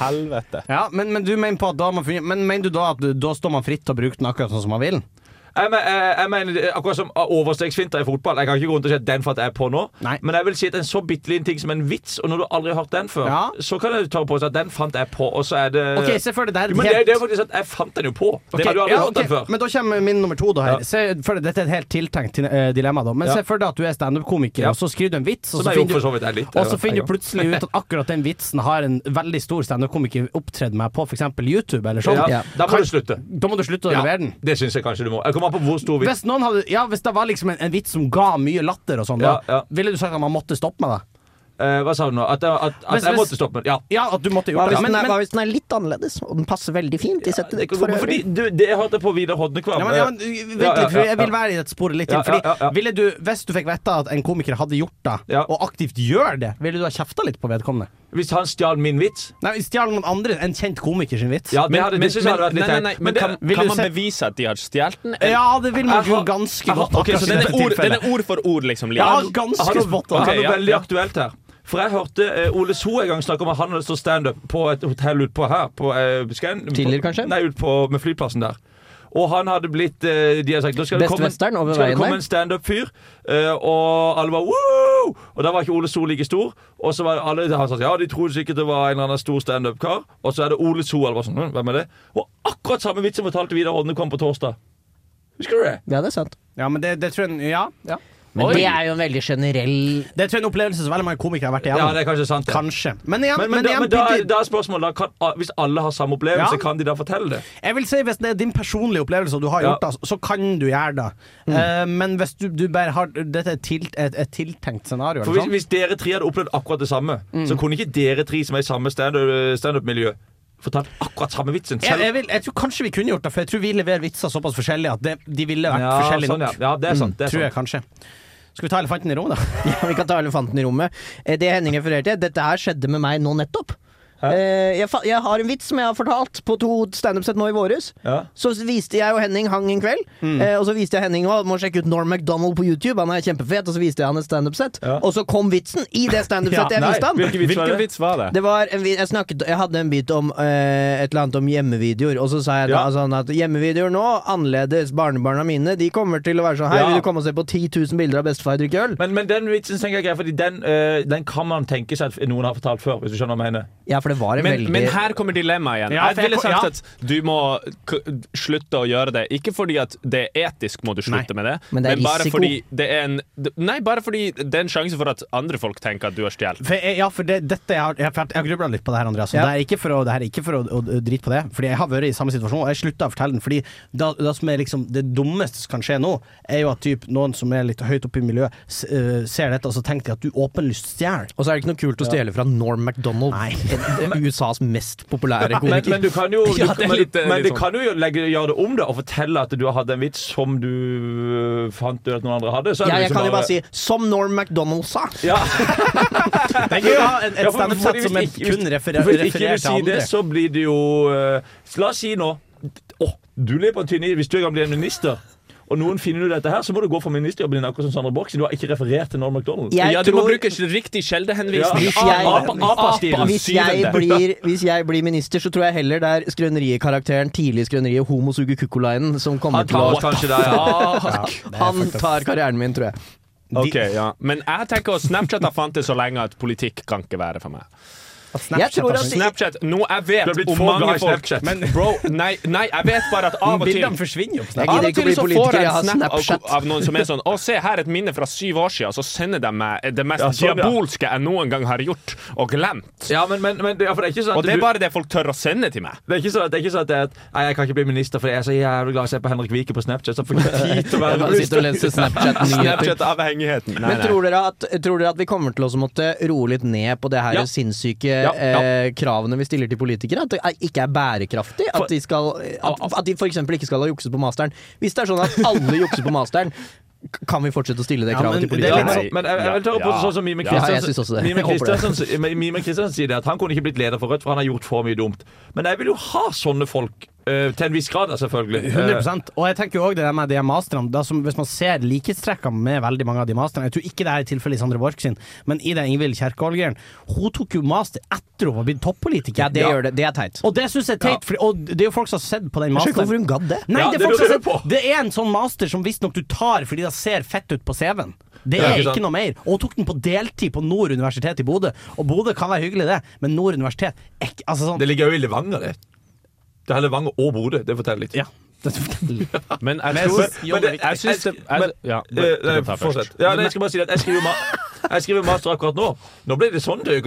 Speaker 7: Helvete.
Speaker 3: Ja, men, men du mener på at da har man funnet Men mener du da at da står man fritt til å bruke den akkurat sånn som man vil?
Speaker 1: Jeg, men, jeg, jeg mener, det er akkurat som overstegsfinter i fotball. Jeg kan ikke gå rundt og si at den fant jeg på nå.
Speaker 3: Nei.
Speaker 1: Men jeg vil si at en så bitte liten ting som en vits, og når du aldri har hørt den før,
Speaker 3: Ja.
Speaker 1: så kan jeg ta på seg at den fant jeg på, og så er det
Speaker 3: Ok, se for deg det her
Speaker 1: Eh, Jo, men det, er- det er faktisk at jeg fant den jo på. Det har du aldri
Speaker 3: ja,
Speaker 1: hørt den
Speaker 3: ok,
Speaker 1: før.
Speaker 3: Men da kommer min nummer to da her.
Speaker 1: Ja.
Speaker 3: Se for deg, dette er et helt tiltenkt eh, dilemma, da. Men
Speaker 1: Ja.
Speaker 3: se for deg at du er standup-komiker,
Speaker 1: Ja.
Speaker 3: og så skriver du en vits, og
Speaker 1: Som
Speaker 3: så
Speaker 1: jeg jo for
Speaker 3: finner
Speaker 1: så
Speaker 3: du
Speaker 1: vidt er litt. eh,
Speaker 3: og så finner du plutselig ut at akkurat den vitsen har en veldig stor standup-komiker opptredd med på f.eks. YouTube eller sånn.
Speaker 1: ja.
Speaker 2: Ja.
Speaker 1: Da må du slutte.
Speaker 3: Da må du slutte å
Speaker 1: Ja,
Speaker 3: levere den.
Speaker 1: det syns jeg kanskje du må. Jeg kommer an på hvor stor vits.
Speaker 3: Hvis, noen hadde, ja, hvis det var liksom en, en vits som ga mye latter og sånn,
Speaker 1: Ja,
Speaker 3: da,
Speaker 1: ja.
Speaker 3: ville du sagt at man måtte stoppe med det?
Speaker 1: Eh, hva sa du nå? At, jeg- at, at
Speaker 3: Hvis-
Speaker 1: jeg
Speaker 3: hvis-
Speaker 1: måtte stoppe med den? Ja.
Speaker 3: Ja, at du måtte
Speaker 2: Hva
Speaker 3: gjort det.
Speaker 2: hvis, den
Speaker 3: Men,
Speaker 2: er, hva
Speaker 3: men,
Speaker 2: hvis den er litt annerledes, og den passer veldig fint i settet
Speaker 1: Det,
Speaker 2: ditt
Speaker 1: kan
Speaker 2: for
Speaker 1: gå- fordi,
Speaker 2: øvrig?
Speaker 1: du, det jeg hørte på Vidar Hodnekvam. eh,
Speaker 3: ja, men, ja, men, eh, vent
Speaker 1: ja,
Speaker 3: litt, for
Speaker 1: ja,
Speaker 3: jeg vil
Speaker 1: ja.
Speaker 3: være i dette sporet litt
Speaker 1: Ja,
Speaker 3: til. Fordi,
Speaker 1: ja, ja, ja.
Speaker 3: Ville du, hvis du fikk vite at en komiker hadde gjort det,
Speaker 1: Ja.
Speaker 3: og aktivt gjør det, ville du ha kjefta litt på vedkommende?
Speaker 1: Hvis han stjal min vits
Speaker 3: Nei, Stjal noen andre en kjent komiker sin vits?
Speaker 1: Ja, det,
Speaker 7: Men,
Speaker 1: hadde,
Speaker 7: men,
Speaker 1: det synes jeg hadde vært
Speaker 7: nei,
Speaker 1: litt
Speaker 7: nei,
Speaker 1: teit.
Speaker 7: nei,
Speaker 1: Men
Speaker 7: men
Speaker 1: det-
Speaker 7: kan,
Speaker 3: vil
Speaker 7: kan
Speaker 3: du
Speaker 7: man
Speaker 3: se-
Speaker 7: bevise at de har stjålet den?
Speaker 3: Ja, det vil man
Speaker 1: Jeg
Speaker 3: jo
Speaker 1: har-
Speaker 3: ganske
Speaker 1: jeg har-
Speaker 3: godt
Speaker 1: ok,
Speaker 3: akkurat
Speaker 1: så
Speaker 3: i
Speaker 7: Den
Speaker 3: dette
Speaker 7: er, ord, den
Speaker 3: tilfellet.
Speaker 7: er ord for ord, liksom.
Speaker 3: Ja,
Speaker 7: Lian.
Speaker 1: Jeg har
Speaker 3: ganske
Speaker 1: noe-
Speaker 3: spot
Speaker 1: jeg
Speaker 3: on.
Speaker 1: har noe
Speaker 7: Ok, ja,
Speaker 1: veldig
Speaker 7: ja.
Speaker 1: aktuelt her. For jeg hørte eh, Ole So en gang snakke om at han hadde stått standup på et hotell utpå her. På eh, Scan.
Speaker 2: Tiller, kanskje?
Speaker 1: Nei, ut på, med flyplassen der. Og han hadde blitt eh, De har sagt nå skal det
Speaker 4: Best
Speaker 1: komme,
Speaker 4: Western over
Speaker 1: skal det
Speaker 4: veien
Speaker 1: komme
Speaker 4: der.
Speaker 1: en standup-fyr. eh, og alle var wow! Og da var ikke Ole So like stor. Og så var det alle han sa, ja, de trodde sikkert det var en eller annen stor standup-kar. Og så er det Ole So. Alle var sånn, «Hm, hvem er det? Og akkurat samme vits som fortalte Vidar Odne kom på torsdag. Husker du det?
Speaker 4: Ja, det er sant.
Speaker 3: Ja, men det, det tror jeg Ja.
Speaker 4: Men
Speaker 1: Oi.
Speaker 4: det er jo en veldig generell
Speaker 3: Det tror jeg er en opplevelse som veldig mange komikere har vært
Speaker 1: Ja,
Speaker 3: igjennom.
Speaker 1: det er kanskje sant. det.
Speaker 3: Kanskje. Men igjen,
Speaker 1: Men,
Speaker 3: men,
Speaker 1: men, da,
Speaker 3: igjen
Speaker 1: men da,
Speaker 3: Pitti,
Speaker 1: da er spørsmålet da, kan, a- Hvis alle har samme opplevelse,
Speaker 3: Ja.
Speaker 1: kan de da fortelle det?
Speaker 3: jeg vil si Hvis det er din personlige opplevelse, og du har
Speaker 1: Ja.
Speaker 3: gjort det, så kan du gjøre det.
Speaker 4: Mm.
Speaker 3: Eh, men hvis du, du bare har Dette er tilt, et, et tiltenkt scenario.
Speaker 1: For
Speaker 3: Eller sånn.
Speaker 1: hvis,
Speaker 3: sant?
Speaker 1: hvis dere tre hadde opplevd akkurat det samme, så kunne ikke dere tre som er i samme standup- standup-miljø, fortalt akkurat samme vitsen.
Speaker 3: jeg,
Speaker 1: Selv,
Speaker 3: jeg, vil, jeg tror kanskje vi kunne gjort det, for jeg tror vi leverer vitser såpass forskjellige at det, de ville vært
Speaker 1: ja,
Speaker 3: forskjellige
Speaker 1: sånn, ja.
Speaker 3: nok. Mm,
Speaker 1: ja, det er sant. Det er
Speaker 3: Tror jeg
Speaker 1: sant.
Speaker 3: kanskje. Skal vi ta elefanten i rommet, da?
Speaker 4: Ja, vi kan ta elefanten i rommet. Eh, Det Henning refererte til, dette her skjedde med meg nå nettopp. Eh, Jeg, fa- jeg har en vits som jeg har fortalt på to standup-sett nå i våres.
Speaker 1: Ja.
Speaker 4: Så viste jeg og Henning hang en kveld,
Speaker 1: Mm.
Speaker 4: eh, og så viste jeg Henning å, må sjekke ut Norm MacDonald på YouTube, han er kjempefet, og så viste jeg han et standup-sett.
Speaker 1: Ja.
Speaker 4: Og så kom vitsen i det standup-settet jeg
Speaker 1: Nei,
Speaker 4: viste han.
Speaker 1: hvilken vits var det?
Speaker 7: vits var det?
Speaker 4: Det var en, vi- jeg, snakket, jeg hadde en bit om eh, et eller annet om hjemmevideoer, og så sa jeg da
Speaker 1: Ja.
Speaker 4: sånn at hjemmevideoer nå, annerledes. Barnebarna mine de kommer til å være sånn Hei,
Speaker 1: Ja.
Speaker 4: vil du komme og se på 10 000 bilder av bestefar drikke øl?
Speaker 1: Men, men den vitsen tenker jeg er grei, Fordi den, eh, den kan man tenke seg at noen har fortalt før. Hvis du skjønner hva jeg mener
Speaker 4: Ja, for det var en
Speaker 7: Men,
Speaker 4: veldig
Speaker 7: men her kommer dilemmaet igjen.
Speaker 3: Ja, for
Speaker 7: jeg ville
Speaker 3: jeg
Speaker 7: sagt
Speaker 3: ko- ja.
Speaker 7: at du må k slutte å gjøre det. Ikke fordi at det er etisk må du slutte med det,
Speaker 4: Men det er
Speaker 7: bare
Speaker 4: risiko.
Speaker 7: fordi det er en d- Nei, bare fordi det er en sjanse for at andre folk tenker at du har stjålet.
Speaker 3: For jeg, ja, for det, dette jeg har Jeg, for jeg har grubla litt på det her, Andreas. og
Speaker 4: Ja.
Speaker 3: Det er ikke for, å, det her er ikke for å, å, å drite på det, Fordi jeg har vært i samme situasjon, og jeg slutta å fortelle den. Fordi da, da som er liksom, det dummeste som kan skje nå, er jo at typ, noen som er litt høyt oppe i miljøet, s- øh, ser dette, og så tenker de at du åpenlyst stjeler.
Speaker 4: Og så er det ikke noe kult å stjele fra Norm MacDonald, en- en- USAs mest populære
Speaker 1: Men,
Speaker 4: komiker.
Speaker 1: men du kan jo, du,
Speaker 7: Ja, det er
Speaker 1: men,
Speaker 7: litt, eh,
Speaker 1: men
Speaker 7: litt
Speaker 1: du kan jo gjøre- legge, gjøre det om det og fortelle at du har hatt en vits som du øh, fant ut at noen andre hadde. Så er
Speaker 4: Ja,
Speaker 1: det
Speaker 4: jeg
Speaker 1: liksom
Speaker 4: kan jo bare si 'som Norm MacDonald sa'.
Speaker 1: ja.
Speaker 3: Det er gøy å ha en,
Speaker 1: Ja,
Speaker 3: et
Speaker 1: for- for
Speaker 3: standup-sett
Speaker 1: hvis
Speaker 3: som er
Speaker 1: ikke- hvis-
Speaker 3: kun referer,
Speaker 1: Hvis ikke
Speaker 3: refererer
Speaker 1: du
Speaker 3: til
Speaker 1: sier
Speaker 3: andre.
Speaker 1: det, så blir det jo eh, La oss si nå Åh, du lever på en tynn is hvis du en gang blir en minister. Og noen finner ut dette her, så må du gå for ministerjobben din akkurat som Sandra Borch, siden du har ikke referert til Norm MacDonald.
Speaker 4: Jeg
Speaker 7: Ja, du må
Speaker 4: tror-
Speaker 7: bruke riktig kjeldehenvisning.
Speaker 4: Hvis jeg-
Speaker 1: Apa- apa-stilen.
Speaker 4: Hvis jeg, blir, hvis jeg blir minister, så tror jeg heller det er skrøneriet-karakteren tidlig i skrøneriet Homo suger kukkolainen som kommer
Speaker 1: Han
Speaker 4: til
Speaker 1: tar
Speaker 4: å
Speaker 1: oss kanskje der, ja.
Speaker 4: Han tar karrieren min, tror jeg.
Speaker 7: Ok, ja. Men jeg tenker at Snapchat har fantes så lenge at politikk kan ikke være for meg.
Speaker 4: Jeg tror at
Speaker 7: Snapchat, nå jeg
Speaker 1: Du har
Speaker 7: vet
Speaker 1: blitt
Speaker 7: om
Speaker 1: for glad
Speaker 7: mange
Speaker 1: i
Speaker 7: folk
Speaker 1: Snapchat.
Speaker 7: Men bro, nei, nei, jeg vet bare at av og til
Speaker 3: Bildene forsvinner jo. på Snapchat.
Speaker 4: Jeg
Speaker 7: Av
Speaker 4: gidder
Speaker 7: og
Speaker 4: ikke å
Speaker 7: til
Speaker 4: bli
Speaker 7: så får
Speaker 4: politiker,
Speaker 7: jeg
Speaker 4: jeg har
Speaker 7: en snap av,
Speaker 4: Snapchat.
Speaker 7: av noen som er sånn Å, se her, et minne fra syv år siden. Så sender de meg det mest
Speaker 1: Ja, sånn, ja.
Speaker 7: diabolske jeg noen gang har gjort og glemt.
Speaker 1: Ja, men, men, men det, ja, for det er ikke sånn at
Speaker 7: Og det er
Speaker 1: du-
Speaker 7: bare det folk tør å sende til meg.
Speaker 1: Det er ikke sånn at, det er ikke sånn at, det er at Nei, jeg kan ikke bli minister fordi jeg er så jævlig glad i å se på Henrik Vike på Snapchat. Så jeg får ikke tid til å være
Speaker 4: bare sitter og leser Snapchat-nyheter.
Speaker 7: Snapchat-avhengigheten. Nei,
Speaker 4: Men
Speaker 7: nei.
Speaker 4: tror dere, at, tror dere at vi kommer til å måtte roe litt ned på det her
Speaker 7: Ja.
Speaker 4: sinnssyke
Speaker 7: Ja, ja.
Speaker 4: Eh, kravene vi stiller til politikere? At det er- ikke er bærekraftig? At de, skal, at, at de for eksempel ikke skal ha jukset på masteren? Hvis det er sånn at alle jukser på masteren, k- kan vi fortsette å stille det
Speaker 3: Ja,
Speaker 4: kravet
Speaker 3: men
Speaker 4: til
Speaker 3: det er
Speaker 1: Ja,
Speaker 4: politikere?
Speaker 3: litt
Speaker 1: men,
Speaker 7: Nei.
Speaker 1: men jeg, jeg vil ta opp
Speaker 7: Ja.
Speaker 1: også sånn som Mime
Speaker 7: Ja, jeg
Speaker 4: synes også
Speaker 1: Kristiansen
Speaker 4: det.
Speaker 1: Mime
Speaker 4: Jeg håper det.
Speaker 1: Kristiansen- Mime- Mime Kristiansen sier det at han kunne ikke blitt leder for Rødt, for han har gjort for mye dumt. Men jeg vil jo ha sånne folk. eh, til en viss grad, da, selvfølgelig. Eh,
Speaker 3: 100 Og jeg tenker jo også det der med de her masterne da som, Hvis man ser likhetstrekkene med veldig mange av de masterne Jeg tror ikke det her er tilfellet i Sandre Borch sin, men i den Ingvild Kjerkol-greien Hun tok jo master etter hun var blitt toppolitiker.
Speaker 4: Ja, det gjør det. Det er teit.
Speaker 3: Og det syns jeg er teit, fordi- og det er jo folk som har sett på den
Speaker 4: Jeg skjønner ikke hvorfor
Speaker 3: masteren.
Speaker 4: hun gadd det.
Speaker 3: Nei,
Speaker 1: Ja,
Speaker 3: det,
Speaker 1: det
Speaker 3: er folk som har
Speaker 1: lurer jeg
Speaker 3: sett, det er en sånn master som visstnok du tar fordi det ser fett ut på CV-en. Det
Speaker 1: Ja,
Speaker 3: er
Speaker 1: ikke sant.
Speaker 3: ikke noe mer. Og hun tok den på deltid på Nord universitet i Bodø. Og Bodø kan være hyggelig, det, men Nord universitet er ikke- altså sånn,
Speaker 1: Det ligger jo i Levanger, det. Det er Levanger og Bodø. Det forteller litt.
Speaker 3: Ja. Det-
Speaker 7: Men
Speaker 3: Men jeg
Speaker 7: jeg tror
Speaker 3: synes-
Speaker 7: Jo, men Jeg syns det jeg- Ja,
Speaker 1: Eh,
Speaker 7: men-
Speaker 1: nei,
Speaker 7: du kan ta først.
Speaker 1: Fortsett. Ja, nei, jeg skal bare si at jeg skriver, ma jeg skriver master akkurat nå. Nå ble det sånn til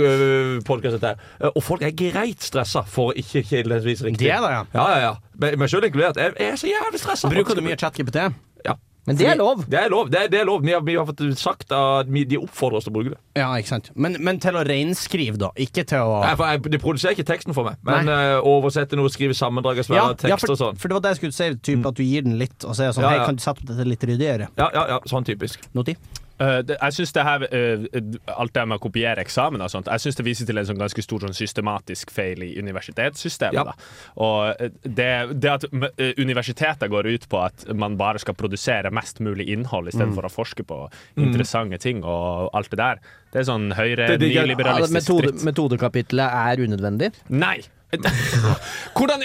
Speaker 1: podkastet her. Eh, Og folk er greit stressa for å ikke kjedeligvis riktig.
Speaker 3: Det er det, ja.
Speaker 1: Ja, ja, ja. Men, men selv inkludert. Jeg, jeg er så jævlig stressa.
Speaker 3: Bruker du mye ChatGPT?
Speaker 1: Ja.
Speaker 4: Men det er lov.
Speaker 1: Det er lov. Det er, det er lov. Vi har, vi har fått sagt at vi- de oppfordrer oss til å bruke det.
Speaker 3: Ja, ikke sant. Men, men til å reinskrive, da. Ikke til å
Speaker 1: Nei, for jeg, De produserer ikke teksten for meg, men eh, oversetter noe, skriver sammendrag av svære
Speaker 3: ja,
Speaker 1: tekster
Speaker 3: ja, for,
Speaker 1: og sånn.
Speaker 3: for det var det jeg skulle si. Typ at du gir den litt, og så er jeg sånn
Speaker 1: Ja, ja.
Speaker 3: Hei, kan du sette opp dette litt ryddigere?
Speaker 1: Ja, ja, ja, sånn typisk.
Speaker 3: Noti?
Speaker 7: Eh, det- Jeg synes det her eh, Alt det med å kopiere eksamen og sånt, jeg synes det viser til en sånn ganske stor sånn systematisk feil i universitetssystemet.
Speaker 1: Ja.
Speaker 7: Da. Og eh, det, det at m- eh, universitetet går ut på at man bare skal produsere mest mulig innhold istedenfor for å forske på interessante ting og alt det der, det er sånn høyre
Speaker 1: Det digger-
Speaker 4: Ja, det
Speaker 7: nyliberalistisk
Speaker 4: metode,
Speaker 7: dritt.
Speaker 4: metodekapitlet er unødvendig.
Speaker 7: Nei! Hvordan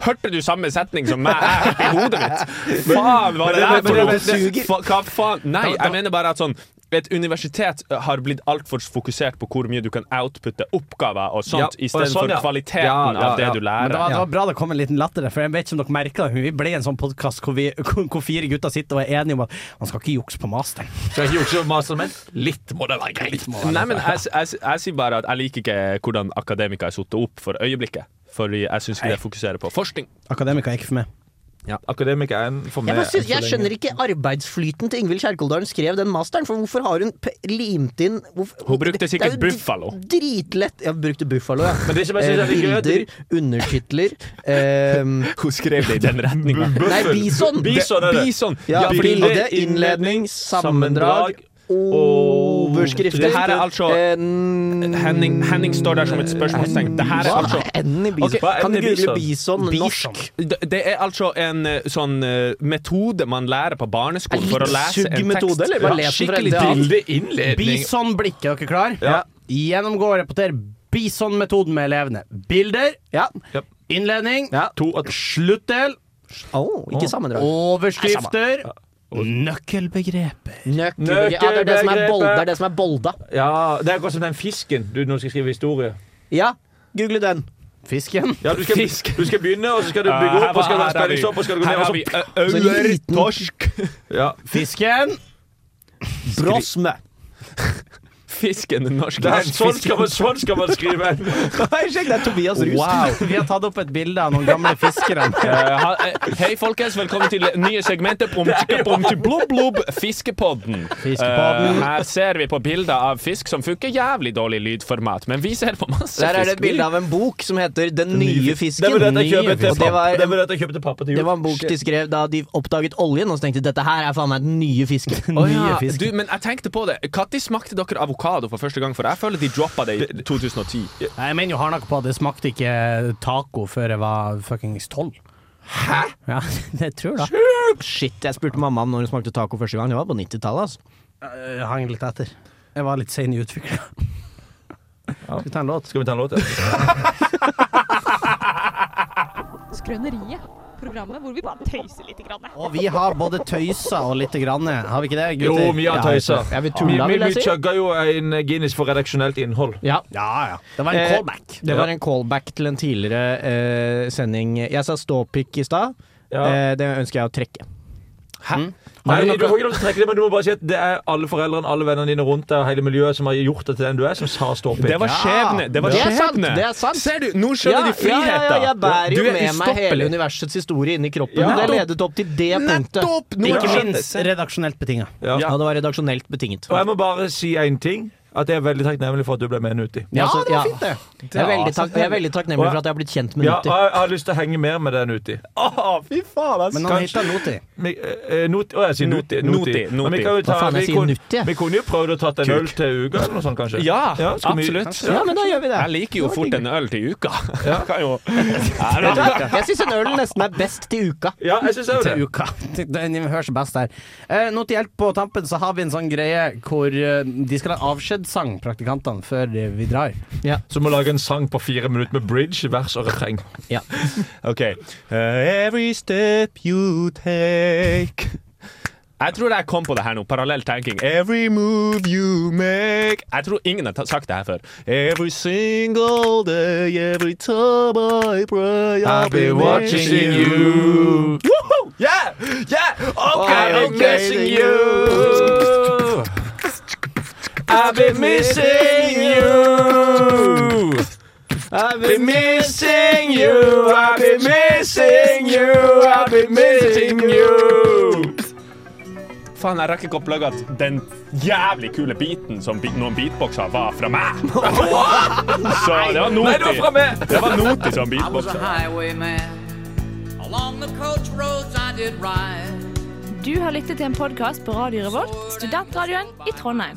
Speaker 7: hørte du samme setning som meg jeg hørte i hodet mitt? Faen, hva er
Speaker 1: Men-
Speaker 7: det der
Speaker 1: men-
Speaker 7: for
Speaker 1: men-
Speaker 7: noe?
Speaker 1: men-
Speaker 7: Fa- Hva faen? Nei, jeg mener bare at sånn et universitet eh, har blitt altfor fokusert på hvor mye du kan outputte oppgaver og
Speaker 1: Ja,
Speaker 7: sånt,
Speaker 1: og
Speaker 7: i istedenfor
Speaker 1: sånn, ja.
Speaker 7: kvaliteten
Speaker 1: Ja, ja,
Speaker 7: av det
Speaker 1: ja.
Speaker 7: du
Speaker 3: Men
Speaker 7: lærer.
Speaker 3: det var, det var bra det kom en liten latter der, for jeg vet ikke om dere merka det, men vi ble en sånn podkast hvor, vi- hvor hvor fire gutter sitter og er enige om at man skal ikke jukse på masteren.
Speaker 1: Skal jeg ikke jukse om masteren min? Litt må det være greit.
Speaker 7: Nei, men jeg, jeg, jeg sier bare at jeg liker ikke hvordan akademikere er satt opp for øyeblikket. Fordi jeg syns det fokuserer på forskning.
Speaker 3: Akademika er ikke for meg.
Speaker 1: Akademikeren for
Speaker 4: Jeg,
Speaker 1: meg
Speaker 4: bare synes, jeg skjønner ikke arbeidsflyten til Ingvild Kjerkoldalen skrev den masteren, for hvorfor har hun p- limt inn hvorfor,
Speaker 7: Hun brukte
Speaker 4: Det- det er
Speaker 7: sikkert
Speaker 4: jo dri-
Speaker 7: Buffalo.
Speaker 4: Dritlett. Ja, hun brukte Buffalo, ja.
Speaker 1: Men det som jeg synes
Speaker 4: Eh,
Speaker 1: er litt gøy, er at
Speaker 4: Bilder, undertitler ehm,
Speaker 7: Hun skrev det i den retninga.
Speaker 4: Nei, bison!
Speaker 1: Bison er det.
Speaker 7: Bison!
Speaker 4: Ja,
Speaker 7: sånn Ja, fordi
Speaker 4: bilde, innledning, sammendrag, overskrifter Eh,
Speaker 7: Det her er altså- Henning, Henning står der som et spørsmålstegn. Det her er altså
Speaker 4: N i bison.
Speaker 7: Ok,
Speaker 1: hva er
Speaker 4: kan du
Speaker 1: N i
Speaker 4: google
Speaker 1: bison?
Speaker 4: bison norsk?
Speaker 7: det det er altså en eh, sånn eh, metode man lærer på
Speaker 4: Er
Speaker 7: barneskolen
Speaker 4: det
Speaker 7: for å
Speaker 4: litt
Speaker 7: lese
Speaker 4: sugg
Speaker 7: en
Speaker 4: metode,
Speaker 7: tekst.
Speaker 4: eller? Bare les den fra
Speaker 7: skikkelig
Speaker 4: ende til annen.
Speaker 7: drill.
Speaker 1: Bisonledning.
Speaker 3: Bison-blikk, er dere klar?
Speaker 1: Ja.
Speaker 3: Gjennomgå og rapporter bison-metoden med elevene. Bilder,
Speaker 4: Ja.
Speaker 3: innledning,
Speaker 4: Ja.
Speaker 1: To at
Speaker 3: sluttdel,
Speaker 4: Oh, ikke sammendrag.
Speaker 3: overskrifter, nøkkelbegreper.
Speaker 4: Nøkkelbegrep. Ja, det er det som er bolda. Det er det som er bolda.
Speaker 1: Ja, det er akkurat som den fisken du nå skal skrive historie.
Speaker 4: Ja, google den.
Speaker 3: Fisken.
Speaker 1: Ja, du, skal, du skal begynne, og så skal du bygge opp, og skal du ha spenning opp, og skal du gå
Speaker 7: Ah, her
Speaker 1: ned, og
Speaker 7: har
Speaker 1: så
Speaker 7: vi eh, auer,
Speaker 4: liten-
Speaker 7: torsk,
Speaker 1: ja.
Speaker 3: Fisken.
Speaker 4: Brosme.
Speaker 7: fisken, norsk
Speaker 1: Det er, sånn, skal man, sånn skal man skrive.
Speaker 4: Sjekk, det er Tobias Rus.
Speaker 3: Wow. Vi har tatt opp et bilde av noen gamle fiskere.
Speaker 7: Eh, ha- eh, Hei, folkens. Velkommen til nye segmentet Bom, tjikka, bom, tji, blob, blob, Fiskepodden.
Speaker 3: Fiskepodden.
Speaker 7: Eh, her ser vi på bilder av fisk som funker jævlig dårlig lydformat, men vi ser på masse
Speaker 4: Der er det
Speaker 7: fisk.
Speaker 4: et bilde av en bok som heter Den nye fisken.
Speaker 1: Det var dette jeg kjøpte til
Speaker 4: Og det
Speaker 1: pappa-
Speaker 4: var,
Speaker 1: det var dette jeg kjøpte til pappa til
Speaker 4: det
Speaker 1: jul.
Speaker 4: var en bok de skrev da de oppdaget oljen, og så tenkte de dette her er faen meg den nye fisken.
Speaker 7: Å ja,
Speaker 3: Nye fisk.
Speaker 7: Du, men jeg tenkte på det. Når smakte dere avokado for første gang? For jeg føler de droppa det i 2010.
Speaker 3: Jeg mener jo hardnakka på at det smakte ikke taco før jeg var fuckings tolv. Hæ?! Ja, det tror jeg da.
Speaker 4: Shit, jeg spurte mamma om når hun smakte taco første gang. Det var på 90-tallet, altså.
Speaker 3: Jeg hang litt etter. Jeg var litt sein i utviklinga. Skal vi ta en låt?
Speaker 1: Skal vi ta en låt? ja?
Speaker 10: Skrøneriet. Programmet hvor vi bare tøyser litt. Grann.
Speaker 3: Og vi har både tøysa og lite grann, har vi ikke det,
Speaker 1: Jo,
Speaker 3: gutter?
Speaker 1: mye har
Speaker 3: Ja, jeg
Speaker 1: tøysa.
Speaker 3: tror-
Speaker 4: Jeg vil
Speaker 1: Vi,
Speaker 4: tulla,
Speaker 1: vi,
Speaker 4: vil
Speaker 1: vi
Speaker 4: jeg si.
Speaker 1: chugga jo en Guinness for redaksjonelt innhold.
Speaker 4: Ja.
Speaker 3: Ja, ja. Det var en
Speaker 4: Eh,
Speaker 3: callback.
Speaker 4: Det var en callback til en tidligere eh, sending. Jeg sa ståpikk i stad.
Speaker 1: Ja.
Speaker 4: Eh, det ønsker jeg å trekke. Eh,
Speaker 1: Nei, du får ikke lov til å trekke det, men du må bare si at det er alle foreldrene, alle vennene dine rundt deg og hele miljøet som har gjort deg til den du er, som sa ståpikk.
Speaker 7: Det var skjebne! Det var
Speaker 4: Det er sant,
Speaker 7: skjebne.
Speaker 4: det er sant.
Speaker 7: Ser du, nå skjønner de
Speaker 4: ja,
Speaker 7: friheten.
Speaker 4: ja, jeg bærer
Speaker 7: Du
Speaker 4: jo
Speaker 7: er
Speaker 4: med meg hele
Speaker 7: ustoppelig.
Speaker 4: universets historie inni kroppen.
Speaker 1: Ja.
Speaker 4: og Det ledet opp til det punktet.
Speaker 7: Nettopp! Nå
Speaker 3: Ikke
Speaker 7: skjønner-
Speaker 3: minst redaksjonelt betinga.
Speaker 1: Ja.
Speaker 4: Ja, det var redaksjonelt betinget.
Speaker 1: Og jeg må bare si én ting. At jeg er veldig takknemlig for at du ble med Nuti.
Speaker 4: Ja, det var fint, det. Jeg er veldig, takk, jeg er veldig takknemlig for at jeg har blitt kjent med
Speaker 1: Ja,
Speaker 4: Nutti.
Speaker 1: jeg, jeg har lyst til å henge mer med deg, Nuti.
Speaker 7: Å, fy faen, ass.
Speaker 3: Men han heter Noti.
Speaker 1: Mi- eh, Nuti Å, jeg sier Nuti.
Speaker 7: Nuti,
Speaker 1: Men vi
Speaker 7: Nuti.
Speaker 1: kan jo ta,
Speaker 4: Hva faen, jeg
Speaker 1: vi
Speaker 4: sier
Speaker 1: kunne-
Speaker 4: Nutti, jeg.
Speaker 1: Vi kunne jo prøvd å tatt en øl til uka eller noe sånt, kanskje.
Speaker 7: Ja,
Speaker 1: skal vi-
Speaker 7: absolutt.
Speaker 4: Ja, men da gjør vi det.
Speaker 7: Jeg liker jo fort en øl til uka. Jeg Kan jo.
Speaker 4: Vet du hva? Jeg syns en øl nesten er best til uka.
Speaker 1: Ja, jeg syns det.
Speaker 3: til uka. Den høres best der. Eh, nå til hjelp på tampen så har vi en sånn greie hvor eh, de skal ha avskjedssang, praktikantene, før eh, vi drar.
Speaker 1: Så må lage en sang på fire minutter med bridge, vers og refreng.
Speaker 7: OK. Uh, every step you take Jeg tror jeg kom på det her nå. Parallell tenking. Every move you make Jeg tror ingen har ta- sagt det her før. Every single day, every time I pray I'll be watching you. Woohoo! Yeah! Yeah! Okay, I'm missing you. I've been missing you. I've been missing you. I've been missing you. I've been missing you. Faen, jeg rakk ikke å plugge at den jævlig kule biten som bi- noen beatboxer var fra meg. Så det var
Speaker 1: Nei, det var fra
Speaker 7: Noti.
Speaker 1: meg!
Speaker 7: Det var Noti som
Speaker 11: I was a
Speaker 7: beatboxer.
Speaker 11: highwayman. Along the coach roads I did ride.
Speaker 6: Du har lyttet til en podkast på Radio Revolt, studentradioen i Trondheim.